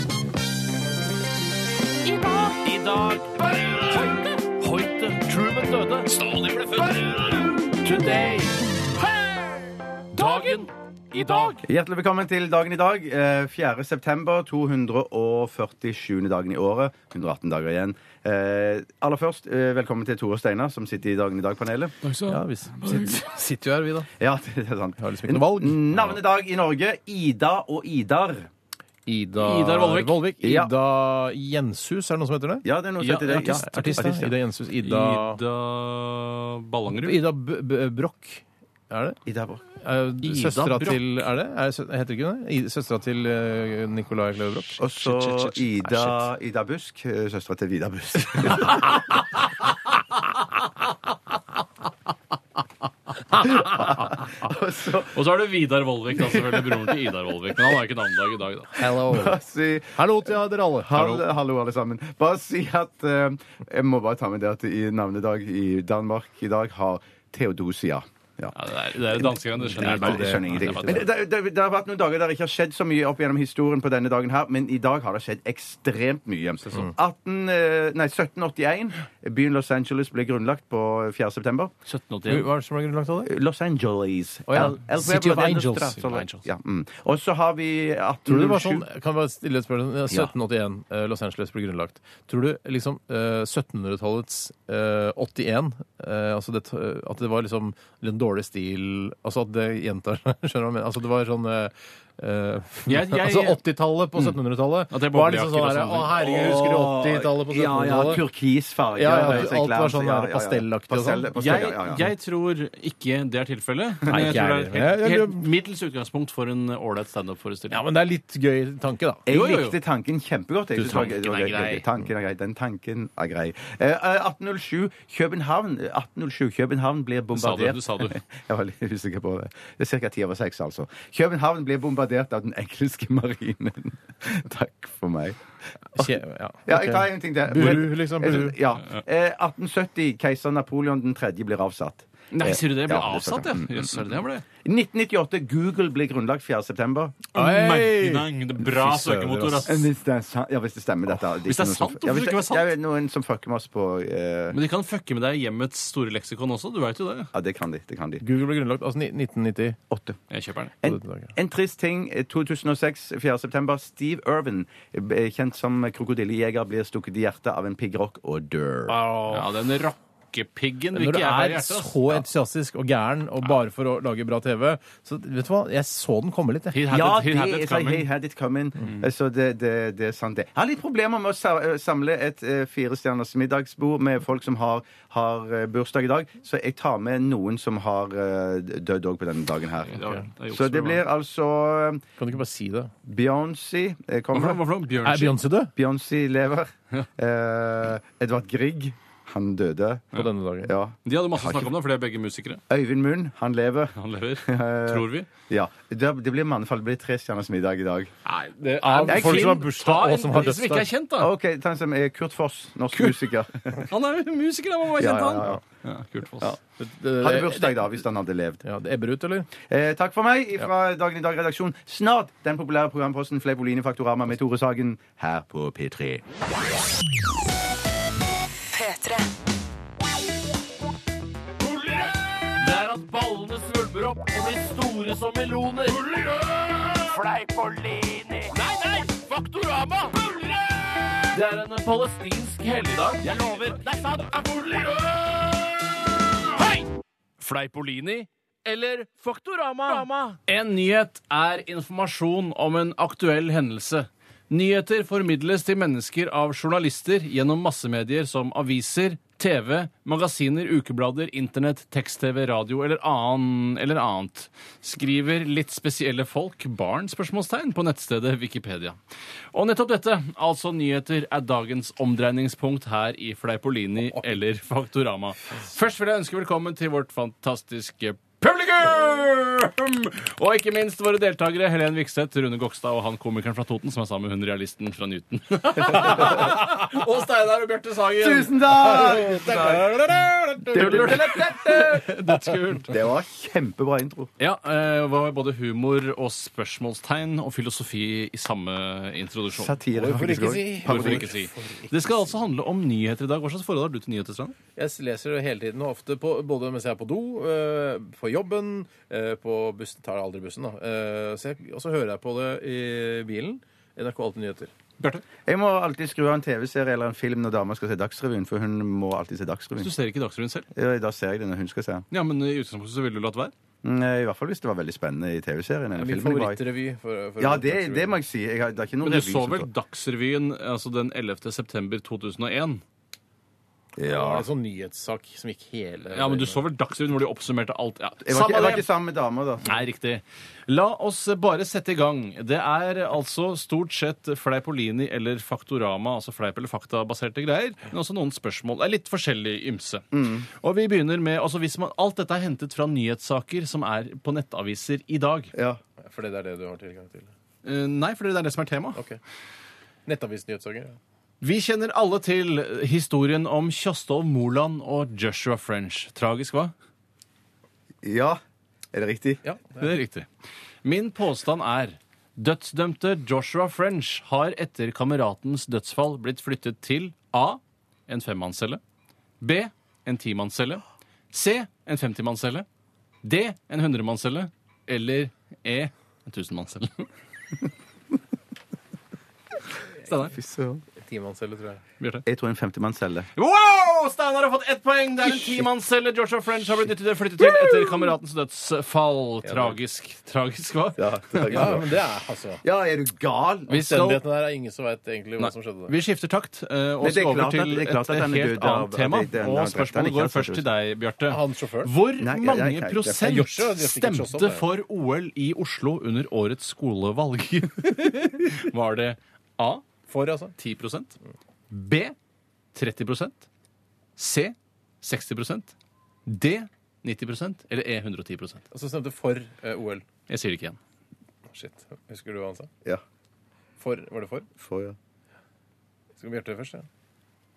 B: I dag Hoite. Truman døde. Stalin ble født. Today. Dagen i dag.
F: Hjertelig velkommen til dagen i dag. eh, 4. september, 247. dagen i året. 118 dager igjen. Eh, Aller først, eh, velkommen til Tore Steinar, som sitter i Dagen i dag-panelet.
A: Ja, vi sitter, sitter jo her, vi, da.
F: Ja, det er sant.
A: liksom ikke noe valg.
F: Navnedag i Norge. Ida og Idar.
A: Ida,
B: Idar Vollvik.
A: Ida
F: Ja.
A: Jenshus, er det noen som heter det?
F: Ja, det er noe
B: Ja,
F: som heter det.
B: artist.
F: Ja,
A: Artist, ja.
F: artist, ja.
A: Ida Jenshus. Ida,
B: Ida Ballangerud.
A: Ida B B Broch. Er det?
F: Ida Borch.
A: Eh, Søstera
B: Broch.
A: til Er det? Er, det sø- heter det ikke det? I- Søstera til uh, Nicolai Kleve Broch.
F: Og så
B: Shit, shit, shit.
F: Ida, Ida Busk, eh, søstera til Vidar Busk.
B: [LAUGHS]
F: Og så
B: Og så er det Vidar Vollvik, da, selvfølgelig broren til Idar Vollvik. Men han har ikke navnedag i dag, da.
A: Hello.
F: si
A: Hallo til dere alle.
F: Hallo. Hallo, alle sammen. Bare si at eh, Jeg må bare ta med det at i navnedag i Danmark i dag har Theodosia. Ja.
B: Ja, det er, det er danskegreiene, det skjønner jeg
F: Nei,
B: ikke.
F: jeg skjønner ingenting.
B: Nei,
F: Men
B: det
F: det, det, det har vært noen dager der det ikke har skjedd så mye opp gjennom historien på denne dagen her, men i dag har det skjedd ekstremt mye. 18, eh, nei, 1781. Byen Los Angeles ble grunnlagt på 4. september.
A: Hva
B: 1781.
A: er det som er grunnlagt av det?
F: Los Angeles.
A: Å ja.
F: El- El-
A: City of
F: Pueblo de
A: Angels.
F: Nostra.
A: City of Angels.
F: Ja, mm. Og så har vi
A: Tror du det var
F: 1807.
A: sånn, kan jeg bare stille et spørsmål? Ja, 1781, eh, Los Angeles ble grunnlagt. Tror du liksom eh, 1700-tallets eh, 81 eh, altså det, At det var liksom den dårlige stil Altså at det gjentar [LAUGHS] seg, skjønner du hva jeg mener? Altså det var sånn eh, eh,
B: Jeg- jeg-
A: altså 80-tallet på 1700-tallet
B: At det er
A: var liksom sånn
B: boblejakker og
A: her, Å,
B: sånne ting.
A: herregud, husker du 80-tallet på
F: Ja, ja,
A: 1700-tallet?
F: turkis farge.
A: Ja, ja,
F: og
A: alt var sånn
F: ja,
A: der
F: ja, ja.
A: pastellaktig og
F: Pastell-
A: sånn.
F: pastell,
B: Jeg,
F: ja, ja, ja.
B: jeg tror ikke det er tilfellet.
A: Nei,
B: Men
A: ikke
B: jeg tror
A: jeg
B: det
A: heller.
B: er
A: Jeg-
B: helt,
A: jeg-
B: helt middels utgangspunkt for en ålreit standup-forestilling.
A: Ja, men det er litt gøy tanke, da.
F: Jeg
B: Jo, jo, jo.
F: likte tanken kjempegodt. Jeg.
B: Du,
F: Det var gøy, det var
B: tanken er
F: gøy,
B: grei.
F: gøy. Tanken er grei. Den tanken er grei. Eh, eh, 1807, København 1807, København blir
B: sa du,
F: bombardert
B: du sa du.
F: [LAUGHS] Jeg var litt usikker på det. Det er ca. ti over seks, altså. København blir bombardert av den engelske [LAUGHS] marinen. Takk for meg.
A: Kje, ja.
F: Ja, jeg tar en ting til.
A: Buru, liksom, buru.
F: Ja. Eh, 1870, keiser Napoleon 3. blir avsatt.
B: Nei, sier du det? Jeg ble
F: Ja, det
B: avsatt,
F: sa
B: ja.
F: jeg. Mm,
B: Jøss, er det det jeg ble?
F: 1998, Google blir grunnlagt 4. september.
A: Hei!
B: Nei, det er Bra
A: Fy søren,
B: søkemotor,
A: ass.
B: ass.
F: Hvis det er sant, ja, hvis det stemmer, dette.
B: Hvis det er sant, hvorfor
F: ja, hvis
B: skulle det ikke være sant?
F: det er noen som fucker med oss på eh,
B: Men de kan fucke med deg i hjemmets store leksikon også. Du veit jo det.
F: Ja, det kan de. Det kan de.
A: Google ble grunnlagt altså ni- 1990.
F: Åtte.
B: Jeg kjøper den.
A: På dette
F: En,
A: laget.
F: en trist ting. eh, 2006, 4. september. Steve Irvin, eh, kjent som krokodillejeger, blir stukket i hjertet av en piggrokk og dør.
B: Ja, den rockepiggen vil
A: Når
B: ikke
A: du
B: jeg ha i
A: er
B: hjertet. ass.
A: så entusiastisk og gæren og bare for å lage bra TV Så vet du hva, jeg så den komme litt.
B: He
A: jeg.
B: had
F: Ja,
B: it- he
F: det
B: had it
F: er sånn, he
B: coming. Mm.
F: had it coming. Eh, Så det, det, det er sant, det. Jeg har litt problemer med å sa- eh, samle et eh, firestjerners middagsbord med folk som har, har eh, bursdag i dag, så jeg tar med noen som har eh, dødd òg på denne dagen her.
B: Ja, det er juks
F: Så det
B: for meg.
F: blir altså eh,
A: Kan du ikke bare si det?
F: Beyoncé eh,
B: Hva for
F: kommer.
B: noe? Bjørnskinn?
A: Er Beyoncé død?
F: Beyoncé lever. Eh, Edvard Grieg. Han døde.
A: på denne dagen.
F: Ja.
B: De hadde masse snakk om det, for de er begge musikere.
F: Øyvind Munn, han lever.
B: Han
F: [LAUGHS]
B: lever. Tror vi.
F: Ja. Det det blir mannefall. Det blir Trestjerners middag i dag.
B: Nei, det
A: Av
B: er
A: folk som har
B: Kim,
A: bursdag
B: ta
A: og
B: en-
A: som har
B: de som ikke er kjent, da.
F: OK, ta en som er Kurt Foss, norsk musiker.
B: Han er jo musiker, da. Man må være
F: Ja,
B: kjent,
F: ja,
B: han.
F: ja,
B: Ja, Kurt Foss.
F: Hadde
A: Eh,
F: bursdag da, hvis han hadde levd.
A: Ja, det ebber ut, eller?
F: Eh, takk for meg fra Dagen i dag-redaksjon. Snart den populære programposten Fleipolini Faktorama med Tore Sagen her på P3.
D: P3.
B: Det er at ballene svulmer opp og blir store som meloner. Fleipolini. Nei, nei! Faktorama! Det er en palestinsk helligdag. Jeg lover. Det er sant. Hei! Fleipolini eller Faktorama? En nyhet er informasjon om en aktuell hendelse. Nyheter formidles til mennesker av journalister gjennom massemedier som aviser, TV, magasiner, ukeblader, internett, tekst-TV, radio eller, annen, eller annet. Skriver litt spesielle folk barn? spørsmålstegn på nettstedet Wikipedia. Og nettopp dette, altså nyheter, er dagens omdreiningspunkt her i Fleipolini eller Faktorama. Først vil jeg ønske velkommen til vårt fantastiske publikum! Og ikke minst våre deltakere Helen Vikstedt, Rune Gokstad og han komikeren fra Toten som er sammen med hun realisten fra Newton. [LAUGHS] og Steinar og Bjarte Sagen.
F: Tusen takk!
B: Dødskult.
F: Det var kjempebra intro.
B: Ja, eh, var både humor og spørsmålstegn og filosofi i samme introduksjon.
F: Satire. faktisk, også.
B: Hvorfor ikke si? Det skal altså handle om nyheter i dag. Hva slags forhold har du til nyheter, Strand?
A: Jeg leser det hele tiden, og ofte på, både mens jeg er på do, eh, på jobben, eh, på bussen Tar aldri bussen, da. Eh, så jeg, og så hører jeg på det i bilen. NRK Alltid Nyheter.
B: Bjarte?
F: Jeg må alltid skru av en TV-serie eller en film når dama skal se Dagsrevyen, for hun må alltid se Dagsrevyen.
B: Du ser ikke Dagsrevyen selv?
F: Ja, Da ser jeg det når hun skal se den.
B: Ja, men i utgangspunktet så ville du latt være?
F: Mm, I hvert fall hvis det var veldig spennende i TV-serien eller
A: Min
F: filmen. det var i.
A: favorittrevy. for- for-
F: Ja, det, det må jeg si. Jeg har, det er ikke noen
B: Men du
F: revy
B: så
F: som
B: vel
F: står-
B: Dagsrevyen altså den 11. september 2001?
A: Det var
F: Ja.
A: en sånn nyhetssak som gikk hele
B: Ja, men du så vel Dagsrevyen hvor de oppsummerte alt? Ja.
F: Jeg var, ikke, jeg var ikke sammen med dama, da.
B: Nei, riktig. La oss bare sette i gang. Det er altså stort sett Fleipolini eller Faktorama, altså fleip- eller faktabaserte greier, men også noen spørsmål. Det er litt forskjellig ymse.
F: Mm.
B: Og vi begynner med, altså hvis man, Alt dette er hentet fra nyhetssaker som er på nettaviser i dag.
F: Ja.
A: For det er det du har tilgang til?
B: Eh, nei, for det er det som er tema.
A: Ok. Nettavisnyhetssaker. ja.
B: Vi kjenner alle til historien om Kjostolv Moland og Joshua French. Tragisk, hva?
F: ja. Er det riktig?
A: Ja.
B: Det er riktig. Min påstand er dødsdømte Joshua French har etter kameratens dødsfall blitt flyttet til A. En femmannscelle. B. En timannscelle. C. En femtimannscelle. D. En hundremannscelle. Eller E. En tusenmannscelle. Steinar.
F: Fy søren.
A: Timannscelle, tror jeg.
B: Bjarte.
F: Jeg tror en femtemannscelle.
B: Wow! Steinar har fått ett poeng. Det er en timannscelle Joshua French har blitt dyttet- flyttet til etter kameratens dødsfall. Tragisk. Tragisk, hva?
F: Ja, det er
A: Ja,
F: bra.
A: men det er altså
F: ja, er du gal?
B: Vi skal
A: Omstendighetene der er ingen som veit egentlig hva som skjedde der.
B: Vi skifter takt eh,
F: Men
B: og
F: det er
B: skal over
F: klart at- det
B: til
F: er klart
B: et
F: at han er
B: helt
F: død av-
B: annet tema.
F: det- det- han
B: Og
F: drepte han
B: spørsmålet
F: ikke,
B: går
F: altså,
B: først til deg, Bjarte.
A: Han sjåføren?
B: Hvor
F: Nei, jeg- jeg-
B: mange
F: jeg-
A: jeg-
B: prosent
A: Joshua, det fikk ikke sånn,
B: stemte
A: det.
B: for OL i Oslo under årets skolevalg? [LAUGHS] Var det A
A: For, altså.
B: 10 B 30 C 60 D 90 eller E 110
A: Og så stemte for eh, OL.
B: Jeg sier det ikke igjen.
A: Shit. Husker du hva han sa?
F: Ja.
A: For, var det for?
F: Får, ja.
A: Skal Bjarte først? Ja.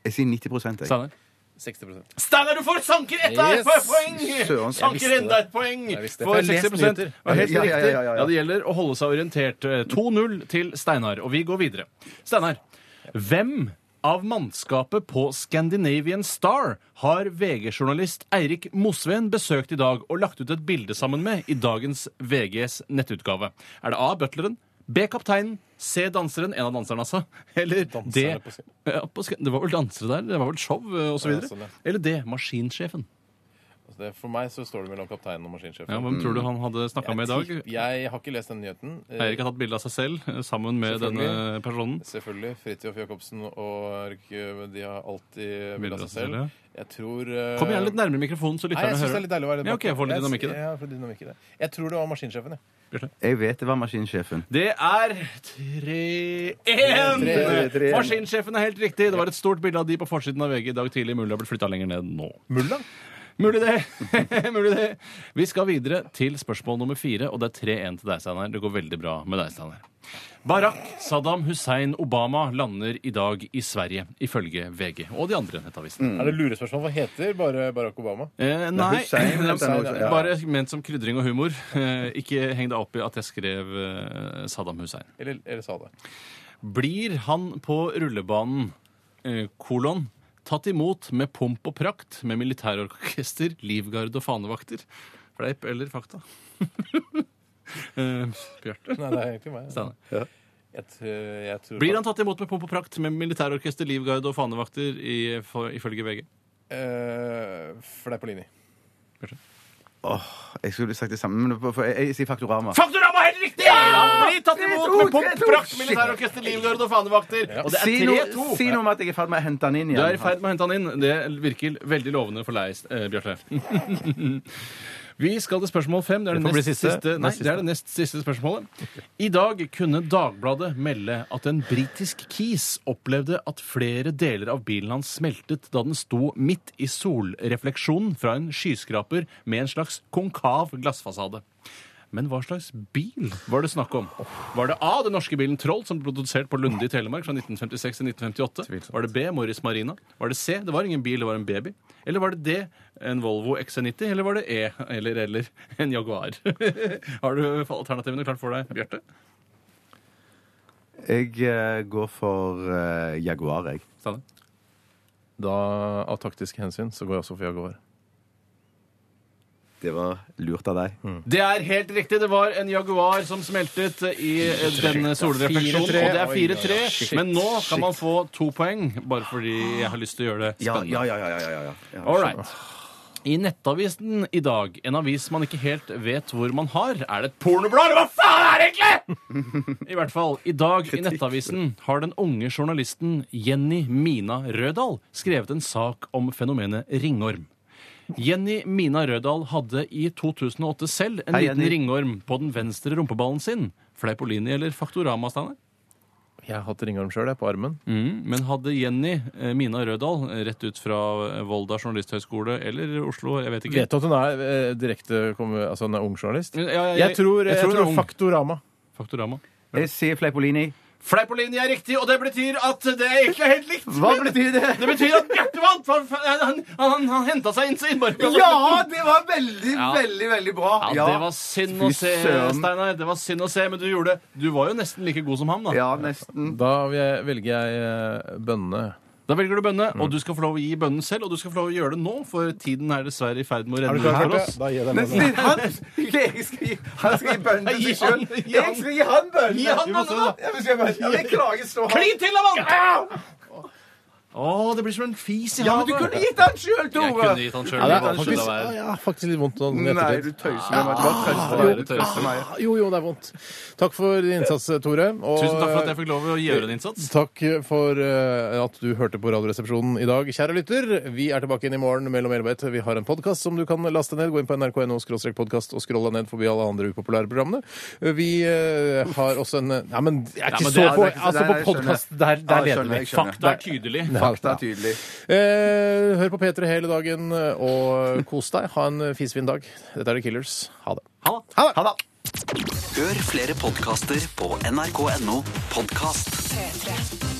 F: Jeg sier 90 jeg.
B: Steinar?
A: 60
B: Steinar, du får sanker ett
A: Yes!
B: et poeng!
F: Søren, jeg
A: visste
B: Sanker
A: det.
B: enda et poeng!
A: Jeg visste det.
B: For
A: Jeg har lest
B: 60
A: nyheter.
B: var helt
F: Ja,
B: riktig.
F: ja,
B: Ja,
F: ja, ja, ja.
B: det gjelder å holde seg orientert. 2-0 til Steinar, og vi går videre. Steinar, hvem av mannskapet på Scandinavian Star har VG-journalist Eirik Mosveen besøkt i dag og lagt ut et bilde sammen med i dagens VGs nettutgave? Er det A. Butleren? B. Kapteinen? C. Danseren? En av danserne, altså. Eller D.
A: Danserne på Sc-
B: eh, Ja, på Sc- Det var vel dansere der? Det var vel show, osv.?
A: sånn, ja.
B: Eller D. Maskinsjefen?
A: Altså det, for meg så står det mellom kapteinen og maskinsjefen.
B: Ja, hvem tror du han hadde snakka med i dag?
A: Jeg, tipp- jeg har ikke lest den nyheten. Eh,
B: Eirik har tatt bilde av seg selv eh, sammen med denne
A: Selvfølgelig.
B: personen.
A: Selvfølgelig. Fridtjof Jacobsen og Erik, eh, de har alltid
B: Bilder
A: bilde av
B: av
A: seg
B: seg selv,
A: selv. Jeg tror eh,
B: Kom gjerne litt nærmere mikrofonen, så
A: Nei, jeg
B: lytterne
A: syns det er
B: hører.
A: litt deilig å være
B: Ja, ok, jeg får litt dynamikk i det.
A: Jeg, jeg, får dynamikk i det. jeg tror det var maskinsjefen, jeg.
F: Jeg vet det var maskinsjefen.
B: Det er 3-1!
A: Tre-
F: tre-
B: Maskinsjefen er helt riktig. Det var et stort bilde av de på forsiden av VG i dag tidlig. Mulig det har blitt flytta lenger ned nå.
A: Mulla?
B: Mulig det! Mulig det. [LAUGHS] Vi skal videre til spørsmål nummer fire, og det er 3-1 til deg, Steinar. Det går veldig bra med deg, Steinar. Barack Saddam Hussein Obama lander i dag i Sverige, ifølge VG og de andre
F: Mm.
B: nettavisene.
A: Er det lurespørsmål? Hva heter bare Barack Obama?
B: Eh, [LAUGHS] nei,
F: Hussein,
B: det er
F: Hussein, ja.
B: bare ment som krydring og humor. Eh, ikke heng deg opp i at jeg skrev eh, Saddam Hussein.
A: Eller, eller sa det?
B: Blir han på rullebanen, eh, kolon, tatt imot med pomp og prakt med militærorkester, livgarde og fanevakter? Fleip eller fakta? [LAUGHS] eh, Bjarte?
A: Nei, det er egentlig meg.
B: Steinar.
A: Jeg, tror- jeg tror
B: Blir han tatt imot med pomp og prakt med militærorkester, livgarde og fanevakter, i, for, ifølge VG?
A: Eh, Fleipolini.
F: Åh, jeg skulle sagt det samme, men for, for jeg, jeg sier Faktorama.
B: Faktorama er helt riktig! Han blir tatt imot
F: to,
B: med pomp
F: tre, to.
B: og prakt, militærorkester, livgarde og fanevakter. Og det
F: Si
B: er
F: noe,
B: 3-2.
F: si noe om at jeg er i ferd med å hente han inn
B: Du
F: igjen.
B: er i ferd med å hente han inn. Det virker veldig lovende for deg, eh,
F: [LAUGHS]
B: Bjarte. Vi skal til spørsmål fem. Det er det,
F: Det får bli
B: nest siste.
F: siste.
B: Nei,
F: Nest
B: det er det nest siste spørsmålet. I dag kunne Dagbladet melde at en britisk kis opplevde at flere deler av bilen hans smeltet da den sto midt i solrefleksjonen fra en skyskraper med en slags konkav glassfasade. Men hva slags bil var det snakk om? Var det A, den norske bilen Troll, som ble produsert på Lunde i Telemark fra 1956 til 1958? Var det B, Morris Marina? Var det C, det var ingen bil, det var en baby? Eller var det D, en Volvo XC90? Eller var det E, eller eller, en Jaguar? [LAUGHS] Har du alternativene klart for deg, Bjarte?
F: Jeg eh, går for eh, Jaguar, jeg.
B: Steinar?
A: Da, av taktiske hensyn, så går jeg også for Jaguar.
F: Det var lurt av deg.
B: Det er helt riktig. Det var en Jaguar som smeltet i den solrefleksjonen. Og
A: 4-3.
B: det er
A: Oi,
B: 4-3.
A: oi, oi. Shit,
B: Men nå kan man få to poeng, bare fordi jeg har lyst til å gjøre det
F: Ja,
B: spennende.
F: ja, ja. ja, ja, ja, ja. ja.
B: All right. I Nettavisen i dag, en avis man ikke helt vet hvor man har, er det et pornoblad! Hva faen er det egentlig?! [LAUGHS] I hvert fall, i dag i Nettavisen har den unge journalisten Jenny Mina Rødahl skrevet en sak om fenomenet ringorm. Jenny Mina Rødahl hadde i 2008 selv en
F: Hei,
B: liten
F: Jenny.
B: ringorm på den venstre rumpeballen sin. Fleipolini eller Faktorama, Steinar?
A: Jeg har hatt ringorm sjøl, jeg, på armen.
B: Mm, men hadde Jenny eh, Mina Rødahl, eh, rett ut fra eh, Volda journalisthøgskole eller Oslo, jeg vet ikke
A: Vet du at hun er eh, direkte kom- Altså, hun er ung journalist?
B: Ja, ja, ja,
A: Jeg tror, jeg
B: det er
A: tror
B: ung.
A: Faktorama.
B: Faktorama.
F: Jeg sier Fleipolini.
B: Fleipolini er riktig, og det betyr at det egentlig er helt likt.
F: Hva betyr det?
B: Det betyr at Bjarte vant! for- for- Han, han, han, han henta seg inn så innmari. bra.
F: Ja, det var veldig,
B: Ja.
F: veldig, veldig bra.
B: Ja, det var synd å
F: Fy
B: se,
F: søren.
B: Steinar. Det var synd å se, men du gjorde det. Du var jo nesten like god som ham, da.
F: Ja, nesten.
A: Da vil jeg- velger jeg eh, bønne.
B: Da velger du bønne, og du skal få lov å gi bønnen selv, og du skal få lov å gjøre det nå, for tiden er dessverre i ferd med å
A: Er du
B: renne ut
A: klar
B: for
A: for
B: oss.
A: det? Da gir jeg den
F: Men
A: bønnen.
F: Stin, han, jeg skal gi, han skal gi bønnen til seg sjøl.
B: han- gi han-
F: Jeg skal gi han bønnen!
B: Gi han
F: Vi må se,
B: bønnen, da.
F: Ja, men skal jeg bare- ja, men jeg klager så hardt.
B: Klin til, da, mann! Å, det blir som en fis i
F: Ja, men du kunne gitt han sjøl,
B: Jeg
F: Tore!
B: kunne gitt han
A: Ja,
B: sjøl.
A: det er faktisk, ja, jeg har faktisk litt vondt sånn i
F: Nei,
A: ettertid.
F: du tøyser med meg. Bare trøste meg. Du
B: det Ah. tøyser.
F: trøster meg.
A: Ah, Jo, jo, det er vondt. Takk for din innsats, Tore. Og eh,
B: Tusen takk for at jeg fikk lov å gjøre en innsats.
A: Takk for eh, at du hørte på Radioresepsjonen i dag, kjære lytter. Vi er tilbake inn i morgen mellom 11 og 1. Vi har en podkast som du kan laste ned. Gå inn på nrk.no podkast og scroll deg ned forbi alle andre upopulære programmene. Vi eh, har også en Nei, men jeg er
B: men
A: ikke
B: det
A: så
B: er-
A: på
F: det er ikke så-
A: Altså, på
F: nei, jeg skjønner.
A: podkast, der, der
F: Ja, jeg
A: leder
F: skjønner,
A: vi.
F: jeg skjønner.
B: Fakta er tydelig.
F: Fakta er tydelig.
A: Eh, hør på P3 hele dagen eh, og kos deg. Ha en fisfin dag. Dette er The Killers. Ha det.
B: Ha det.
A: Ha det!
E: Hør flere podkaster på nrk.no podkast.
D: 3.